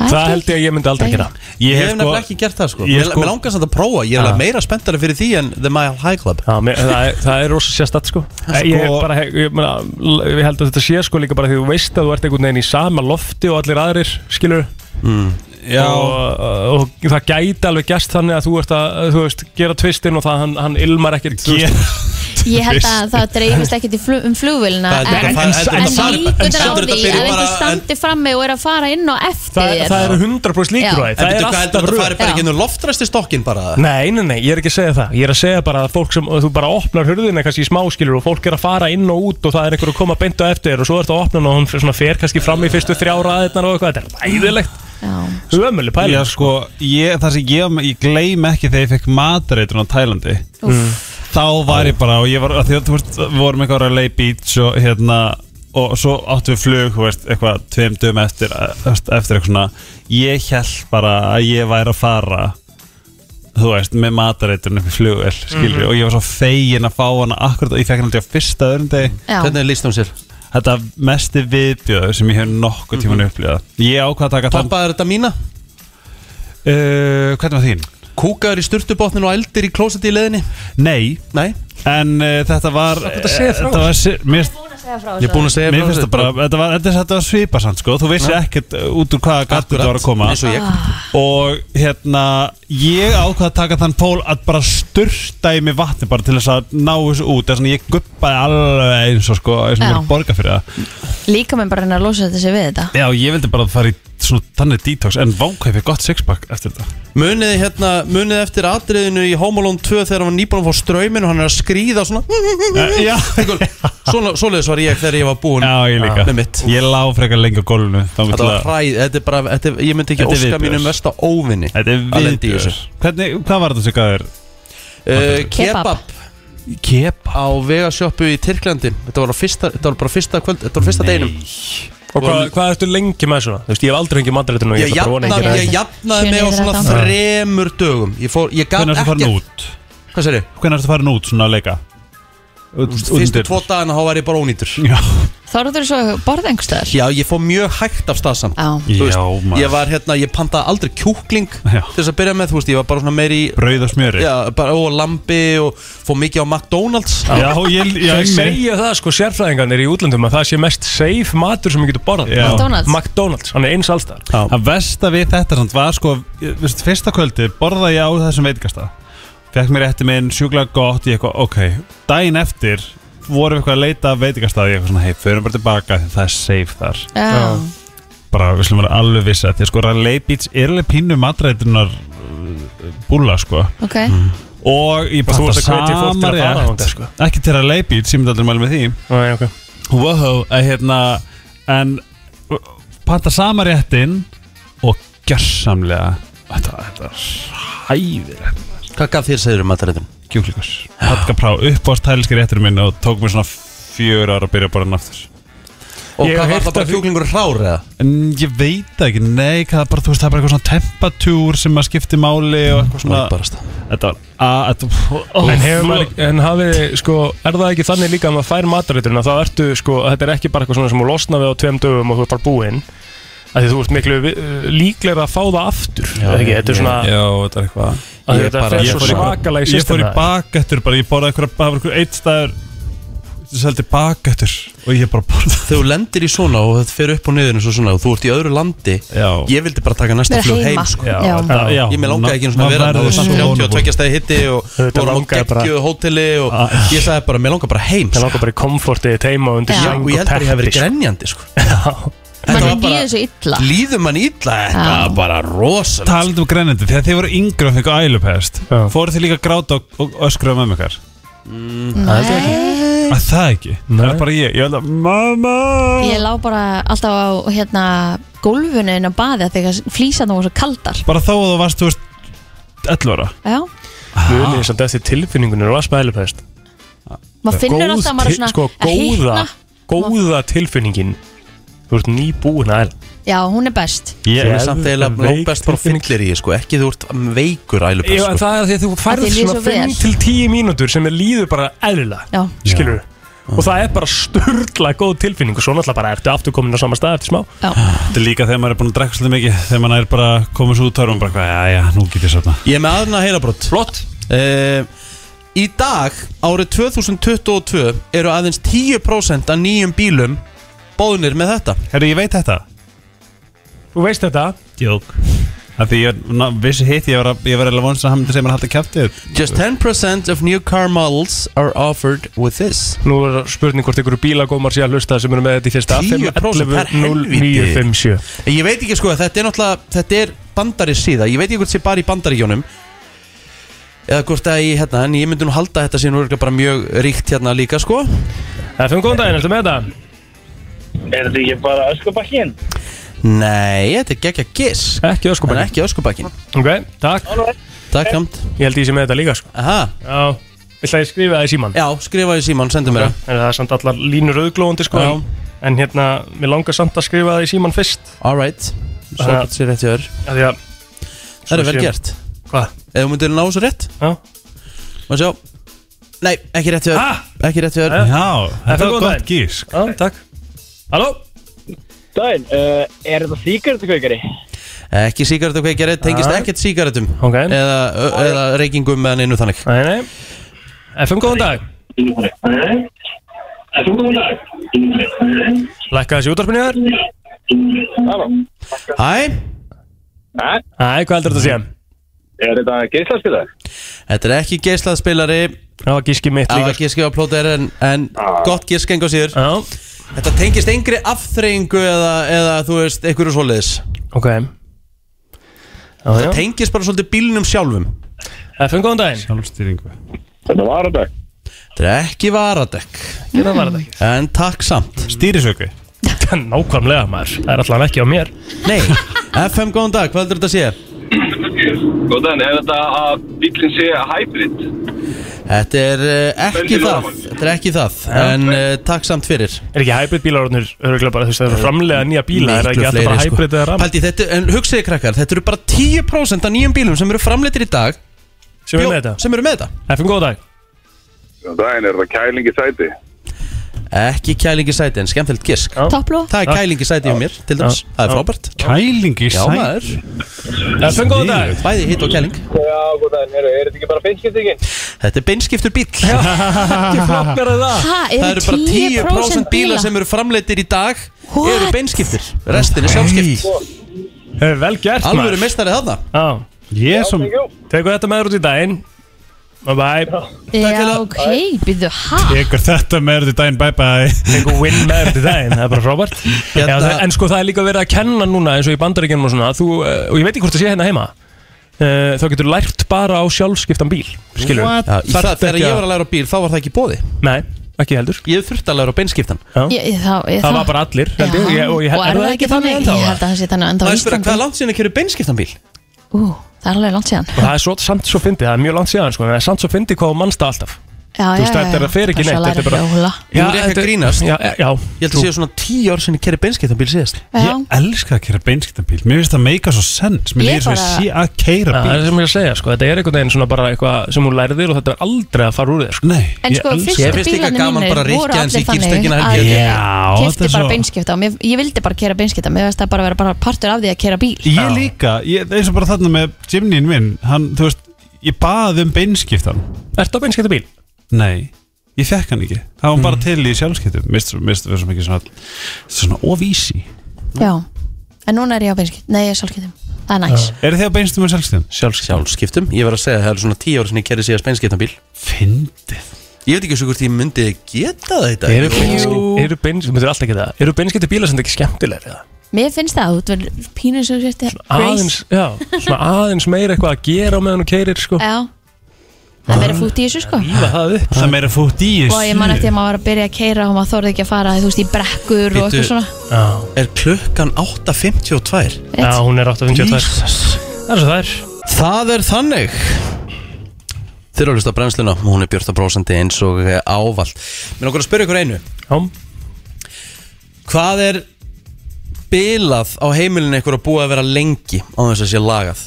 [SPEAKER 3] Það held ég að ég myndi aldrei gera
[SPEAKER 1] Ég hef nefnilega ekki gert það sko
[SPEAKER 3] ég
[SPEAKER 1] Mér
[SPEAKER 3] sko-
[SPEAKER 1] mér langar samt að prófa, ég er
[SPEAKER 3] Já.
[SPEAKER 1] alveg meira spenntari fyrir því en The Mile High Club
[SPEAKER 3] Já, mér, það, er, það er rosa sérstætt sko.
[SPEAKER 1] Sko-
[SPEAKER 3] Ég, er bara, ég, ég, meina, l- ég held að þetta sé sko líka bara því þú veist að þú ert einhvern veginn í sama lofti og allir aðrir skilur
[SPEAKER 1] mm.
[SPEAKER 3] Já. Og, og, það gæti alveg gæst þannig að þú ert að þú veist, gera tvistinn og það hann, hann ilmar ekkert þú veist.
[SPEAKER 2] Ég held að það dreifist ekkit í flug, um flugvélina
[SPEAKER 3] Það er
[SPEAKER 2] En,
[SPEAKER 3] þetta-
[SPEAKER 2] en,
[SPEAKER 3] það- þetta-
[SPEAKER 2] en
[SPEAKER 3] þetta-
[SPEAKER 2] líkunar á
[SPEAKER 3] þetta-
[SPEAKER 2] því að
[SPEAKER 3] þetta-
[SPEAKER 2] einhver
[SPEAKER 3] bara-
[SPEAKER 2] standi frammi og er að fara inn og eftir
[SPEAKER 3] það,
[SPEAKER 2] þér.
[SPEAKER 3] það eru 100%
[SPEAKER 2] Já.
[SPEAKER 3] líkur á því
[SPEAKER 1] En
[SPEAKER 3] Það
[SPEAKER 1] veitu
[SPEAKER 3] er
[SPEAKER 1] hvað,
[SPEAKER 3] alltaf
[SPEAKER 1] þetta
[SPEAKER 3] röð.
[SPEAKER 1] fari bara ekki inn loftræsti stokkin bara
[SPEAKER 3] Nei, nei, nei, ég er ekki að segja það Ég er að segja bara að fólk sem, þú bara opnar hurðina kannski í smáskilur og fólk er að fara inn og út og það er einhver að koma beint á eftir þér og svo ertu að opna hana og hún svona fer kannski fram í fyrstu þrjá ræðirnar og eitthvað, þetta er ræðilegt Ömurleg pæling.
[SPEAKER 10] Já, sko, ég, það sem ég, ég gleym ekki þegar ég fekk matareitrun á Tælandi
[SPEAKER 3] Mm. Úff.
[SPEAKER 10] Þá var ég bara, og ég var, af því að þú veist, við vorum eitthvað á LA Beach og hérna Og svo áttum við flug, þú veist, eitthvað tveim dögum eftir, eh, eftir eitthvað svona Ég held bara að ég væri að fara, þú veist, með matareitrun upp í flugvel, skilur
[SPEAKER 1] Mhm.
[SPEAKER 10] Og ég var svo fegin að fá hana akkurat, ég fekk hana aldrei á fyrsta öðrum degi
[SPEAKER 1] Já. Hvernig
[SPEAKER 10] líst hún sér? Þetta mesti viðbjöður sem ég hef nokkuð
[SPEAKER 1] Mhm.
[SPEAKER 10] tíman upplifað Ég ákvað að taka
[SPEAKER 1] Pappa er þetta mína?
[SPEAKER 10] Uh, hvernig var þín?
[SPEAKER 1] Kúkaður í sturtubotnin og eldir í klósetti í leðinni?
[SPEAKER 10] Nei,
[SPEAKER 1] Nei.
[SPEAKER 10] en uh, þetta var
[SPEAKER 1] Þú ert að segja frá
[SPEAKER 10] Þetta var si- mér,
[SPEAKER 1] Ég er búin að segja frá
[SPEAKER 10] Mér finnst
[SPEAKER 1] þessu.
[SPEAKER 10] það bara, þetta var, þetta, þetta var svipasamt sko Þú veist
[SPEAKER 1] Já.
[SPEAKER 10] ekkert uh, út úr hvaða gattu
[SPEAKER 1] Akkurat,
[SPEAKER 10] þetta var að koma
[SPEAKER 1] eins og ég.
[SPEAKER 10] Og hérna, ég ákvað að taka þann pól að bara sturta í mig vatni bara til þess að ná þessu út Þess að ég guppaði alveg eins og sko, eins og
[SPEAKER 2] Já.
[SPEAKER 10] mér borga fyrir það
[SPEAKER 2] Líka með bara að reyna að losa þetta sig við þetta
[SPEAKER 10] Já, ég vildi bara fara í svona þannig detox En vánkæfi gott sixpack eftir þetta
[SPEAKER 1] Munið þið hérna, munið þið eftir atriðinu í Home Alone 2 þegar hann var nýbúin að fá straumin og hann er að skríða svona
[SPEAKER 10] Eh, já.
[SPEAKER 1] Einhver- Svona, svoleiðis var ég þegar ég var búin
[SPEAKER 10] Já, ég líka
[SPEAKER 1] með mitt
[SPEAKER 10] Ég lá frekar lengi á gólfinu
[SPEAKER 1] Þetta var hræð, þetta er bara, þetta, er- ég myndi ekki
[SPEAKER 10] Þetta er
[SPEAKER 1] óska
[SPEAKER 10] viðbjóður.
[SPEAKER 1] mínum versta óvinni
[SPEAKER 10] Þetta er
[SPEAKER 1] að lenda í
[SPEAKER 10] viðbjör
[SPEAKER 1] þessu.
[SPEAKER 10] Hvernig, hvað var þetta sem gæður? Eh,
[SPEAKER 1] Uh,
[SPEAKER 2] Kebab.
[SPEAKER 1] kebab
[SPEAKER 10] Kebab
[SPEAKER 1] Á vegasjöppu í Tyrklandi Þetta var, á fyrsta, þetta var bara fyrsta kvöld Þetta var fyrsta deginum
[SPEAKER 3] Og hvað, hvað ertu lengi með svona? Þú veist, ég hef aldrei hengið matarættinu
[SPEAKER 1] Ég, jafna, ég jafnaði mig á svona þremur dögum Ég, fór, ég gaf
[SPEAKER 10] Hvernig ertu farin út?
[SPEAKER 1] Hvað segir ég?
[SPEAKER 10] Hvernig ertu farin út svona að leika? um
[SPEAKER 1] Fyrstu tvo dagana þá var ég bara ónýtur
[SPEAKER 10] Já,
[SPEAKER 2] Þorður svo að borða einhverstaðar
[SPEAKER 1] ég fór mjög hægt af stað samt
[SPEAKER 2] Já.
[SPEAKER 1] Þú veist,
[SPEAKER 10] Já, maður.
[SPEAKER 1] Ég var hérna, ég pantaði aldrei kjúkling
[SPEAKER 10] Já.
[SPEAKER 1] Til þess að byrja með, þú veist, ég var bara svona meiri í
[SPEAKER 10] Brauð og smjöri
[SPEAKER 1] Já, bara, og lambi og fór mikið á McDonalds
[SPEAKER 10] Já, ég, já,
[SPEAKER 3] Þeir
[SPEAKER 10] einmitt.
[SPEAKER 3] segja það sko sérfræðingarnir í útlöndum að það sé mest safe matur sem ég getur borðað
[SPEAKER 10] Já. McDonald's.
[SPEAKER 3] McDonald's, hann er eins allstar
[SPEAKER 10] Það versta við þetta samt var sko ég- veist, Fyrsta kvöldi borðaði ég á þessum veitingasta Fekk mér eftir minn sjúklega gott Ég eitthvað, ok, daginn eftir vorum við eitthvað að leita að veitingastað Ég eitthvað svona, hei, förum bara tilbaka því það er safe þar
[SPEAKER 2] Já.
[SPEAKER 10] Bara, við slum vera alveg vissi að því að sko Raleigh Beach er alveg pínu matrætunar búla sko
[SPEAKER 2] Ok
[SPEAKER 3] Mm.
[SPEAKER 10] Og ég bara
[SPEAKER 3] Þú ert að hvetja fólk til að fara þangað, sko.
[SPEAKER 10] Ekki til að leipi, sem ég aldrei mælu með því
[SPEAKER 3] Nei, ok
[SPEAKER 10] Wow, að hérna En panta sama réttin Og gjörsamlega Þetta, þetta hæfir
[SPEAKER 1] Hvað gaf þér segir um matarættum?
[SPEAKER 10] Kjúklingur Hatka prá upp á tæliski rétturinn minn Og tók mér svona fjör ára að byrja að borða hann aftur
[SPEAKER 1] Og hvað var það bara kjúklingur hrár eða?
[SPEAKER 10] En ég veit það ekki, nei, hvað bara, þú veist, það er bara eitthvað svona tempatúr sem maður skiptir máli og eitthvað svona Þetta var, að, þetta, ó,
[SPEAKER 3] en, hefur maður, en hafið, þið, sko, er það ekki þannig líka að maður fær matarætturinn að það ertu, sko, að þetta er ekki bara eitthvað svona sem þú losna við á tveim dögum og þú er bara búinn að þú ert miklu líklega að fá það aftur já, ekki, þetta er svona
[SPEAKER 10] Já, þetta er eitthvað
[SPEAKER 3] Að þetta fer svo
[SPEAKER 10] fór í-
[SPEAKER 3] svakalega í
[SPEAKER 10] Ég fór í
[SPEAKER 3] systemið.
[SPEAKER 10] bakettur bara, ég borðaði eitthvað Það var eitthvað eitt staður sem seldi bakettur Og ég bara borðaði
[SPEAKER 1] Þegar þú lendir í svona og þetta fer upp og niður eins og svona og þú ert í öðru landi
[SPEAKER 10] Já.
[SPEAKER 1] Ég vildi bara taka næsta
[SPEAKER 2] Vera
[SPEAKER 1] flug heim
[SPEAKER 2] heima.
[SPEAKER 1] sko.
[SPEAKER 2] Já. Já.
[SPEAKER 1] Það-
[SPEAKER 10] Já.
[SPEAKER 1] Ég með langaði ekki einu svona að
[SPEAKER 10] Maður
[SPEAKER 1] vera Það
[SPEAKER 10] verður
[SPEAKER 1] var samt
[SPEAKER 10] svo
[SPEAKER 1] 32 stæði hitti og
[SPEAKER 3] Þetta
[SPEAKER 1] vorum á
[SPEAKER 3] langaði bara- Ah.
[SPEAKER 1] geggju hóteli og ég sagði bara, mér langar bara heim
[SPEAKER 3] það langar bara í komfortið þitt heima og undir
[SPEAKER 1] Já,
[SPEAKER 3] sæng
[SPEAKER 1] og ég held bara ég hafi verið
[SPEAKER 3] sko.
[SPEAKER 1] grenjandi sko.
[SPEAKER 2] Man er líður svo illa
[SPEAKER 1] Líður mann illa þetta
[SPEAKER 2] Já.
[SPEAKER 1] var bara rosalega
[SPEAKER 10] Talandi um grænandi, þegar þið voru yngri og fikk ælupest Fóruð þið líka að gráta og, og öskra um um ykkar?
[SPEAKER 2] Nei
[SPEAKER 10] Að það ekki? Það er bara ég, ég held að Mamma
[SPEAKER 2] Ég lá bara alltaf á hérna gólfinu inn á baði að þegar flýsarnar voru svo kaldar
[SPEAKER 10] Bara þá að þú varst, þú veist 11 ára
[SPEAKER 2] Já,
[SPEAKER 1] Ah.
[SPEAKER 3] Mjög nýðis að eftir tilfinningunir og að spæla pæst
[SPEAKER 2] maður finnur alltaf maður er svona
[SPEAKER 3] Sko
[SPEAKER 2] að
[SPEAKER 3] góða,
[SPEAKER 2] hitna.
[SPEAKER 3] góða tilfinningin Þú ert nýbúin að
[SPEAKER 2] Já, hún er best
[SPEAKER 1] Ég er
[SPEAKER 3] Geðveik
[SPEAKER 1] samt eiginlega lópest bara fyllir í, sko Ekki þú ert veikur ælupest,
[SPEAKER 3] Já,
[SPEAKER 1] sko
[SPEAKER 3] en það er af því að þú
[SPEAKER 2] Að
[SPEAKER 3] færð
[SPEAKER 2] þér líður
[SPEAKER 3] svona
[SPEAKER 2] svo vel.
[SPEAKER 3] 5 til 10 mínútur sem er líður bara eðlilega
[SPEAKER 2] Já.
[SPEAKER 3] skilur og það er bara störla góð tilfinning og svo náttúrulega bara ertu aftur komin á sama stað eftir smá
[SPEAKER 2] Já.
[SPEAKER 10] Þetta er líka þegar maður er búin að drekka svolítið mikið Þegar maður er bara komið svo út og er maður bara hvað, Já, já, nú get ég safna
[SPEAKER 1] Ég er með aðruna heilabrótt Flott Í dag, árið 2022 eru aðeins 10% af nýjum bílum bóðnir með þetta
[SPEAKER 10] Herru, ég veit þetta
[SPEAKER 3] Þú veist þetta?
[SPEAKER 10] Jók Af því ég na, vissi hitt, ég var, að- ég var eða vonst að hann myndi segja maður að halda kæftið
[SPEAKER 1] Just 10% of new car models are offered with this
[SPEAKER 3] Nú er spurning hvort ykkur bílagómar sé að hlusta sem eru með þetta í fyrsta
[SPEAKER 1] 10% það er helviti
[SPEAKER 3] 0957
[SPEAKER 1] Ég veit ekki sko, þetta er náttúrulega Þetta er bandaris síða, ég veit ekki hvort sé bara í bandaríkjónum Eða hvort að ég, hérna En ég myndi nú halda að þetta sé nú örugglega bara mjög ríkt hérna líka sko
[SPEAKER 3] FM, góðan daginn, ertu með þetta?
[SPEAKER 12] Er þetta ekki bara
[SPEAKER 7] sko,
[SPEAKER 12] öskubakkin?
[SPEAKER 1] Nei, þetta er geggja giss
[SPEAKER 3] Ekki öskubakkin
[SPEAKER 1] Ekki öskubakkin
[SPEAKER 3] Ok, takk
[SPEAKER 1] Takk, kamt
[SPEAKER 3] Ég held ég sé með þetta líka sko
[SPEAKER 1] Aha
[SPEAKER 3] Já, vill að ég skrifa það í síman?
[SPEAKER 1] Já, skrifa það í síman, sendu mér
[SPEAKER 3] það Það er samt allar línur auðglóðandi sko
[SPEAKER 1] Já.
[SPEAKER 3] en- En hérna, mér langar samt að skrifa það í síman fyrst
[SPEAKER 1] Alright, svo
[SPEAKER 3] Þannig að-
[SPEAKER 1] getur sér rétt hjá þér
[SPEAKER 3] Af því að
[SPEAKER 1] Það er
[SPEAKER 3] Svo
[SPEAKER 1] vel
[SPEAKER 3] séum-
[SPEAKER 1] gert
[SPEAKER 3] Hvað?
[SPEAKER 1] Ef þú myndir ná þessu rétt
[SPEAKER 3] Já
[SPEAKER 1] Má sjá Nei, ekki rétt hjá þér
[SPEAKER 3] Ah!
[SPEAKER 1] Ekki rétt hjá þér
[SPEAKER 10] Já, þetta var
[SPEAKER 3] góðan
[SPEAKER 10] gott
[SPEAKER 3] daginn.
[SPEAKER 10] gísk
[SPEAKER 3] Já, takk Halló?
[SPEAKER 12] Dæn,
[SPEAKER 7] eh,
[SPEAKER 12] uh, er þetta síkardukaukari?
[SPEAKER 1] Ekki síkartu hvað ég gerði, tengist
[SPEAKER 12] Ah.
[SPEAKER 1] ekkert síkartum
[SPEAKER 3] okay.
[SPEAKER 1] eða, eða reykingum meðan innu þannig
[SPEAKER 3] Nei, nei FM, góðan dag Lækka þessi útvarpinu þar
[SPEAKER 12] Halló
[SPEAKER 1] Hæ,
[SPEAKER 12] Hæ?
[SPEAKER 3] Hæ, hvað heldur þetta að segja?
[SPEAKER 12] Er þetta geislaspilar?
[SPEAKER 1] þetta er ekki geislaðspilari
[SPEAKER 3] Það var gíski mitt
[SPEAKER 1] líka Það var gíski á plóter en, en gott gísk enga síður
[SPEAKER 3] Já.
[SPEAKER 1] Þetta tengist engri afþreyingu eða, eða þú veist, einhverju svoleiðis
[SPEAKER 3] Ok
[SPEAKER 1] Það tengist bara svolítið bílnum sjálfum
[SPEAKER 3] FM, góðan daginn
[SPEAKER 10] Sjálfstýringu
[SPEAKER 12] Þetta var varadekk
[SPEAKER 1] Þetta er ekki varadekk
[SPEAKER 3] Ekki það var þetta ekki
[SPEAKER 1] En takk samt
[SPEAKER 10] Stýrisöku
[SPEAKER 3] Nákvæmlega maður, það er allan ekki á mér
[SPEAKER 1] Nei, FM góðan dag, hvað heldur þetta að sé?
[SPEAKER 7] Góðan, er þetta að bílinn sé hybrid?
[SPEAKER 1] Þetta er uh, ekki
[SPEAKER 7] Bensin
[SPEAKER 1] það
[SPEAKER 7] ofan.
[SPEAKER 1] Þetta er ekki það, en uh, takk samt fyrir
[SPEAKER 3] Er ekki hybrid bílar orðnir örgulega bara þú veist það eru framlega nýja bíla er það ekki alltaf
[SPEAKER 1] sko.
[SPEAKER 3] bara hybrid eða ram
[SPEAKER 1] Paldi, þetta, En hugsiði krakkar, þetta eru bara 10% af nýjum bílum sem eru framleitir í dag
[SPEAKER 3] sem
[SPEAKER 1] bjó-
[SPEAKER 3] er með þetta
[SPEAKER 1] sem eru með þetta
[SPEAKER 3] FM góða dag
[SPEAKER 13] Dæin, er það kæling í sæti?
[SPEAKER 1] Ekki kælingi sæti, en skemmtilegt gisk
[SPEAKER 2] Toppló.
[SPEAKER 1] Það er kælingi sæti hjá mér, til dæmis, það er frábært
[SPEAKER 10] Kæling í
[SPEAKER 1] Já,
[SPEAKER 10] sæti?
[SPEAKER 1] maður
[SPEAKER 3] FM góða dag
[SPEAKER 1] Bæði hitt og kæling
[SPEAKER 12] Já, góðan, er, er þetta ekki bara beinskiptingin?
[SPEAKER 1] Þetta er beinskiptur bíl Ekki
[SPEAKER 3] flokkar en það
[SPEAKER 2] Ha,
[SPEAKER 1] Það eru bara 10% bíla sem eru framleitir í dag eru
[SPEAKER 2] What?
[SPEAKER 1] beinskiptir, restin er sjálfskipt
[SPEAKER 3] Hey, Vel gert
[SPEAKER 1] Alvöru mestari þarna
[SPEAKER 3] Já,
[SPEAKER 10] Ég sem
[SPEAKER 3] tekur þetta með þér út í daginn Bye bye
[SPEAKER 2] Já, ok, býðu, ha?
[SPEAKER 10] Tekur þetta með þetta í daginn, bye bye
[SPEAKER 3] Tekur win með þér út í daginn, það er bara frábært Já,
[SPEAKER 1] Hérna-
[SPEAKER 3] það, En sko það er líka verið að kenna núna eins og í bandaríkjunum og svona þú, eh, Og ég veit ekki hvort það sé hérna heima eh, Þá getur lært bara á sjálfskiptan bíl Skilur
[SPEAKER 10] What?
[SPEAKER 1] Já, í það,
[SPEAKER 3] Þarft
[SPEAKER 1] Þegar
[SPEAKER 3] ekki
[SPEAKER 1] ég
[SPEAKER 3] að-
[SPEAKER 1] var að læra á bíl þá var það ekki bóði
[SPEAKER 3] Nei, ekki heldur
[SPEAKER 1] Ég þurfti að læra á beinskiptan
[SPEAKER 2] Ég, ég, þá, ég,
[SPEAKER 3] Það var bara allir, held ég, ég, og ég
[SPEAKER 2] og er það ekki þannig? Ég
[SPEAKER 3] ennþá, eða?
[SPEAKER 2] held að það sé þannig enda á
[SPEAKER 1] Það er spyrja,
[SPEAKER 2] Íslandi
[SPEAKER 1] hvað er langt síðan að kjöru beinskiptan bíl?
[SPEAKER 2] Ú, það er alveg langt síðan
[SPEAKER 3] Og það er svo, samt svo fyndið, það er mjög langt síðan sko, en það er samt svo fyndið hvað þú mannst það alltaf
[SPEAKER 2] Já,
[SPEAKER 3] Þú veist, þetta er að fer ekki neitt, þetta er bara-
[SPEAKER 1] Nú er ég ekki
[SPEAKER 3] þetta-
[SPEAKER 1] að grínast
[SPEAKER 3] Já, e, já
[SPEAKER 1] Ég held að séu svona 10 ár sinni kjöru beinskiptan bíl síðast
[SPEAKER 2] Já,
[SPEAKER 10] Ég elska að kera beinskiptabíl Mér finnst það meika svo sens Mér
[SPEAKER 2] Ég
[SPEAKER 10] líður svo ég
[SPEAKER 2] bara-
[SPEAKER 10] sé að keira
[SPEAKER 3] Það er
[SPEAKER 10] bíl
[SPEAKER 3] það sem ég er að segja, sko, þetta er einhvern veginn svona bara eitthvað sem hún lærðir og þetta er aldrei að fara úr þér, sko.
[SPEAKER 10] Nei,
[SPEAKER 2] En sko,
[SPEAKER 10] elska-
[SPEAKER 2] fyrstu
[SPEAKER 1] Ég finnst líka
[SPEAKER 2] bílarnir
[SPEAKER 1] gaman
[SPEAKER 2] mínir
[SPEAKER 1] bara að
[SPEAKER 2] voru
[SPEAKER 1] rykkja aðeins í
[SPEAKER 2] allir
[SPEAKER 1] gírstöngina
[SPEAKER 2] þannig
[SPEAKER 1] helgið.
[SPEAKER 2] að
[SPEAKER 10] Já,
[SPEAKER 2] ég
[SPEAKER 10] þetta er
[SPEAKER 2] kefti bara
[SPEAKER 10] svo-
[SPEAKER 2] beinskipta og mér, ég vildi bara kera beinskipta mér veist það bara vera bara partur af því að kera bíl
[SPEAKER 10] Ég líka, ég, eins og bara þarna með Jimnyin minn, hann, þú veist Ég baði um beinskiptan
[SPEAKER 3] Ertu á beinskipta bíl?
[SPEAKER 10] Nei, ég fekk hann ekki Það var bara til í sjálfskiptum Mist, mist, mist, mist, svona, svona ofísi
[SPEAKER 2] Já, en núna er ég á beinskipta Nei, ég er sjálfkjöldum, það er næs
[SPEAKER 10] Er þið að beinstum með sjálfskiptum?
[SPEAKER 3] Sjálfskeitt.
[SPEAKER 1] Sjálfskiptum, ég var að segja að það er svona 10 ár sinni kjöru síðast beinskiptan bíl
[SPEAKER 10] Fyndið
[SPEAKER 1] Ég veit ekki svo hvort ég myndi geta þetta
[SPEAKER 3] Eru beinskipta, eru beinskipta, myndir alltaf ekki það, eru beinskipta bílar sem þetta ekki skemmtilegri það?
[SPEAKER 2] Mér finnst það, þú verður pínur sem sérst
[SPEAKER 3] Aðeins, já, svona aðeins meira eitthvað að gera á meðan hún keirir, sko.
[SPEAKER 2] Já, Það er meira fútt í þessu sko
[SPEAKER 10] það upp Það er meira fútt í
[SPEAKER 2] Og ég man eftir að maður var að byrja að keira og maður þorði ekki að fara þú veist í brekkur og eitthvað svona
[SPEAKER 1] Er klukkan 8.52?
[SPEAKER 2] Já,
[SPEAKER 3] hún er 8.52. Það er svo það er
[SPEAKER 1] Það er þannig Þeir eru að hlusta á brennsluna Hún er Björta Brósandi eins og eh, ávallt Mér okkur að spyrja ykkur einu
[SPEAKER 3] Já
[SPEAKER 1] Hvað er bilað á heimilinu ykkur að búa að vera lengi á þess að sé lagað?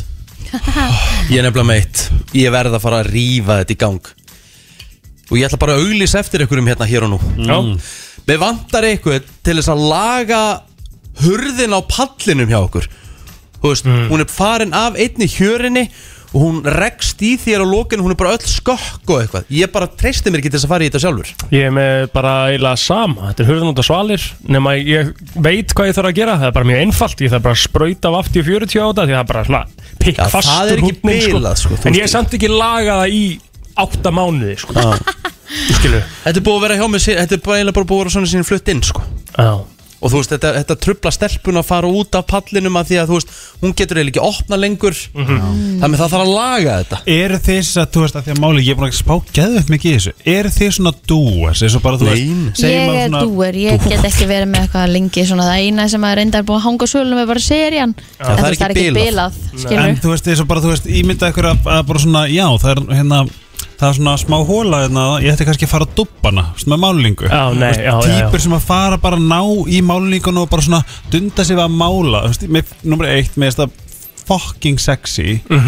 [SPEAKER 1] Ég er nefnilega meitt Ég verð að fara að rífa þetta í gang Og ég ætla bara að auglýsa eftir ykkur um hérna hér og nú
[SPEAKER 3] Já.
[SPEAKER 1] Mér vantar ykkur til þess að laga hurðin á pallinum hjá okkur Þú veist, hún er farin af einni hjörinni og hún rekst í þér á lokinu, hún er bara öll skokk og eitthvað. Ég bara treysti mér ekki til þess að fara í þetta sjálfur.
[SPEAKER 3] Ég er með bara eiginlega sama Þetta er hurðan út af svalir Nefn að ég veit hvað ég þarf að gera Það er bara mjög einfalt Ég þarf bara að sprauta af afti 40 á þetta Því það er bara svona pikk
[SPEAKER 1] Já, það er ekki bilað, sko, þú
[SPEAKER 3] En
[SPEAKER 1] veist.
[SPEAKER 3] ég er samt ekki lagað það í átta mánuði sko. Skilu
[SPEAKER 1] Þetta er búið að vera hjá mig, sí- þetta er bara eiginlega bara búið að vera svona sín flutt inn, sko.
[SPEAKER 3] Já.
[SPEAKER 1] Og þú veist, þetta, þetta trubla stelpun að fara út af pallinum að því að, þú veist, hún getur eiginlega ekki opna lengur.
[SPEAKER 10] Mhm.
[SPEAKER 1] Þannig að það þarf að laga þetta.
[SPEAKER 10] Eru þið þess að, þú veist, að því að máli, ég er búin að spá geðvögt mikið í þessu Eru þið svona dúas, eins og bara, þú veist
[SPEAKER 2] Ég er dúer, ég get ekki verið með eitthvað lengi svona það eina sem að reynda er búið að hanga á svölum er bara serían En þú veist, bilað,
[SPEAKER 10] En
[SPEAKER 2] skilur
[SPEAKER 10] þú veist, eins og bara, þú veist, ímynda ykkur að, að bara svona, já, það er hérna Það er svona smá hóla, hérna, ég ætti kannski að fara að dubba hana, svona með málingu
[SPEAKER 3] Já, nei,
[SPEAKER 10] Þú veist,
[SPEAKER 3] já, já, já.
[SPEAKER 10] Týpur sem að fara bara að ná í málingun og bara svona dunda sig við að mála Þú veist, mér, nummer eitt, mér finnst það fucking sexy Og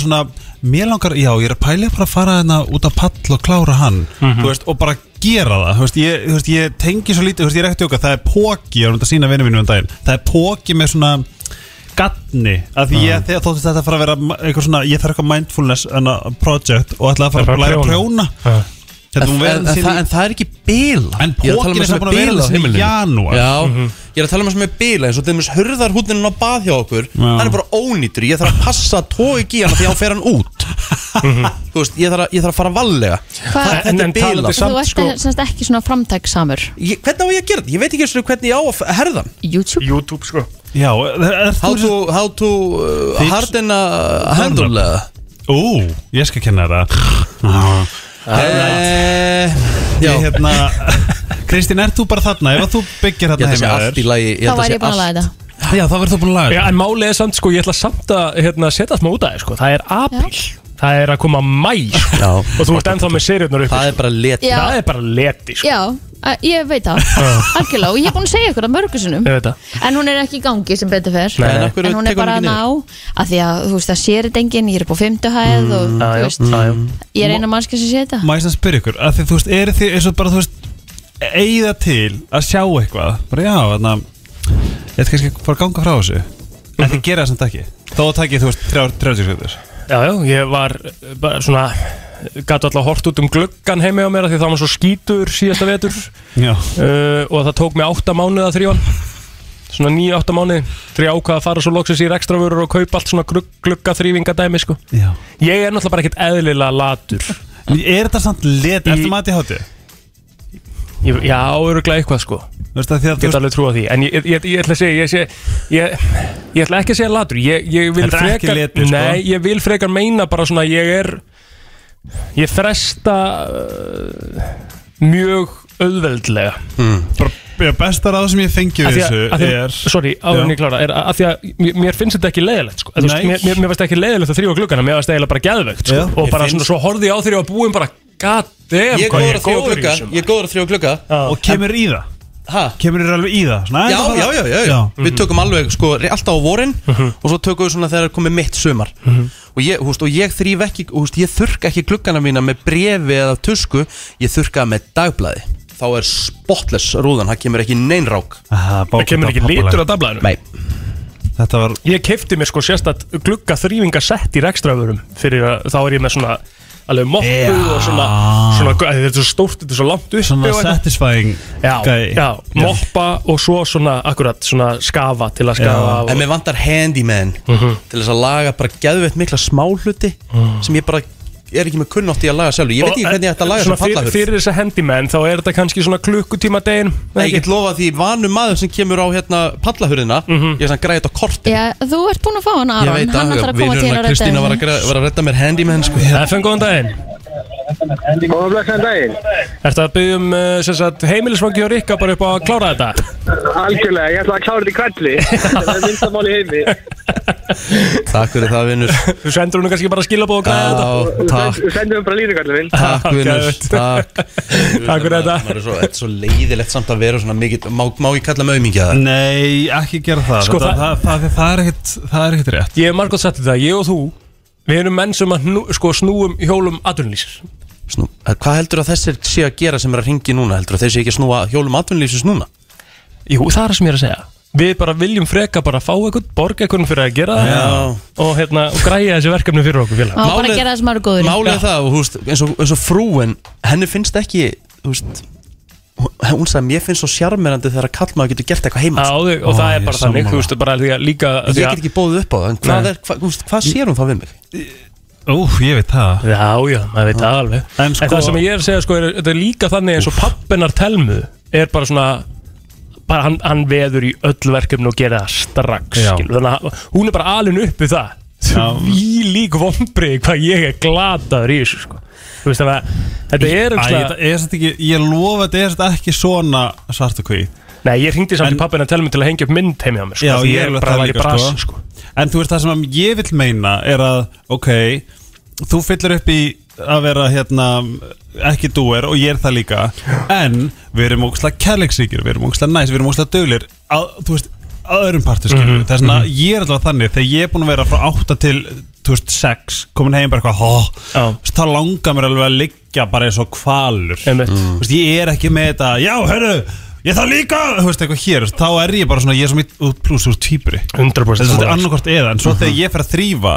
[SPEAKER 10] svona, mér langar, já, ég er að pæla bara að fara hérna út að pall og klára hann Þú veist, og bara gera það, þú veist, ég, þú veist, ég tengi svo lítið, þú veist, ég er ekkert okkar, það er póki, ég var að sína vinnu mínum um daginn Það er póki með svona gatni, af því ég, þegar þóttist þetta fara að vera ma- eitthvað svona, ég þarf eitthvað mindfulness hana, project og ætlaði að fara
[SPEAKER 3] Það er
[SPEAKER 10] að
[SPEAKER 3] bara
[SPEAKER 10] læra að
[SPEAKER 3] prjóna.
[SPEAKER 10] prjóna
[SPEAKER 3] Já.
[SPEAKER 10] Þetta hún
[SPEAKER 1] En-
[SPEAKER 10] verður
[SPEAKER 1] en- en
[SPEAKER 10] sín í-
[SPEAKER 1] það- en það er um ekki bila
[SPEAKER 10] En pókin er búin að vera þessi í janúar Mhm.
[SPEAKER 1] Já, ég er að tala um það sem er bila eins og þeim hörðarhútnin á bað hjá okkur hann er bara ónýtur, ég þarf að passa að tóa ekki í hann því að hann fer hann út
[SPEAKER 10] Mhm.
[SPEAKER 1] Þú veist, ég þarf að, ég þarf að fara vallega
[SPEAKER 2] Hvað-
[SPEAKER 1] Það- Þetta er bila
[SPEAKER 2] Þú ert
[SPEAKER 3] sko.
[SPEAKER 2] semst ekki svona framtæksamur
[SPEAKER 1] Ég- Hvernig á ég að gera þetta? Ég veit ekki eins og hvernig ég á að f- herða hann
[SPEAKER 2] YouTube
[SPEAKER 3] YouTube sko
[SPEAKER 10] Já, er
[SPEAKER 1] How to, how to uh,
[SPEAKER 10] Þitt-
[SPEAKER 1] harden a handle það?
[SPEAKER 10] Ú, ég skal kenna þér það
[SPEAKER 1] Eh,
[SPEAKER 10] Já,
[SPEAKER 1] já.
[SPEAKER 10] ég hérna Kristín, ert þú bara þarna? Ef að þú byggir
[SPEAKER 1] Ég
[SPEAKER 10] þarna
[SPEAKER 1] held að sé
[SPEAKER 10] heima
[SPEAKER 1] allt í lagi,
[SPEAKER 2] Þá væri ég búin að laga þetta
[SPEAKER 10] Já, þá verður þú búin að laga
[SPEAKER 3] Já, en málið er samt sko, ég ætla samt að hérna, setja smá út af þér sko, það er apríl Það er að koma mæ sko.
[SPEAKER 1] Já.
[SPEAKER 3] og þú ert ennþá með seriurnar uppi sko.
[SPEAKER 1] Það er bara leti
[SPEAKER 2] Já.
[SPEAKER 3] Það er bara leti sko.
[SPEAKER 2] Já, að- ég veit það, algjörlega og ég er búin að segja ykkur það mörgu sinum
[SPEAKER 3] Ég veit það
[SPEAKER 2] En hún er ekki í gangi sem betur fer
[SPEAKER 3] Nei, en af hverju
[SPEAKER 2] En hún er
[SPEAKER 3] tekur hún
[SPEAKER 2] bara að
[SPEAKER 3] ekki
[SPEAKER 2] ná að Því að þú veist það sér þetta enginn Ég er upp á fymtuhæð mm, og
[SPEAKER 10] Já,
[SPEAKER 2] þú
[SPEAKER 10] já,
[SPEAKER 2] veist
[SPEAKER 10] já, Mm. já.
[SPEAKER 2] Ég er eina mannska sem sé þetta
[SPEAKER 10] Má ég sem spyrja ykkur, að því þú veist, eru þið eins og bara, þú veist, eigða til að sjá eitthvað, bara já, þarna ég ætti kannski að fara að ganga frá þessu en þið gera það samt ekki þó að takja, þú veist, 30 sekundur
[SPEAKER 3] Já, já, ég var eh, bara svona gæti alltaf hort út um gluggan heimi á mér af því það var svo skítur síðasta vetur
[SPEAKER 10] Já.
[SPEAKER 3] uh, og það tók mig átta mánuði að þrjóan svona nýja átta mánuði þegar ég ákvað að fara svo loksins í rekstravörur og kaupa allt svona glugg, glugga þrývingadæmi sko.
[SPEAKER 10] Já.
[SPEAKER 3] ég er náttúrulega bara ekkert eðlilega latur
[SPEAKER 10] En er þetta samt let, ertu matið hátið?
[SPEAKER 3] Ég, já, öruglega eitthvað sko
[SPEAKER 10] Veist það því að
[SPEAKER 3] Ég get alveg trúa því En ég, ég, ég, ég ætla að segja Ég, sé, ég, ég ætla ekki að segja latur Ég, ég vil
[SPEAKER 10] Þetta er ekki
[SPEAKER 3] frekar
[SPEAKER 10] letur, sko.
[SPEAKER 3] Nei, ég vil frekar meina bara svona Ég er Ég fresta uh, Mjög auðveldlega
[SPEAKER 10] bara besta ráð sem ég fengi
[SPEAKER 3] Af því
[SPEAKER 10] við
[SPEAKER 3] að-
[SPEAKER 10] þessu
[SPEAKER 3] af því að-
[SPEAKER 10] er
[SPEAKER 3] Sorry, áður en
[SPEAKER 10] Já.
[SPEAKER 3] ég klára er, að að því að mér- Mér finnst þetta ekki leiðilegt sko. Eða, þú veist,
[SPEAKER 10] Nei.
[SPEAKER 3] Mér, mér, mér finnst ekki leiðilegt að þrjóa klukkana Mér finnst það eiginlega bara geðvegt sko.
[SPEAKER 10] Já.
[SPEAKER 3] Og
[SPEAKER 10] Mér
[SPEAKER 3] bara
[SPEAKER 10] finnst-
[SPEAKER 3] svona svo horfði ég á þrjóa búin bara God damn,
[SPEAKER 1] Ég er
[SPEAKER 3] hvað
[SPEAKER 1] góður að þrjóa
[SPEAKER 3] góður í
[SPEAKER 1] klukka
[SPEAKER 3] þessu, maður."
[SPEAKER 1] Ég er góður að þrjóa klukka
[SPEAKER 10] og kemur í það
[SPEAKER 1] Ha?
[SPEAKER 10] kemur þér alveg í það svona,
[SPEAKER 1] Já,
[SPEAKER 10] aðeins að
[SPEAKER 1] já,
[SPEAKER 10] fara-
[SPEAKER 1] já, já, já.
[SPEAKER 3] Mhm.
[SPEAKER 1] Við tökum alveg sko re- alltaf á vorin og svo tökum við svona þegar komið mitt sumar
[SPEAKER 3] Mhm.
[SPEAKER 1] og ég, húst, og ég þrýf ekki húst, ég þurka ekki gluggana mína með brefi eða tusku, ég þurka það með dagblæði þá er spotless rúðan það kemur ekki neinn rák
[SPEAKER 10] Aha, bá,
[SPEAKER 3] Það kemur ekki
[SPEAKER 10] poppulært.
[SPEAKER 3] litur að dablaðinu
[SPEAKER 1] Nei.
[SPEAKER 10] Þetta var
[SPEAKER 3] Ég kefti mér sko sérstætt glugga þrývinga sett í rekstraförum fyrir að þá er ég með svona alveg moppu og svona, svona æ, þetta er svo stórt, þetta er svo langt uppi
[SPEAKER 10] svona
[SPEAKER 3] og eitthvað.
[SPEAKER 10] satisfying
[SPEAKER 3] Já,
[SPEAKER 10] gæi.
[SPEAKER 3] já, moppa og svo svona akkurat svona skafa til að skafa
[SPEAKER 1] en
[SPEAKER 3] og,
[SPEAKER 1] mér
[SPEAKER 3] Mhm.
[SPEAKER 1] vantar handyman til þess að laga bara geðveitt mikla smáhluti sem ég bara er ekki með kunnátt í að laga sjálfur Ég veit ekki hvernig ég ætti að laga
[SPEAKER 3] eh, Svona
[SPEAKER 1] sem fallahurð
[SPEAKER 3] Fyrir, fyrir þessa handyman þá er þetta kannski svona klukkutíma degin
[SPEAKER 1] Nei, ég get lofa því vanum maður sem kemur á hérna pallahurðina
[SPEAKER 3] Mhm.
[SPEAKER 1] Ég er svona græðið á korti
[SPEAKER 2] Já, þú ert búin að fá hann
[SPEAKER 1] Ég
[SPEAKER 2] Aron
[SPEAKER 1] veit
[SPEAKER 2] Hann
[SPEAKER 1] að
[SPEAKER 2] ætlar að koma til
[SPEAKER 1] vinurinn að
[SPEAKER 2] að redda
[SPEAKER 1] Kristína var að,
[SPEAKER 2] þér.
[SPEAKER 1] græ- var að redda mér handyman sko
[SPEAKER 3] FN, góðan daginn
[SPEAKER 14] Góðan blessaðan daginn
[SPEAKER 3] Ertu að byggja um uh, sem sagt, heimilisfangi og rikka bara upp á að klára þetta?
[SPEAKER 14] Algjörlega, ég ætla að klára þetta í kvelli Það er minnsta mál í heimi
[SPEAKER 1] Takk fyrir það vinnur
[SPEAKER 3] Þú sendur hún kannski bara skilabóð og
[SPEAKER 1] Ah.
[SPEAKER 3] græða
[SPEAKER 1] þetta Takk,
[SPEAKER 14] Við sendum bara línu kallið minn
[SPEAKER 1] takk vinnur Takk
[SPEAKER 3] Takk fyrir þetta
[SPEAKER 1] Maður er svo, þetta er svo leiðilegt samt að vera svona mikið Má, má ég kalla mig aumingja það?
[SPEAKER 10] Nei, ekki gera það
[SPEAKER 3] Sko,
[SPEAKER 10] það, það, það, það, er ekkit, það er ekkit rétt
[SPEAKER 3] Ég hef margótt sagt þetta, ég og þú Við erum menn sem að nú, sko, snúum hjólum atvinnlýsir
[SPEAKER 1] Snú, Eh, hvað heldur að þessir sé að gera sem er að ringi núna? Heldur að þeir sé ekki að snúa hjólum atvinnlýsins núna?
[SPEAKER 3] Jú, það er það sem ég er að segja Við bara viljum freka bara fá eitthvað, borga eitthvað fyrir að gera það og, hérna, og græja þessi verkefni fyrir
[SPEAKER 2] Á
[SPEAKER 3] okkur félag
[SPEAKER 2] bara að gera það sem maður er góður í.
[SPEAKER 1] Málið er það, og, þú veist, eins, og, eins og frúin Henni finnst ekki, þú veist hún- Hún sagði, mér finnst svo sjarmerandi þegar að kallmaður getur gert eitthvað heima
[SPEAKER 3] Á, þau- og það er bara þannig, þú veistu bara því að líka
[SPEAKER 1] Ég get ekki bóðið upp á það, en hvað,
[SPEAKER 3] Nei.
[SPEAKER 1] er, hvað, þú veist, hvað sér hún þá við mig?
[SPEAKER 10] Ú, ég veit það
[SPEAKER 3] Já, já, maður veit það alveg en,
[SPEAKER 10] sko-
[SPEAKER 3] það sem ég er að segja, sko, er, þetta er líka þannig eins og pappinar telmu er bara svona bara hann, hann veður í öll verkefni og gera það strax
[SPEAKER 10] Já.
[SPEAKER 3] skilur, þannig að hún er bara alin upp við það
[SPEAKER 10] Já.
[SPEAKER 3] því lík vombri hvað ég er glataður í þessu sko. þú veist þannig að þetta er
[SPEAKER 10] Æ,
[SPEAKER 3] umslega
[SPEAKER 10] þetta er samt ekki, ég lofa þetta er samt ekki svona svart og kví
[SPEAKER 3] Nei, ég hringdi samt í pappina að tala um mig til að hengja upp mynd heim hjá mér sko,
[SPEAKER 10] Já,
[SPEAKER 3] því
[SPEAKER 10] ég
[SPEAKER 3] er
[SPEAKER 10] er alveg
[SPEAKER 3] bara
[SPEAKER 10] það
[SPEAKER 3] var í
[SPEAKER 10] líka
[SPEAKER 3] brasi sko.
[SPEAKER 10] sko. En þú veist það sem ég vil meina er að ok, þú fyllir upp í að vera hérna ekki dúer og ég er það líka en við erum ógslag kærleiksíkir við erum ógslag næs, við erum ógslag döglir að, þú veist, að öðrum partur skilur mm
[SPEAKER 3] Mhm,
[SPEAKER 10] þess að
[SPEAKER 3] mhm.
[SPEAKER 10] ég er allavega þannig þegar ég er búin að vera frá 8 til þú veist, 6 komin heim bara eitthvað hó, þú veist, þá langar mér alveg að liggja bara eins og kvalur mm. veist, ég er ekki með þetta, já, hörru ég þarf líka, þú veist, eitthvað hér þú veist, þá er ég bara svona, ég er svo mitt út pluss úr týpri
[SPEAKER 3] 100%
[SPEAKER 10] þetta er
[SPEAKER 3] sammála.
[SPEAKER 10] annarkort eða, en svo
[SPEAKER 3] Mhm.
[SPEAKER 10] þegar ég fer að þrýfa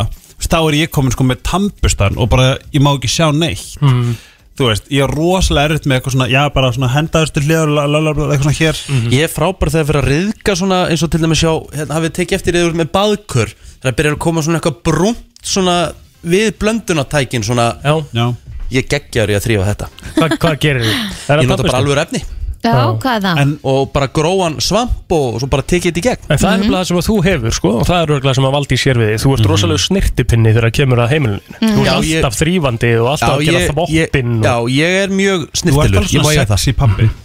[SPEAKER 10] þá er ég komin sko með tampustan og bara, ég má ekki sjá neitt
[SPEAKER 1] Mm.
[SPEAKER 3] Mhm.
[SPEAKER 10] þú veist, ég er rosalega erut með eitthvað svona, já, bara svona hendaðustu hliður, la, la, la, la, eitthvað svona hér
[SPEAKER 3] Mhm.
[SPEAKER 1] Ég er frábær þegar fyrir að riðka svona eins og til dæmis sjá, hérna, hafið tekið eftir yfir með baðkur, þegar byrjar að koma svona eitthvað brúnt svona við blöndunatækin svona
[SPEAKER 3] Já.
[SPEAKER 10] Já.
[SPEAKER 1] Ég geggjar í að þrýfa þetta
[SPEAKER 3] Hva, Hvað gerir þið?
[SPEAKER 1] Ég nota bara alveg efni
[SPEAKER 2] Já, hvað er það?
[SPEAKER 1] Og bara gróan svamp og svo bara tekið þetta í gegn
[SPEAKER 3] En það er nefnilega það sem að þú hefur sko og það er örgulega sem að valdi sér við þig Þú ert mm. rosalega snirtipinni þegar að kemur að heimilinu Þú ert
[SPEAKER 1] Já, ég-
[SPEAKER 3] alltaf þrýfandi og alltaf að gera þvoppinn
[SPEAKER 1] Já, ég er mjög snirtilur
[SPEAKER 10] Þú ert alveg svona sexy pappi
[SPEAKER 1] Mm-hmm.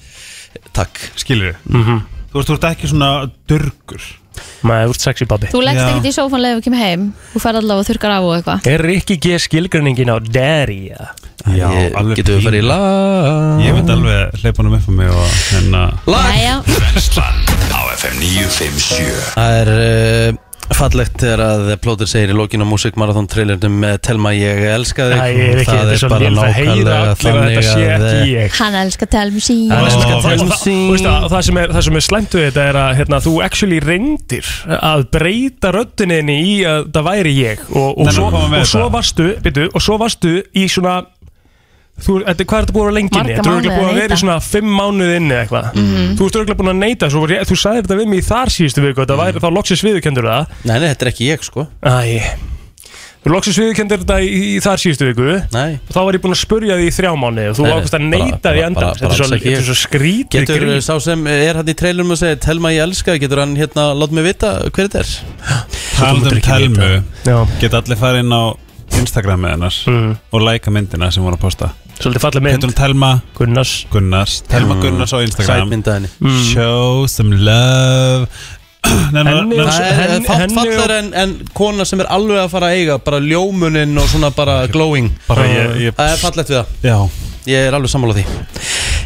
[SPEAKER 1] Takk
[SPEAKER 10] Skilur
[SPEAKER 1] Mm-hmm.
[SPEAKER 3] Mhm.
[SPEAKER 10] Þú veist, þú ert ekki svona dörgur
[SPEAKER 3] Nei, þú ert sexy babbi
[SPEAKER 2] Þú leggst ekkert í sófan leið og kemur heim Þú fer allavega og þurkar á og eitthvað
[SPEAKER 3] Er Rikki G skilgreiningin á Derry? eða?
[SPEAKER 10] Já,
[SPEAKER 1] Ég-
[SPEAKER 10] alveg
[SPEAKER 1] getum við
[SPEAKER 10] pínu.
[SPEAKER 1] farið í lag?
[SPEAKER 10] Ég myndi alveg hleypa honum upp á mig og hérna
[SPEAKER 2] Jæja,
[SPEAKER 4] Brennslan á FM 957
[SPEAKER 1] Það er uh, fallegt þegar að plótur segir í lokinu á Music Marathon trailernum með Telma ég elska þig
[SPEAKER 3] Æ, ég er ekki, þetta er svo létt að heyra allir að þetta sé ekki
[SPEAKER 1] eh,
[SPEAKER 3] ég
[SPEAKER 2] hann elskar telmi sín
[SPEAKER 3] Og það- og um það- þú veist að- og Það sem er- það sem er slæmt við þetta er að hérna, þú actually reyndir að breyta rödduninni í að það væri ég og, og,
[SPEAKER 10] Nei,
[SPEAKER 3] svo,
[SPEAKER 10] nú komum við
[SPEAKER 3] og svo
[SPEAKER 10] þetta.
[SPEAKER 3] varstu byrju, og svo varstu í svona þú, þetta, hvað er þetta búið að vera lengi
[SPEAKER 2] Marga
[SPEAKER 3] inni? Þú ert örugglega
[SPEAKER 2] mánuði
[SPEAKER 3] búið
[SPEAKER 2] að
[SPEAKER 3] að vera
[SPEAKER 2] neita.
[SPEAKER 3] í svona fimm mánuð inni eða eitthvað
[SPEAKER 2] Mhm.
[SPEAKER 3] Þú ert örugglega búin að neita svo, var ég- Þú sagðir þetta við mig í þar síðustu viku þetta væri þá loksins viðurkendur það
[SPEAKER 1] Nei, nei, þetta er ekki ég sko
[SPEAKER 3] Æ Þú loksins viðurkendur þetta í, í þar síðustu viku
[SPEAKER 1] Nei
[SPEAKER 3] Þá var ég búin að spurja því í þrjá mánuði og þú
[SPEAKER 1] Nei, nei,
[SPEAKER 3] ákvæmst að
[SPEAKER 1] bara-
[SPEAKER 3] neita því
[SPEAKER 1] bara-
[SPEAKER 3] enda
[SPEAKER 1] bara-
[SPEAKER 3] Þetta er
[SPEAKER 1] bara
[SPEAKER 3] svo-
[SPEAKER 1] alls ekki.
[SPEAKER 3] þetta er svo skrítið
[SPEAKER 1] Getur eh,
[SPEAKER 3] grín.
[SPEAKER 1] sá sem er hann í trailernum að segja Telma ég elska, þig, getur hann hérna, lát mig vita hver þetta er
[SPEAKER 10] Talandi um
[SPEAKER 3] telmu
[SPEAKER 10] Get allir farið inn á Instagram með hennar
[SPEAKER 3] Mm.
[SPEAKER 10] Og læka myndina sem voru að posta
[SPEAKER 3] Svolítið fallið mynd
[SPEAKER 10] Getur hún Telma
[SPEAKER 3] Gunnars
[SPEAKER 10] Gunnars Telma Gunnars á Instagram
[SPEAKER 1] Sætmynda henni
[SPEAKER 10] Mm. Show some love Nei, nei, nei,
[SPEAKER 1] Það er- það er fátt fallar en, en kona sem er alveg að fara að eiga bara ljómuninn og svona bara glowing
[SPEAKER 10] Bara ég- ég-
[SPEAKER 1] Það er fallegt við það
[SPEAKER 10] Já
[SPEAKER 1] Ég er alveg sammála því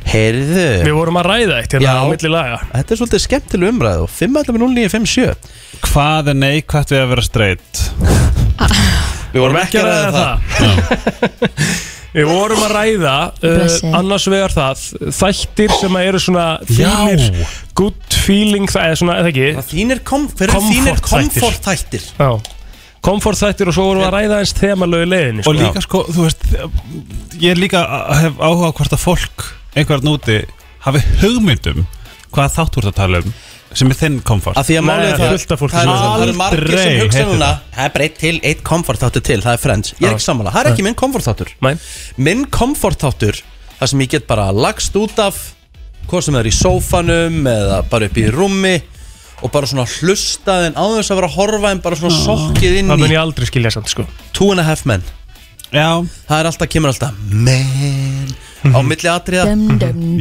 [SPEAKER 1] Heyrðu
[SPEAKER 3] Við vorum að ræða eitt hérna
[SPEAKER 1] Já.
[SPEAKER 3] á milli laga
[SPEAKER 1] Þetta er svolítið skemmtileg umræð og 5.11.09.57
[SPEAKER 10] Hvað er neikvægt við að vera straight?
[SPEAKER 1] Við vorum ekki að ræða það
[SPEAKER 3] Við vorum að ræða uh,
[SPEAKER 10] Blessi.
[SPEAKER 3] annars vegar það þættir sem að eru svona
[SPEAKER 10] Já.
[SPEAKER 3] fínir, good feeling það er svona, eða ekki
[SPEAKER 1] Þínir kom, hver eru þínir komfortþættir?
[SPEAKER 3] Já, komfort þættir og svo vorum við að ræða eins þemalögu leiðinni
[SPEAKER 10] Og líka sko, þú veist Ég er líka að- hef áhuga á hvort að fólk einhvern úti hafi hugmyndum hvað þátt þú ert að tala um sem er þinn komfort
[SPEAKER 1] Af því að málið er það það eru- Það eru margir sem hugsa núna
[SPEAKER 10] það
[SPEAKER 1] Það er breytt til, eitt komfortáttur til, það er Friends Ég er ekki sammála, það er ekki minn komfortáttur Minn komfortáttur, það sem ég get bara lagst út af Hvað sem er í sófanum eða bara upp í rúmi Og bara svona hlustaðin á þess að vera að horfa En bara svona sokkið inn í
[SPEAKER 3] Það mun ég aldrei skilja samt sko
[SPEAKER 1] Two and a half men
[SPEAKER 10] Já
[SPEAKER 1] Það er alltaf, kemur alltaf Men Á
[SPEAKER 3] Mhm.
[SPEAKER 1] milli atriða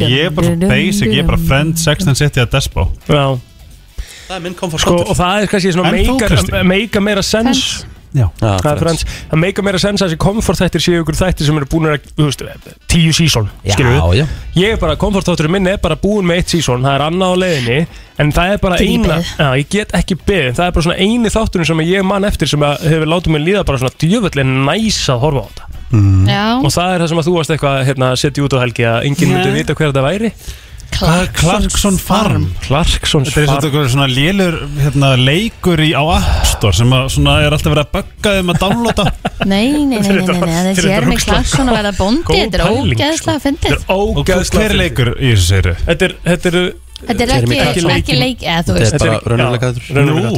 [SPEAKER 10] Ég er bara svo basic, ég er bara friend, sex and city að despo
[SPEAKER 3] Já
[SPEAKER 1] Það er minn komfort
[SPEAKER 3] sko, Og það er kannski svona
[SPEAKER 10] En þú,
[SPEAKER 3] meika,
[SPEAKER 10] Kristín?
[SPEAKER 3] meika meira sens
[SPEAKER 10] Já,
[SPEAKER 3] Það er frans Það meika meira sens að þessi komfortþættir séu ykkur þættir sem eru búin að þú veist, tíu sísón
[SPEAKER 1] Já, já.
[SPEAKER 3] Ég er bara, komfortþátturinn minn er bara búin með eitt sísón Það er annað á leiðinni En það er bara
[SPEAKER 1] Get ekki
[SPEAKER 3] eina
[SPEAKER 1] beðið.
[SPEAKER 3] já, Ég get ekki beðið Það er bara svona eini þátturinn sem ég man eftir sem að hefur látið mér líða bara svona djöfellin næs að horfa á þetta
[SPEAKER 2] Já,
[SPEAKER 3] Og það er það sem að þú varst eitthvað hérna, að setja út á helgi að enginn
[SPEAKER 10] Nei.
[SPEAKER 3] myndi vita hver það væri Mm,
[SPEAKER 10] Clarkson Farm
[SPEAKER 3] Clarksons
[SPEAKER 10] Þetta er
[SPEAKER 3] Farm.
[SPEAKER 10] svolítið svona lélur hérna, leikur í, á App Store sem að, svona, er alltaf verið að bugga þeim að downloada
[SPEAKER 2] nei, nei, nei, nei, nei, nei. þessi
[SPEAKER 10] Fyrir
[SPEAKER 2] er
[SPEAKER 10] þetta
[SPEAKER 2] með
[SPEAKER 10] rúgsla.
[SPEAKER 2] klakson að verða bóndi
[SPEAKER 10] Góð
[SPEAKER 2] Þetta er
[SPEAKER 10] pæling, sko.
[SPEAKER 2] ógeðslega fyndið
[SPEAKER 10] Og hver-
[SPEAKER 3] ógeðslega
[SPEAKER 10] hver
[SPEAKER 3] fyndið.
[SPEAKER 10] leikur í þessu séru?
[SPEAKER 3] Þetta er, þetta er
[SPEAKER 2] Þetta er ekki, ekki, leik eða, þú veist
[SPEAKER 10] Nú,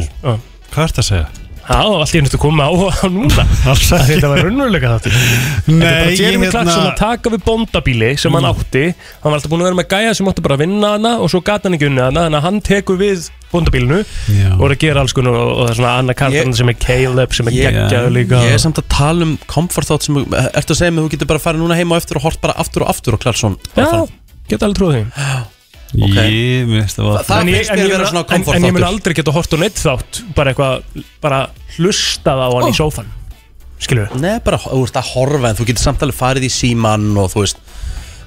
[SPEAKER 10] hvað ert að segja?
[SPEAKER 3] Já, allt í hennustu komið á, á núna Þetta var raunveruleika þáttur Þetta er bara
[SPEAKER 10] Nei, ég
[SPEAKER 3] Jeremy
[SPEAKER 10] hérna- Mm.
[SPEAKER 3] Clarkson að taka við bóndabíli sem hann átti Hann var alltaf búin að vera með gæja sem átti bara að vinna hana og svo gat hann ekki unnið hana þannig að hann tekur við bóndabílinu og er að gera alls konar og, og það er svona Anna Karlsson sem er Caleb sem er geggjaður líka
[SPEAKER 1] Ég er samt að tala um komfortþátt sem Ertu að segja mig að þú getur bara að fara núna heima og eftir og hort bara aftur og aftur og Klarsson
[SPEAKER 3] Já, geta alveg trúið því
[SPEAKER 10] Ég minnst að
[SPEAKER 1] Það
[SPEAKER 3] En ég-
[SPEAKER 1] finnst
[SPEAKER 3] en
[SPEAKER 1] mér
[SPEAKER 3] ég
[SPEAKER 1] vera
[SPEAKER 3] mun-
[SPEAKER 1] svona
[SPEAKER 3] en- En ég mun
[SPEAKER 1] komfortþáttur.
[SPEAKER 3] aldrei geta hort og neitt þátt bara eitthvað, bara hlustað á hann
[SPEAKER 1] Oh.
[SPEAKER 3] í sófan Skilur
[SPEAKER 1] Nei, bara, þú veist að horfa en þú getur samt alveg farið í síman og þú veist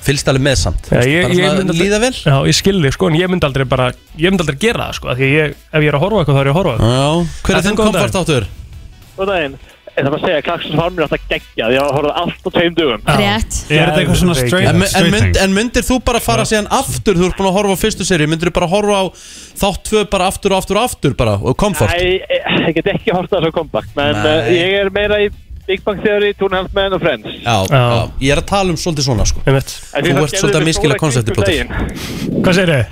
[SPEAKER 1] fylgst alveg með samt
[SPEAKER 3] Já, ég,
[SPEAKER 1] Bara
[SPEAKER 3] ég
[SPEAKER 1] svona
[SPEAKER 3] myndi aldrei-
[SPEAKER 1] líða vel
[SPEAKER 3] Já, ég skil þig sko, en ég myndi aldrei bara Ég myndi aldrei gera það sko, af því að ég, ef ég er að horfa á eitthvað þá er ég að horfa á eitthvað.
[SPEAKER 1] Já, hver
[SPEAKER 3] En
[SPEAKER 1] er þinn
[SPEAKER 3] góðan daginn.
[SPEAKER 1] komfortáttur?
[SPEAKER 14] Góð daginn Ég þarf að segja, Klaxons Farm er alltaf geggjað Ég har horfð allt á tveim dögum
[SPEAKER 2] Rétt
[SPEAKER 1] En, mun- en, mynd, en myndir þú bara fara síðan aftur þú ert búin að horfa á fyrstu seri myndir þú bara horfa á þátt tvö bara aftur og aftur og aftur bara og komfort
[SPEAKER 14] Æ,
[SPEAKER 7] eh,
[SPEAKER 14] ég- ég get ekki hort að það kompakt Men
[SPEAKER 1] Nei.
[SPEAKER 14] uh, ég er meira í Big Bang Theory, Toon Halfman og Friends
[SPEAKER 1] já, já. ég er að tala um svolítið svona sko
[SPEAKER 14] En
[SPEAKER 1] Þú
[SPEAKER 14] þið
[SPEAKER 1] ert
[SPEAKER 14] gerðuð
[SPEAKER 1] svolítið að
[SPEAKER 14] mér
[SPEAKER 1] miskila
[SPEAKER 14] stóra
[SPEAKER 1] konsepti
[SPEAKER 14] grín um
[SPEAKER 1] Plóter.
[SPEAKER 14] daginn.
[SPEAKER 3] Hvað segir þið?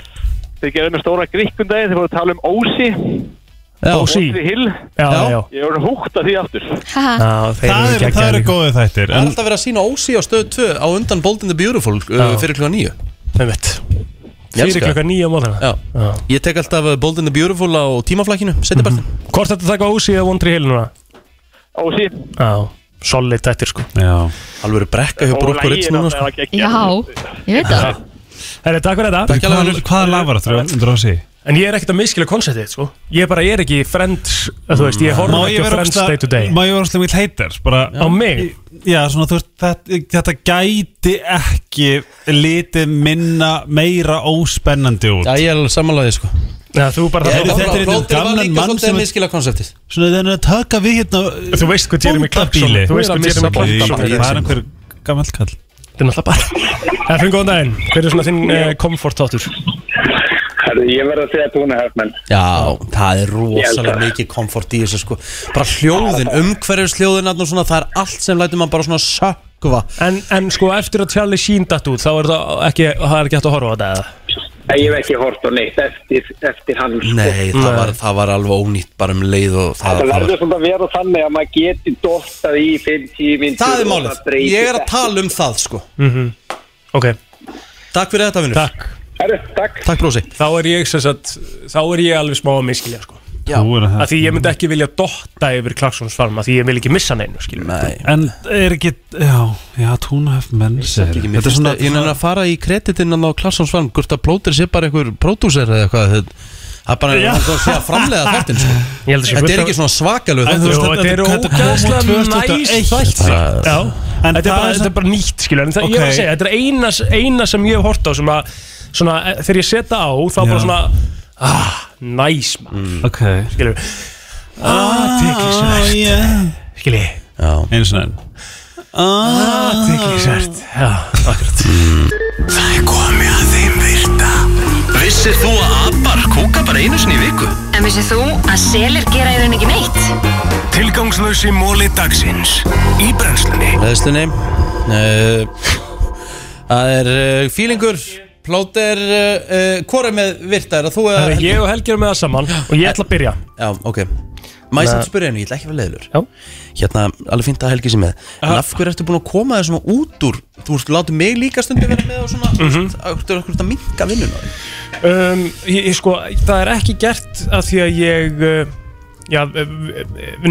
[SPEAKER 14] Þið gerðum mér stóra grikkundaginn, þið voru að tala um Ósi
[SPEAKER 3] Já.
[SPEAKER 14] Ósi
[SPEAKER 3] Ósi.
[SPEAKER 14] Hill
[SPEAKER 3] Já, já, já.
[SPEAKER 14] Ég voru húkt að því aftur
[SPEAKER 2] Já,
[SPEAKER 3] þeir eru
[SPEAKER 10] Það eru- það
[SPEAKER 3] geggjaðir
[SPEAKER 10] eru
[SPEAKER 3] líka.
[SPEAKER 10] góðu þættir
[SPEAKER 1] Það er alltaf verið að sína ósi á stöðu 2 á undan Bold and the Beautiful uh,
[SPEAKER 3] Já.
[SPEAKER 1] fyrir klukka 9
[SPEAKER 3] Einmitt. Fyrir klukka 9 á móðana Já.
[SPEAKER 1] Ég tek alltaf uh, Bold and the Beautiful á tímaflakkinu
[SPEAKER 3] Mhm.
[SPEAKER 1] setni bara
[SPEAKER 3] Hvort þetta taka Ósi eða Wondry Hill núna?
[SPEAKER 14] Ósi
[SPEAKER 3] Já, solid þetta sko
[SPEAKER 10] Já
[SPEAKER 1] Alveg eru brekka hjá Brokk og Ritz núna sko.
[SPEAKER 2] Já, ég veit það
[SPEAKER 3] Herri, takk fyrir þetta
[SPEAKER 10] Takk alveg Hvaða lag var það? Undur á sig
[SPEAKER 3] En ég er ekkert að miskila konceptið sko Ég bara er ekki friends, þú veist, Mm. ég horfa ekki á friends day to day
[SPEAKER 10] Má ég vera óslega mikill heitir bara,
[SPEAKER 3] Á mig?
[SPEAKER 10] Já, svona þú veist þetta, þetta gæti ekki litið minna meira óspennandi út
[SPEAKER 1] Já, ég er alveg samanlæðið sko
[SPEAKER 3] Já, þú bara
[SPEAKER 10] Þetta er þetta er einn gamlan mann sem er-
[SPEAKER 1] miskila konceptið
[SPEAKER 10] Svona þannig að taka við hérna
[SPEAKER 3] Þú veist hvað Jeremy Clarkson-
[SPEAKER 10] bóndabíli.
[SPEAKER 3] þú veist hvað Jeremy Clarkson-
[SPEAKER 10] Það er einhver gammal kall
[SPEAKER 3] Þetta er náttúrulega bara Það fyrir góðan daginn Hver er svona þinn uh, komfort þáttur?
[SPEAKER 13] Herðu, ég verð að segja tónu höfmenn.
[SPEAKER 1] Já, það er rosalega
[SPEAKER 13] Ég held það.
[SPEAKER 1] mikið komfort í þessu sko Bara hljóðin, umhverfisljóðin og svona, það er allt sem lætur mann bara svona sökva
[SPEAKER 3] En, en sko eftir að Charlie Sheen datt út þá er það ekki, það er ekki hægt að horfa á þetta eða?
[SPEAKER 15] Ég hef ekki hort á neitt eftir, eftir hann sko.
[SPEAKER 1] Nei, það var, það var alveg ónýtt bara um leið og það,
[SPEAKER 15] Það
[SPEAKER 1] það var
[SPEAKER 15] verður svona að vera þannig að maður geti dottað í 5-10 minn
[SPEAKER 1] Það er málið, ég er að tala um það sko
[SPEAKER 3] mm Ok
[SPEAKER 1] Takk fyrir þetta vinnur
[SPEAKER 3] Takk
[SPEAKER 15] Herru, takk
[SPEAKER 1] Takk brósi
[SPEAKER 3] Þá er ég sem sagt Þá er ég alveg smá að miskilja sko
[SPEAKER 1] Já
[SPEAKER 3] Af því ég myndi ekki vilja dotta yfir Clarksons farm af því ég vil ekki missa neinu skiljum
[SPEAKER 1] Nei
[SPEAKER 10] En er ekki, já, já, túnahöf menn segir
[SPEAKER 1] Mér
[SPEAKER 10] Þetta er
[SPEAKER 1] finnst
[SPEAKER 10] svona
[SPEAKER 1] að ég nefnir að fara í kreditinn á Klarsson Svan Hvort að plótir sé bara einhver pródúser eða eitthvað þetta- Það er bara
[SPEAKER 10] Já.
[SPEAKER 1] hann þarf að sé að framlega þáttinn sko.
[SPEAKER 3] Ég held að sé
[SPEAKER 1] Þetta er
[SPEAKER 3] fullt af-
[SPEAKER 1] ekki svona svakalög
[SPEAKER 3] En þú veist, sko. þetta er ógæðslega næst þætt
[SPEAKER 1] Já
[SPEAKER 3] Já, þetta
[SPEAKER 10] En
[SPEAKER 3] er,
[SPEAKER 10] það
[SPEAKER 3] bara,
[SPEAKER 10] er-
[SPEAKER 3] þetta er bara nýtt skilur En það, ég er
[SPEAKER 10] Ok.
[SPEAKER 3] að segja, þetta er eina, eina sem ég hef hort á sem að, svona, eh, þegar ég setja á þá bara
[SPEAKER 10] Já.
[SPEAKER 3] svona ah, næs maður
[SPEAKER 1] Mm.
[SPEAKER 10] Ok
[SPEAKER 3] skilur ah, teklisvert
[SPEAKER 10] yeah.
[SPEAKER 3] skilur,
[SPEAKER 10] Eins og enn
[SPEAKER 3] ah, teklisvert já, akkurat
[SPEAKER 4] Það er komið að þeim virta Vissir þú að abar kúka bara einu sinni í viku?
[SPEAKER 5] En vissið þú að selir gera í raun ekki neitt?
[SPEAKER 4] Tilgangslösi móli dagsins Í brennslunni
[SPEAKER 1] Eh, Leðstunni Það er uh, fílingur Plóter, uh, uh, hvor er með virta? Er það þú eða
[SPEAKER 3] Herra, ég og Helgi erum með það saman og ég ætla að byrja
[SPEAKER 1] Já, ok Má ég samt spyrja henni, ég ætla ekki að vera leiðilur Hérna, alveg fínt að Helgi sé með En af hverju ertu búin að koma þér svona út úr Þú veist, látu mig líka stundum vera með og svona Þú veist, af hverju ertu að minka vinnuna þín?
[SPEAKER 3] um, ég, ég, sko, Það er ekki gert að því að ég uh, Já, við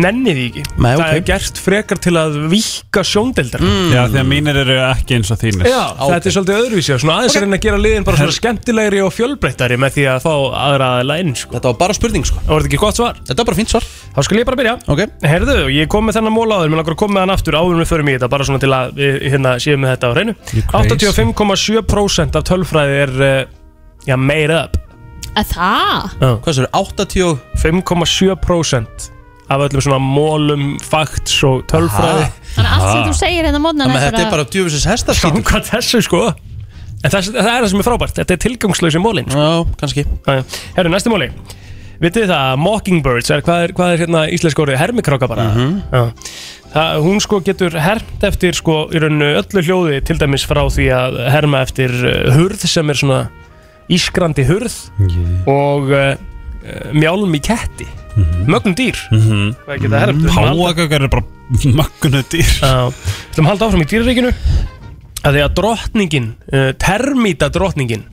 [SPEAKER 3] nenni því ekki
[SPEAKER 1] Nei,
[SPEAKER 3] Það
[SPEAKER 1] ok.
[SPEAKER 3] er gert frekar til að vika sjóndeldar
[SPEAKER 10] Já, því að mínir eru ekki eins og
[SPEAKER 3] Mm.
[SPEAKER 10] þínir
[SPEAKER 3] Já, þetta er svolítið öðruvísi og svona aðeins er henni að gera liðin bara svona skemmtilegri og fjölbreyttari með því að fá aðra aðeila inn sko.
[SPEAKER 1] Þetta var bara spurning sko
[SPEAKER 3] Það var þetta ekki gott svar
[SPEAKER 1] Þetta var bara fínt svar
[SPEAKER 3] Þá skal ég bara byrja
[SPEAKER 1] okay.
[SPEAKER 3] Herðu, ég kom með þennan móla áður, mér langar að koma með hann aftur áður en við förum í þetta bara svona til að við hérna, séum með þetta á hreinu
[SPEAKER 10] crazy.
[SPEAKER 3] 85,7% af tölfræði er eh, já, meira upp
[SPEAKER 2] Að það?
[SPEAKER 3] Hvað
[SPEAKER 1] sér, 80
[SPEAKER 3] 5,7% af öllum svona mólum, fakts og tölfræði
[SPEAKER 2] Þannig að allt sem þú segir hérna mótna
[SPEAKER 1] djöfisins hestar
[SPEAKER 3] Samkvæmt þessu sko En þess, það er það sem er frábært, þetta er tilgangslösi mólin sko.
[SPEAKER 1] Já, kannski
[SPEAKER 3] Herru, næsti móli Vitið þið það, Mockingbirds, er, hvað, er, hvað er hérna íslensk orðið? Hermikráka bara Já. það, Hún sko getur hermt eftir sko í rauninu öllu hljóði til dæmis frá því að herma eftir uh, hurð sem er svona ískrandi hurð og uh, uh, mjálm í ketti
[SPEAKER 10] Mhm.
[SPEAKER 3] Mögnum dýr Hvað geta hermt Við ætlum að halda-
[SPEAKER 10] Páagökar eru Mm, bara makkunu dýr
[SPEAKER 3] Já, við ætlum að halda áfram í dýraríkinu að því að drottningin, uh, termíta drottningin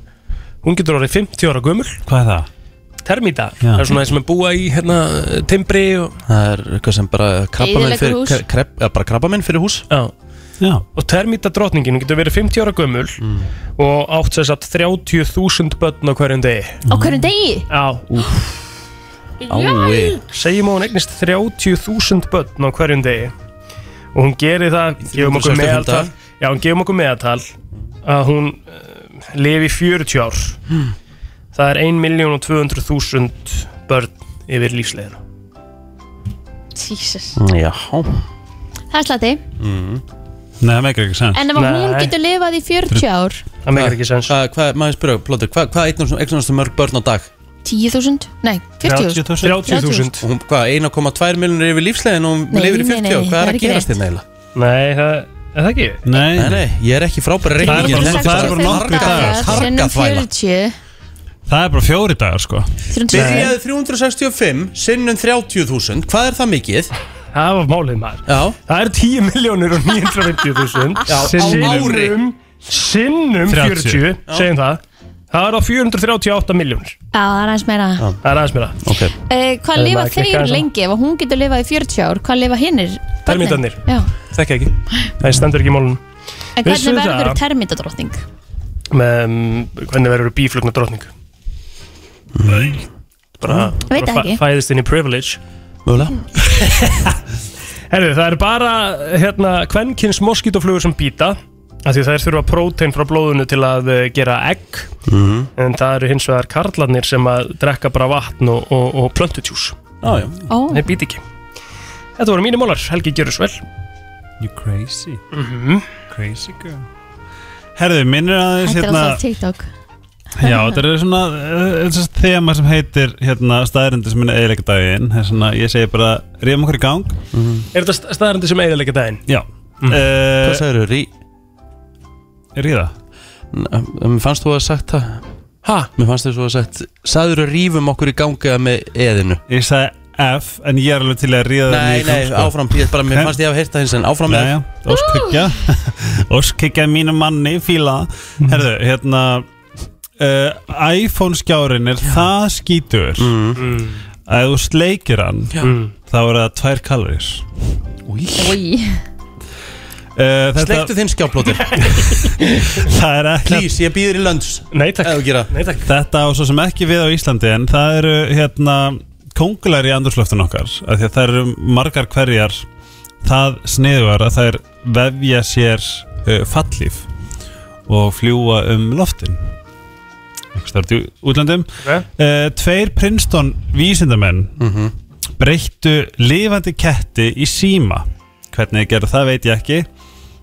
[SPEAKER 3] hún getur orðið 50 ára gömul
[SPEAKER 10] Hvað er það?
[SPEAKER 3] termíta,
[SPEAKER 1] Já.
[SPEAKER 3] það er svona þeir sem er búa í hérna, timbri og,
[SPEAKER 1] Það er eitthvað sem bara krabba minn
[SPEAKER 3] Eyðileggur
[SPEAKER 1] fyrir,
[SPEAKER 3] hús.
[SPEAKER 1] kre- krep, ja, bara krabba minn fyrir hús
[SPEAKER 3] Já.
[SPEAKER 10] Já. Mm.
[SPEAKER 3] og termíta drottningin hún getur verið 50 ára gömul og átt sér satt 30.000 börn á hverjum
[SPEAKER 2] Á
[SPEAKER 3] degi
[SPEAKER 2] hverjum degi?
[SPEAKER 3] Já
[SPEAKER 2] Jæ.
[SPEAKER 3] Segjum að hún eignist 30.000 börn á hverjum degi og hún gerir það gefum okkur
[SPEAKER 1] 365
[SPEAKER 3] meðaltal
[SPEAKER 1] daga.
[SPEAKER 3] Já, hún gefum okkur meðaltal að hún uh, lifi í 40 ár
[SPEAKER 1] Hmm.
[SPEAKER 3] Það er 1.200.000 börn yfir lífsleginu
[SPEAKER 2] Jesus
[SPEAKER 1] Já
[SPEAKER 2] Það er slati
[SPEAKER 10] mm. Nei, það meikir ekki sens
[SPEAKER 2] En ef að hún getur lifað í 40 ár
[SPEAKER 3] Það meikir ekki sens
[SPEAKER 1] Hvað, hvað- maður spyrja, Plóter, hvað, hvað eignast eignast þú mörg börn á dag?
[SPEAKER 2] 10.000? Nei, 40.000
[SPEAKER 1] Og hún- Hvað, 1,2 miljonir yfir lífslegin og hún
[SPEAKER 2] Nei,
[SPEAKER 1] lifir í 40
[SPEAKER 2] nei,
[SPEAKER 1] ár
[SPEAKER 2] nei,
[SPEAKER 1] Hvað
[SPEAKER 2] það
[SPEAKER 1] er
[SPEAKER 2] er
[SPEAKER 1] að
[SPEAKER 2] ekki
[SPEAKER 1] gerast
[SPEAKER 2] rétt.
[SPEAKER 1] þérna eiginlega?
[SPEAKER 3] Nei, það er það ekki
[SPEAKER 10] Nei,
[SPEAKER 1] nei, ég er ekki frábæri
[SPEAKER 10] Það er
[SPEAKER 1] reikningin
[SPEAKER 10] bara- það er bara nokkrir dagar.
[SPEAKER 2] Sinnum
[SPEAKER 1] Harkaþvæla
[SPEAKER 2] 40
[SPEAKER 10] Það er bara fjóri dagar sko
[SPEAKER 1] Byrjaði 365 sinnum 30.000 Hvað er það mikið?
[SPEAKER 3] Það var málið maður
[SPEAKER 1] Já
[SPEAKER 3] Það er 10 miljónir og 950.000
[SPEAKER 1] Já, á ári.
[SPEAKER 3] Sinnum
[SPEAKER 1] 30.
[SPEAKER 3] 40,
[SPEAKER 1] Já.
[SPEAKER 3] segjum það Það er á 438 miljónir
[SPEAKER 2] Já, það er aðeins meira
[SPEAKER 3] Það er aðeins meira
[SPEAKER 1] okay.
[SPEAKER 2] Eh, Hvað
[SPEAKER 3] Ef
[SPEAKER 2] lifa
[SPEAKER 3] maður klikkar
[SPEAKER 2] þeir
[SPEAKER 3] aðeins á-
[SPEAKER 2] lengi? Ef að hún getur lifað í 40 ár, hvað lifa hinnir?
[SPEAKER 3] Termítarnir.
[SPEAKER 2] Já,
[SPEAKER 3] Þekki ekki Það stendur ekki í málunum
[SPEAKER 2] en
[SPEAKER 3] Vissuð
[SPEAKER 2] hvernig verður
[SPEAKER 3] það?
[SPEAKER 2] termítadrottning?
[SPEAKER 3] með um, hvernig verður bíflugna drottning bara,
[SPEAKER 2] Veit
[SPEAKER 3] bara
[SPEAKER 2] ekki.
[SPEAKER 3] fæ- fæðist inn í privilege
[SPEAKER 1] mögulega
[SPEAKER 3] Herðu, það eru bara hérna kvenkins moskítoflugur sem býta af því þær þurfa prótein frá blóðinu til að eh, gera egg
[SPEAKER 4] Mhm.
[SPEAKER 3] en það eru hins vegar karlarnir sem að drekka bara vatn og, og, og plöntutjús
[SPEAKER 1] Já, já.
[SPEAKER 2] Ó.
[SPEAKER 3] þeir býti ekki Þetta voru mínir mólar, Helgi gjörur svo vel
[SPEAKER 10] You crazy
[SPEAKER 3] Mhm.
[SPEAKER 10] Crazy girl Herðu, minnir aðeins
[SPEAKER 2] Þetta er
[SPEAKER 10] hérna
[SPEAKER 2] alltaf TikTok
[SPEAKER 10] Já, þetta er svona uh, þema sem heitir hérna staðarindir sem minna eiginlega daginn Það er svona, ég segi bara, ríðum okkur í gang
[SPEAKER 3] Er þetta staðarandi sem eiginlega daginn?
[SPEAKER 10] Já
[SPEAKER 1] Mm.
[SPEAKER 10] Eh,
[SPEAKER 1] Hvað sagður þú? Rí...
[SPEAKER 10] Ríða?
[SPEAKER 1] Mér fannst þú að hafa sagt það
[SPEAKER 3] Ha?
[SPEAKER 1] Mér fannst þú að hafa sagt Sagður þú rífum okkur í ganga með eðinu?
[SPEAKER 10] Ég sagði F, en ég er alveg til að ríða
[SPEAKER 1] Nei,
[SPEAKER 10] þér í gang,
[SPEAKER 1] nei,
[SPEAKER 10] sko.
[SPEAKER 1] áfram Ég bara, mér
[SPEAKER 10] Nei.
[SPEAKER 1] fannst ég að hafa heyrt það hins en áfram með
[SPEAKER 10] Jæja, óskhyggja Óskhyggja mínu manni, fíla
[SPEAKER 1] Mm.
[SPEAKER 10] það. Herðu, hérna uh, iPhone skjárin er það skítur
[SPEAKER 3] Mm.
[SPEAKER 10] að þú sleikir hann
[SPEAKER 1] Já.
[SPEAKER 3] Mm.
[SPEAKER 10] þá er það tvær kaloris
[SPEAKER 2] Í.
[SPEAKER 10] uh,
[SPEAKER 1] Sleiktu þinn skjáplótir
[SPEAKER 10] Það er ekki
[SPEAKER 1] Please, ég býður í lönds
[SPEAKER 3] Nei, takk
[SPEAKER 1] Ef þú gera
[SPEAKER 3] Nei, takk
[SPEAKER 10] Þetta á svo sem ekki við á Íslandi en það eru hérna kongular í andurslöftun okkar af því að það eru margar hverjar það sniðugar að þær vefja sér uh, fallíf og fljúa um loftin starft í útlöndum
[SPEAKER 3] Ok.
[SPEAKER 10] uh, Tveir Princeton vísindamenn breyttu lifandi ketti í síma hvernig þeir gerðu það veit ég ekki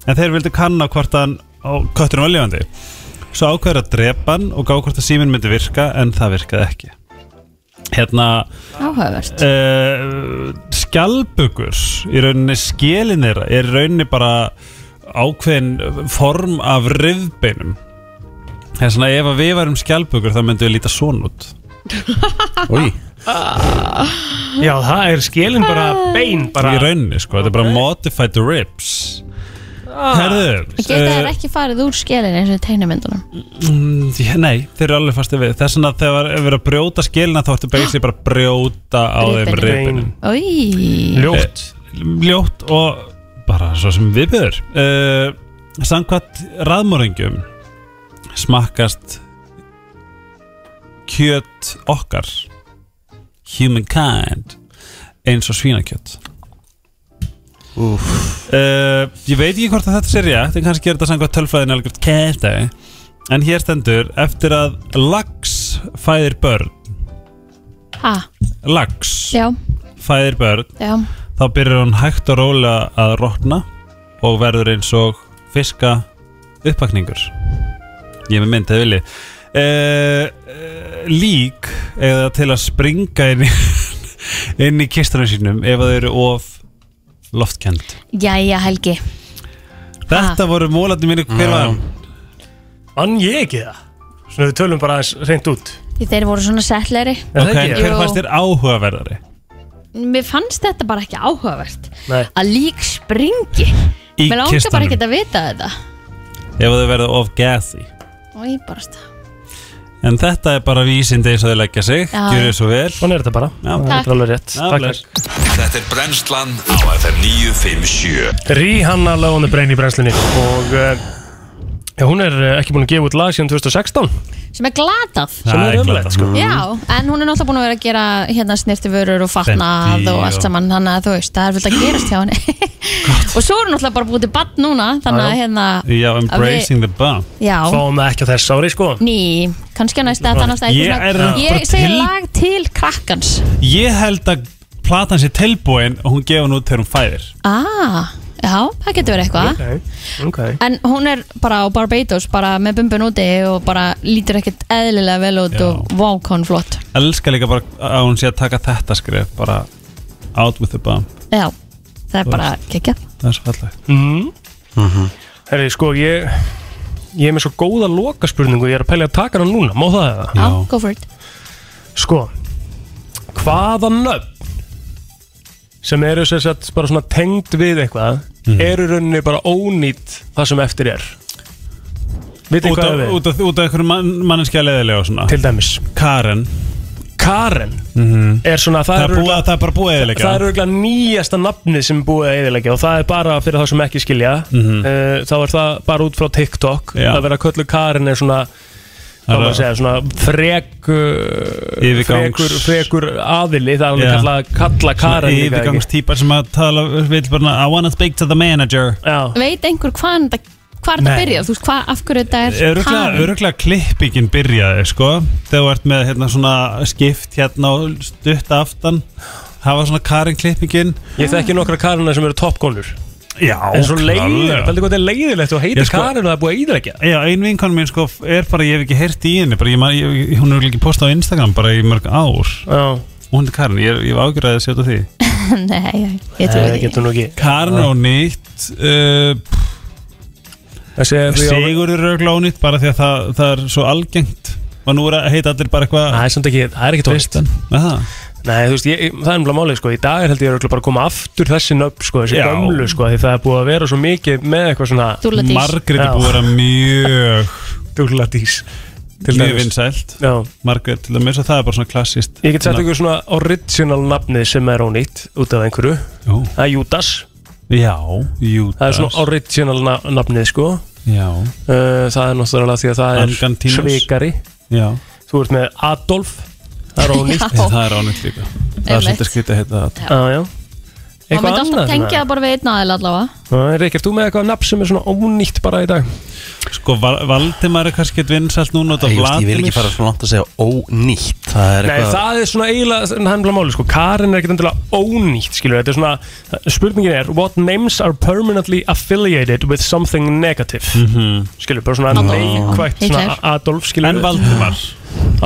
[SPEAKER 10] en þeir vildu kanna hvort hann kötturinn var lifandi svo ákveður að drepa hann og gá hvort að síminn myndi virka en það virkaði ekki hérna
[SPEAKER 2] Áhugavert
[SPEAKER 10] uh, skjálpugur í rauninni skelinir er í rauninni bara ákveðin form af rifbeinum Það er svona ef að við varum skjálpugur þá myndum við líta svona út Új
[SPEAKER 3] Já, það er skilin bara bein bara
[SPEAKER 10] Í rauninni sko, þetta er bara modified ribs Herðu eh,
[SPEAKER 2] Geta þær ekki farið úr skelin eins og í tegnumyndunum
[SPEAKER 10] Mm, ég- Nei, þeir eru alveg fastið við Þess vegna þegar við erum að brjóta skilina þá ertu basically bara að brjóta á þeim
[SPEAKER 2] Ribbin.
[SPEAKER 10] ribinu
[SPEAKER 2] Í
[SPEAKER 10] Ljótt Eh, Ljótt og bara svo sem við byrður uh, Samkvæmt raðmóringjum smakkast kjöt okkar humankind eins og svínakjöt Uh, ég veit ekki hvort að þetta sé rétt en kannski er þetta samkvæmt tölfræðin algjört kæfti en hér stendur eftir að lax fæðir börn
[SPEAKER 2] Ha,
[SPEAKER 10] lax
[SPEAKER 2] já,
[SPEAKER 10] fæðir börn
[SPEAKER 2] já
[SPEAKER 10] þá byrjar hann hægt og rólega að rotna og verður eins og fiska uppakningur ég er með mynd eða vilji uh, lík eða til að springa inn í, inn í kistunum sínum ef að þau eru of loftkend
[SPEAKER 2] Jæja, Helgi Ah.
[SPEAKER 10] þetta voru mólarnir mínu hver var hann?
[SPEAKER 3] Vann ég ekki það? Svona við tölum bara aðeins reynd út
[SPEAKER 2] Því þeir voru svona settlegri
[SPEAKER 10] ok, hver
[SPEAKER 2] Jú.
[SPEAKER 10] fannst þér áhugaverðari?
[SPEAKER 2] Mér fannst þetta bara ekki áhugavert
[SPEAKER 10] Nei.
[SPEAKER 2] Að lík springi
[SPEAKER 10] Í
[SPEAKER 2] Mér langar
[SPEAKER 10] kistanum.
[SPEAKER 2] bara ekki að vita þetta
[SPEAKER 10] ef að þau verða of gassy
[SPEAKER 2] Og ég bara stað
[SPEAKER 10] en þetta er bara vísindi eins og þau leggja sig
[SPEAKER 2] Já.
[SPEAKER 10] gjör þau svo vel
[SPEAKER 3] svona er þetta bara
[SPEAKER 10] Já,
[SPEAKER 3] Þetta er Takk. alveg rétt.
[SPEAKER 10] Já,
[SPEAKER 3] Takk,
[SPEAKER 10] bless.
[SPEAKER 4] Þetta er brennslan á FM 957
[SPEAKER 3] Rihanna lagunni brein í brennslunni og uh, já, hún er eh, ekki búin að gefa út lag síðan 2016
[SPEAKER 2] Sem er glatað
[SPEAKER 3] sem
[SPEAKER 10] Það
[SPEAKER 3] er
[SPEAKER 10] er
[SPEAKER 3] ömurlegt
[SPEAKER 10] glatað.
[SPEAKER 3] sko
[SPEAKER 10] Mhm.
[SPEAKER 2] Já, en hún er náttúrulega búin að vera að gera hérna snirtiförur og fatnað
[SPEAKER 3] Fenty
[SPEAKER 2] og allt
[SPEAKER 3] og-
[SPEAKER 2] saman þannig að þú veist, það er fullt að gerast hjá henni og svo er hún náttúrulega bara búið til bann núna þannig að
[SPEAKER 3] Já, já.
[SPEAKER 2] hérna
[SPEAKER 10] Já,
[SPEAKER 2] embracing
[SPEAKER 10] the bump
[SPEAKER 2] Já.
[SPEAKER 3] Fáum það ekki á þess ári sko
[SPEAKER 2] ný, kannski á næsta, það er næsta
[SPEAKER 10] Ég
[SPEAKER 2] eitthvað
[SPEAKER 10] er
[SPEAKER 2] svona-
[SPEAKER 10] bara
[SPEAKER 2] ég segi
[SPEAKER 10] til-
[SPEAKER 2] lag til krakkans
[SPEAKER 10] Ég held að platan sé tilbúin og hún gefa hann út þegar hún fæðir
[SPEAKER 2] Ah, já, það getur verið eitthvað
[SPEAKER 3] okay.
[SPEAKER 2] En hún er bara á Barbados bara með bumbun úti og bara lítur ekkert eðlilega vel út
[SPEAKER 10] Já.
[SPEAKER 2] og vákon flott
[SPEAKER 10] Elskar líka bara að hún sé að taka þetta skrif bara out with the bomb
[SPEAKER 2] Já, það er
[SPEAKER 10] Þú
[SPEAKER 2] bara kekja
[SPEAKER 10] Það er svo falleg
[SPEAKER 3] mm.
[SPEAKER 10] Mhm.
[SPEAKER 3] Herri, sko, ég ég er með svo góða lokaspurningu ég er að pælja að taka hana núna, má það eða?
[SPEAKER 2] Já, go for it
[SPEAKER 3] Sko, hvaða nöfn sem eru sem sagt bara svona tengd við eitthvað
[SPEAKER 10] Mhm.
[SPEAKER 3] eru í rauninni bara ónýtt það sem eftir er Vitið þið
[SPEAKER 10] Út
[SPEAKER 3] hvað
[SPEAKER 10] af,
[SPEAKER 3] er við?
[SPEAKER 10] út af, út af einhverju man, manneskja leðilega og svona
[SPEAKER 3] Til dæmis
[SPEAKER 10] Karen
[SPEAKER 3] Karen er svona það,
[SPEAKER 10] Það er búið- það er bara búið að eyðileggja.
[SPEAKER 3] Það er auðvitað nýjasta nafnið sem er búið að eðilegja og það er bara fyrir þá sem ekki skilja
[SPEAKER 10] Mhm.
[SPEAKER 3] uh, þá er það bara út frá TikTok
[SPEAKER 10] Já.
[SPEAKER 3] það verður að köllu Karen er svona
[SPEAKER 10] Það
[SPEAKER 3] hvað
[SPEAKER 10] er-
[SPEAKER 3] maður að segja, svona frek uh,
[SPEAKER 10] Yfirgangs-
[SPEAKER 3] frekur, frekur aðili það er alveg
[SPEAKER 10] Já.
[SPEAKER 3] kallað kalla Karen líka, ekki?
[SPEAKER 10] Yfirgangstýpar sem að tala vil bara I wanna speak to the manager
[SPEAKER 3] Já
[SPEAKER 2] Veit einhver hvaðan þetta Hvar þetta
[SPEAKER 10] Nei.
[SPEAKER 2] byrjað, þú veist hvað, af hverju þetta er
[SPEAKER 10] Öruglega, öruglega klippingin byrjaði sko þegar þú ert með hérna svona skipt hérna og stutt aftan hafa svona Karen klippingin
[SPEAKER 3] Ég þekki nokkra Karina sem eru toppkonur
[SPEAKER 10] Já,
[SPEAKER 3] En svo leiðilegt,
[SPEAKER 10] klárlega.
[SPEAKER 3] veldu hvað þetta er leiðilegt og heitir
[SPEAKER 10] Ég sko-
[SPEAKER 3] Karin og það er búið að íðleggja
[SPEAKER 10] Já, ein vinkonu mín sko er bara, ég hef ekki heyrt í henni bara, ég, man- ég, hún hefur ekki postað á Instagram bara í mörg ár
[SPEAKER 3] Já.
[SPEAKER 10] og hún er Karin, ég, ég var ágjörðið að setja því
[SPEAKER 2] Nei, ég trúi því
[SPEAKER 3] getur nú ekki
[SPEAKER 10] Karin og nýtt uh, Sigurður er örugglega ónýtt bara því að það, það er svo algengt og nú er að heita allir bara eitthvað
[SPEAKER 3] Það er samt ekki, það er ekki tónlist Nei, þú veist, ég, það er umlað málið sko Í dag held ég að bara að koma aftur þessi nöfn sko, Þessi
[SPEAKER 10] Já.
[SPEAKER 3] gömlu sko, því það er búið að vera svo mikið Með eitthvað svona
[SPEAKER 2] Dúlladís.
[SPEAKER 10] Margrét er búið að vera mjög
[SPEAKER 3] Dúlladís
[SPEAKER 10] mjög vinsælt Margrét til dæmis og það er bara svona klassist
[SPEAKER 3] Ég get sett ykkur svona original nafnið sem er ónýtt Út af einhverju
[SPEAKER 10] Jú.
[SPEAKER 3] Það er Júdas
[SPEAKER 10] Já, Júdas
[SPEAKER 3] Það er svona original na- nafnið sko
[SPEAKER 10] Já.
[SPEAKER 3] Uh, Það er náttúrulega því að það er
[SPEAKER 10] Angantínus.
[SPEAKER 3] Sveikari
[SPEAKER 10] Já.
[SPEAKER 3] Þú ert með Adolf Það er ónýtt
[SPEAKER 10] Já. Það er ónýtt líka Það er
[SPEAKER 2] Einmitt.
[SPEAKER 10] svolítið skrítið að heita það
[SPEAKER 3] Já, já
[SPEAKER 2] Það myndi
[SPEAKER 3] Eitthvað
[SPEAKER 2] alltaf
[SPEAKER 3] annað
[SPEAKER 2] tengja það bara við einn aðeins allavega
[SPEAKER 3] Reykjavík, þú með eitthvað nafn sem er svona ónýtt bara í dag
[SPEAKER 10] Sko, Val- Valdimar er kannski eitt vinsælt núna út af
[SPEAKER 1] Ég, veist, ég vil
[SPEAKER 10] Vladimir.
[SPEAKER 1] ekki fara svo langt að segja ónýtt Það er
[SPEAKER 3] Nei,
[SPEAKER 1] eitthvað
[SPEAKER 3] það er svona eiginlega hannlega máli sko. Karin er ekkert endilega ónýtt skilur, þetta er svona, spurningin er What names are permanently affiliated with something negative
[SPEAKER 10] Mhm.
[SPEAKER 3] skilur, bara svona
[SPEAKER 10] Adolf.
[SPEAKER 3] neikvægt svona
[SPEAKER 10] Hitler.
[SPEAKER 3] Adolf, skilur
[SPEAKER 10] En Valdimar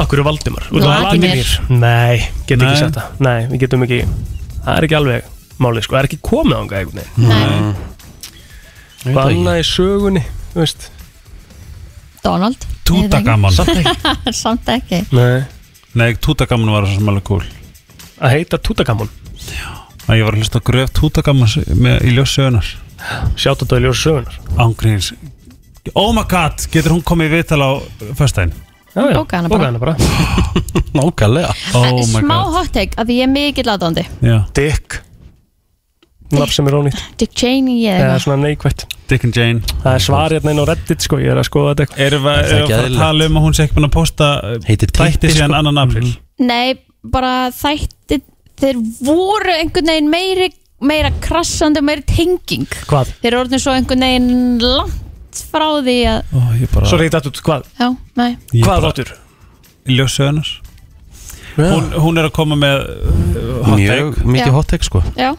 [SPEAKER 3] Akkur er Valdimar Út af
[SPEAKER 10] Vladimir.
[SPEAKER 3] Nei, getum
[SPEAKER 10] Nei.
[SPEAKER 3] ekki sett það Nei, við getum ekki, það er ekki alveg máli, sko, það er ekki komið ánga einhvern veginn
[SPEAKER 10] Nei.
[SPEAKER 3] Hvað annað í sögunni, þú veist
[SPEAKER 2] Donald
[SPEAKER 10] Tútagaman
[SPEAKER 2] Samt ekki
[SPEAKER 10] Nei Nei, Tútagaman var svo sem alveg cool
[SPEAKER 3] Að heita Tútagaman
[SPEAKER 10] Að ég var að hlusta á gröf Tútagaman með, í ljós sögunar
[SPEAKER 3] Sjátt að það í ljós sögunar
[SPEAKER 10] Ángríns Oh my god, getur hún komið í viðtal á föstudaginn?
[SPEAKER 3] Já, já,
[SPEAKER 2] Bókaði hana bara.
[SPEAKER 3] bókaði bara
[SPEAKER 10] Nákvæmlega Oh
[SPEAKER 2] Eh,
[SPEAKER 10] my
[SPEAKER 2] Smá
[SPEAKER 10] god
[SPEAKER 2] hot take að ég er mikið latandi
[SPEAKER 10] já.
[SPEAKER 3] Dick Nafn sem er ónýtt
[SPEAKER 2] Dick Cheney eða
[SPEAKER 3] Eða
[SPEAKER 2] eitthvað
[SPEAKER 3] svona neikvætt
[SPEAKER 10] Dick and Jane
[SPEAKER 3] Það er svar hérna inn á Reddit sko Ég er að skoða þetta
[SPEAKER 10] Erum við
[SPEAKER 3] Það er
[SPEAKER 10] erum við að fara að
[SPEAKER 3] geðlegt.
[SPEAKER 10] tala um að hún sé ekki búin að posta eh, Heitir Þætti
[SPEAKER 3] Tippi,
[SPEAKER 10] síðan
[SPEAKER 3] sko.
[SPEAKER 10] annan april
[SPEAKER 2] Nei, bara þætti þeir voru einhvern veginn meiri meira krassandi og meiri tenging
[SPEAKER 3] Hvað?
[SPEAKER 2] þeir eru orðin svo einhvern veginn langt frá því að
[SPEAKER 10] oh, bara...
[SPEAKER 3] Svo reyta þetta út, hvað?
[SPEAKER 2] já, nei,
[SPEAKER 3] Hvað áttur?
[SPEAKER 10] Ljós sögunar hún, hún er að koma með uh, hot
[SPEAKER 1] Mjög
[SPEAKER 10] take.
[SPEAKER 1] mikið Já. hot take, sko.
[SPEAKER 2] já,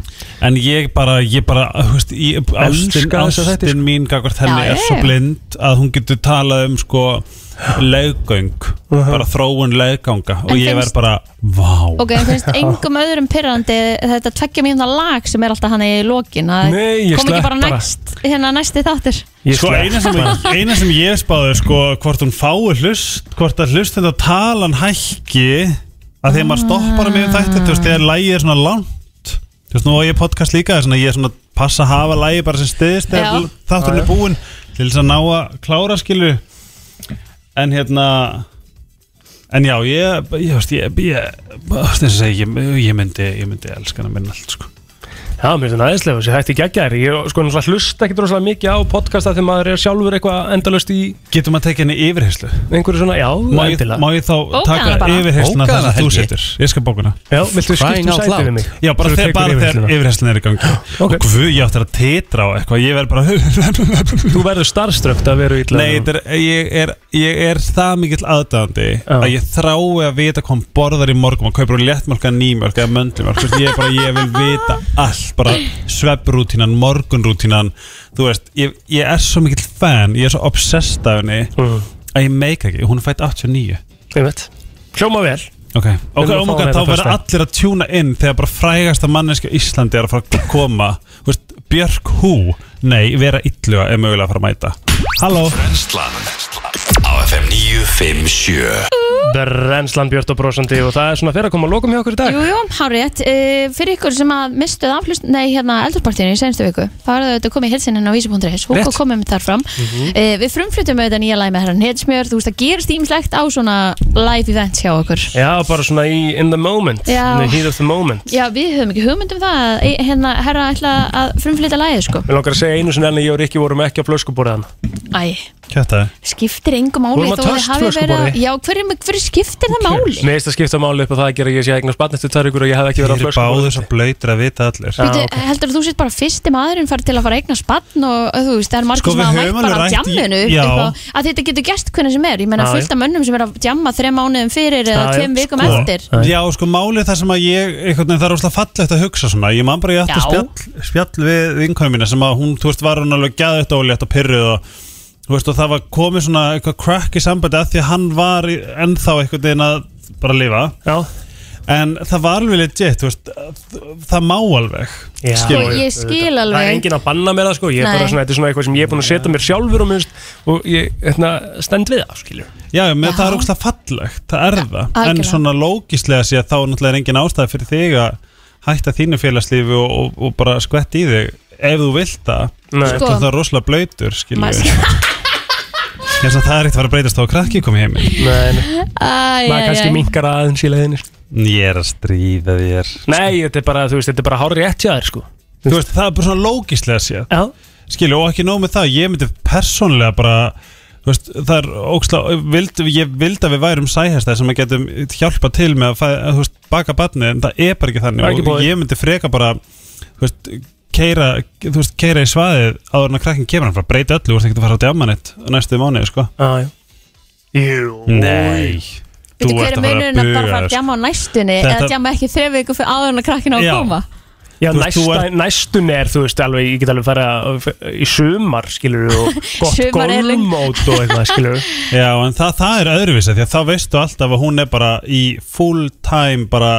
[SPEAKER 10] En ég bara, ég bara, þú veist, ég- ástin,
[SPEAKER 3] Elska þessa
[SPEAKER 10] ástin
[SPEAKER 3] þætti, sko.
[SPEAKER 10] mín gagvart henni
[SPEAKER 3] Já,
[SPEAKER 10] er svo
[SPEAKER 3] já, já.
[SPEAKER 10] blind að hún getur talað um sko leggöng,
[SPEAKER 3] Mhm.
[SPEAKER 10] bara þróun legganga og
[SPEAKER 2] En
[SPEAKER 10] ég verð
[SPEAKER 2] finnst-
[SPEAKER 10] bara, vá
[SPEAKER 2] ok, en finnst engum öðrum pyrrandi þetta tveggja mínúna lag sem er alltaf hann í lokin að
[SPEAKER 10] Nei, ég
[SPEAKER 2] kom
[SPEAKER 10] slepp
[SPEAKER 2] ekki bara
[SPEAKER 10] bara.
[SPEAKER 2] næst hérna næsti þáttir
[SPEAKER 10] Ég sko eina sem, eina sem ég spáði sko hvort hún fái hlust hvort að hlust þetta talan hækki að þegar maður stoppar með þetta þú veist þegar lægi er svona langt þú veist nú á ég podcast líka þess að ég er svona passa að hafa lægi bara sem stiðist
[SPEAKER 3] Já.
[SPEAKER 10] þegar þátturinn
[SPEAKER 3] Já,
[SPEAKER 10] er
[SPEAKER 3] já.
[SPEAKER 10] búinn til þess að ná að klára skilu en hérna en já ég ég veist ég, ég, ég, ég, ég, ég myndi ég myndi elska hana minn allt sko
[SPEAKER 3] Já, mér finnst það aðeinslega Þessi hætti geggjæri Ég er sko náttúrulega hlusta ekki droslega mikið á podcasta Þegar maður er sjálfur eitthvað endalust í
[SPEAKER 10] Getum að teka henni yfirheyslu?
[SPEAKER 3] Einhverju svona, já,
[SPEAKER 10] Má ég, má ég þá taka yfirhersluna þar sem þú setur Ég skal bókana
[SPEAKER 3] Já, viltu skipta um sæti við mig?
[SPEAKER 10] Já, bara
[SPEAKER 3] Svo
[SPEAKER 10] þegar
[SPEAKER 3] tekur
[SPEAKER 10] bara
[SPEAKER 3] yfirheyrsluna.
[SPEAKER 10] þegar yfirherslun er í gangi Og guð, ég átti að titra á eitthvað Ég verð bara
[SPEAKER 3] Þú verður starfströkt að vera ítla
[SPEAKER 10] Nei, þetta er, ég, er, ég er það mikill aðdæðandi Að ég þrái að vita hvað hann borðar í morgum Að kaupur léttmjölka, nýmjölka eða möndlumjölk Þú veist, Ég, er bara, ég vil vita allt Bara svepprútínan, morgunrútínan Þú veist, ég, ég er svo mikill fan Ég er svo obsessed af henni
[SPEAKER 3] Mm.
[SPEAKER 10] Að ég meika ekki, hún er fætt 89
[SPEAKER 3] Ég veit Hljóma vel
[SPEAKER 10] Ok, ok,
[SPEAKER 3] Við erum að fá hana hérna
[SPEAKER 10] ómuga, þá verður
[SPEAKER 3] föstudaginn.
[SPEAKER 10] allir að tjúna inn þegar bara frægasta manneski á Íslandi er að fara að koma Þú veist, Björk Hú, nei, vera illuga er mögulega að fara að mæta Halló
[SPEAKER 4] Brennslan Á FM 957
[SPEAKER 3] Brennslan Björn og brosandi Og það er svona fyrir að koma að lokum hjá okkur í dag
[SPEAKER 2] Jú, jú, hárétt, uh, fyrir ykkur sem að mistuð afhlust, nei, hérna, eldurpartínu í senstu viku, þá er það auðvitað komið hilsininn á vísi.is, hún
[SPEAKER 16] Rétt.
[SPEAKER 2] komum þar fram mm
[SPEAKER 16] Mhm.
[SPEAKER 2] við frumflutum auðvitað nýja læg með herran Hetsmjör, þú veist, það gerist ímslegt á svona live events hjá okkur
[SPEAKER 3] Já, bara svona í in the moment
[SPEAKER 2] Já.
[SPEAKER 3] In the heat of the moment
[SPEAKER 2] Já, við höfum ekki hugmynd um það að e- hérna, herra ætla að frumflytja lægið, sko
[SPEAKER 3] Mér langar að segja einu sinni enn að ég og Rikki vorum ekki á flöskuborðan
[SPEAKER 2] Æ,
[SPEAKER 10] Kjötaði
[SPEAKER 2] skiptir engum máli
[SPEAKER 3] Vorum að
[SPEAKER 2] þó þið
[SPEAKER 3] töst
[SPEAKER 2] hafi verið að-
[SPEAKER 3] flöskuborði?
[SPEAKER 2] Já, hverju, hverju skiptir það máli?
[SPEAKER 3] Mér finnst að skipta máli upp á það að gera að ég sé að eignast barn eftir tvær ykkur og ég hef ekki verið á
[SPEAKER 10] Þeir eru
[SPEAKER 3] flöskuborðan
[SPEAKER 10] báðir svo blöytur að vita allir
[SPEAKER 2] Býtu, heldur þú sétt bara fyrsti maðurinn fari til að fara að eigna spann og og þú veist, það er margir
[SPEAKER 10] Sko,
[SPEAKER 2] sem
[SPEAKER 10] við
[SPEAKER 2] hafa
[SPEAKER 10] höfum
[SPEAKER 2] mætt bara á
[SPEAKER 10] alveg rætt í-
[SPEAKER 2] djamminu upp
[SPEAKER 10] Já.
[SPEAKER 2] eitthvað, að þetta getur gert hvernig sem er ég menna
[SPEAKER 10] Já,
[SPEAKER 2] fullt af mönnum sem er að djamma þrem mánuðum fyrir eða tveim vikum
[SPEAKER 10] sko,
[SPEAKER 2] eftir
[SPEAKER 10] Já, sko, málið það sem að ég einhvern veginn það er óslega fallegt að hugsa svona Ég man bara ég átti
[SPEAKER 2] Já.
[SPEAKER 10] spjall, spjall við vinkonum mína sem að hún, þú veist, var hún alveg gæðið ólétt og pyrruð og þú veist, og það var komið svona eitthvað crack í sambandi að því að hann var í- ennþá einhvern veginn að bara lifa
[SPEAKER 3] Já
[SPEAKER 10] En það var alveg legit, þú veist, það má alveg
[SPEAKER 3] Já,
[SPEAKER 2] Sko, ég skil
[SPEAKER 3] auðvitað.
[SPEAKER 2] alveg.
[SPEAKER 3] Það er enginn að banna mér það sko Ég er
[SPEAKER 2] Nei.
[SPEAKER 3] bara svona, þetta er svona eitthvað sem ég er búin að setja mér sjálfur og, minnst, og ég hérna, stend við það skilur
[SPEAKER 10] Já, með það er ógstlega fallegt, það er það En
[SPEAKER 3] algjörlega.
[SPEAKER 10] svona lógislega sé að þá náttúrulega er engin ástæði fyrir þig að hætta þínu félagslífi og, og, og bara skvett í þig ef þú vilt það
[SPEAKER 3] Nei.
[SPEAKER 10] Þú
[SPEAKER 3] Sko.
[SPEAKER 10] ert það rosalega blöytur, skiljum
[SPEAKER 2] Maður-
[SPEAKER 10] við Ég er svona, það er ekkert að fara að breytast þá að krakki komið heim
[SPEAKER 3] Nei,
[SPEAKER 2] Æ,
[SPEAKER 3] Maður
[SPEAKER 2] æ,
[SPEAKER 3] kannski
[SPEAKER 2] æ.
[SPEAKER 3] minkar aðeins í leiðinni sko.
[SPEAKER 10] Ég er að stríða þér
[SPEAKER 3] Nei, þetta er bara, þú veist, þetta er bara hár rétt hjá þér sko
[SPEAKER 10] Þú veist, það er bara svona lógislega séð
[SPEAKER 3] Já
[SPEAKER 10] Skilju, og ekki nóg með það, ég myndi persónlega bara Þú veist, það er óksla vild, Ég vildi að við værum sæhestæð sem að getum hjálpa til með að, fæ, að þú veist, baka batni En það er bara ekki
[SPEAKER 3] Það er ekki
[SPEAKER 10] þannig Og
[SPEAKER 3] búið.
[SPEAKER 10] ég myndi freka bara Þú veist, keira, þú veist, keira í svaðið áður en að krakkin kemur hann bara breyta öllu Þú veist ekki að fara út í ammanett næstu mánuði, sko
[SPEAKER 3] ah, Jú
[SPEAKER 10] Nei
[SPEAKER 2] Veitu, hver er munurinn að bara fara að
[SPEAKER 10] þér,
[SPEAKER 2] djamma á næstunni
[SPEAKER 10] Þetta-
[SPEAKER 2] eða djamma ekki þrem vikum fyrir áður en að krakkina á að
[SPEAKER 3] Já.
[SPEAKER 2] koma
[SPEAKER 3] Já,
[SPEAKER 10] Þú veist,
[SPEAKER 3] næsta,
[SPEAKER 10] þú
[SPEAKER 3] næstun er, þú veist, alveg, ég get alveg fara í sumar, skilur og gott
[SPEAKER 2] Sumar er lengt.
[SPEAKER 3] golfmót og eitthvað, skilur
[SPEAKER 10] Já, en það, það er öðruvísi því að þá veistu alltaf að hún er bara í full time bara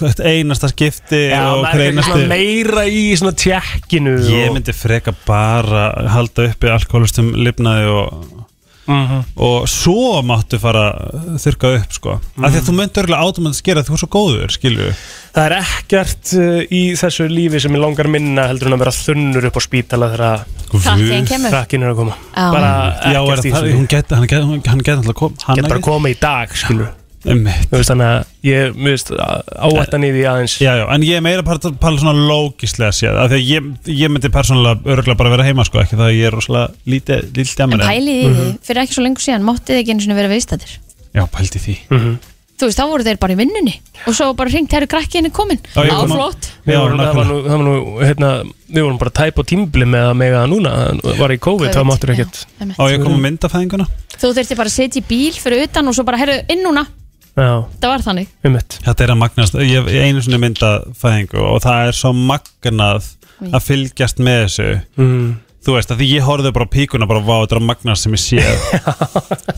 [SPEAKER 10] hvert einasta skipti
[SPEAKER 3] Já, maður
[SPEAKER 10] og hver
[SPEAKER 3] er eitthvað
[SPEAKER 10] einasti
[SPEAKER 3] svona meira í svona tjekkinu
[SPEAKER 10] Ég
[SPEAKER 3] og-
[SPEAKER 10] myndi freka bara halda uppi alkoholistum lifnaði og
[SPEAKER 3] Mhm.
[SPEAKER 10] og svo máttu fara að þurrka upp sko. af því
[SPEAKER 3] Mhm.
[SPEAKER 10] að þú myndi örgulega átumönd skera því þú er svo góður skilju
[SPEAKER 3] Það er ekkert uh, í þessu lífi sem ég langar minna heldur en að vera þunnur upp á spítala þegar
[SPEAKER 2] Krakkin kemur.
[SPEAKER 3] Krakkin er að koma
[SPEAKER 2] Já.
[SPEAKER 3] Bara
[SPEAKER 10] Já, er
[SPEAKER 3] ekkert í
[SPEAKER 10] það,
[SPEAKER 3] þessu
[SPEAKER 10] hún geti, hann geti, hann geti alltaf kom, hann Um
[SPEAKER 3] Getur bara að koma í dag, skilur
[SPEAKER 10] Þú
[SPEAKER 3] veist þannig að ég, mér veist, áættan í því aðeins
[SPEAKER 10] Já, já, en ég er meira part- pala svona lókislega séð, af því að ég, ég myndi persónulega örgulega bara vera heima sko, ekki það að ég er rosalega lítið, lítið
[SPEAKER 2] En
[SPEAKER 10] amir
[SPEAKER 2] pælið í því, fyrir ekki svo lengur síðan máttið þið ekki einu sinni vera viðstættir
[SPEAKER 10] Já, pældi því
[SPEAKER 3] Mhm.
[SPEAKER 2] Þú veist, þá voru þeir bara í vinnunni og svo bara hringt, herru krakkiðin er komin
[SPEAKER 3] Já, ég
[SPEAKER 2] Á,
[SPEAKER 3] kom á-
[SPEAKER 2] flott
[SPEAKER 3] Við vorum, það var nú, það var nú, hérna, við vorum bara tæp á tímbli með að mega núna, það var í COVID, þá
[SPEAKER 2] COVID,
[SPEAKER 3] máttur ekkert
[SPEAKER 2] já, einmitt. Á ég að koma að
[SPEAKER 10] mynda fæðinguna?
[SPEAKER 2] Þú þurfti bara að setja í bíl fyrir utan og svo bara, herru, inn núna
[SPEAKER 3] Já,
[SPEAKER 2] Það var þannig
[SPEAKER 3] um mitt
[SPEAKER 10] Þetta er að magnast, ég ég einu svona mynda fæðingu og það er svo magnað að fylgjast með þessu
[SPEAKER 3] Mm.
[SPEAKER 10] Þú veist, af því ég horfði bara á píkuna bara, vá, þetta er að magnast sem ég sé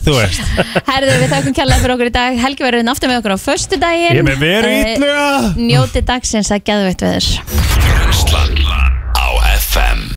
[SPEAKER 10] Þú veist
[SPEAKER 2] Herðu, við þakkum kjallaði fyrir okkur í dag Helgi verður hérna náttúrulega með okkur á föstudaginn
[SPEAKER 10] Ég með veru
[SPEAKER 2] Eh,
[SPEAKER 10] illuga.
[SPEAKER 2] Njótið dagsins að geðveitt veður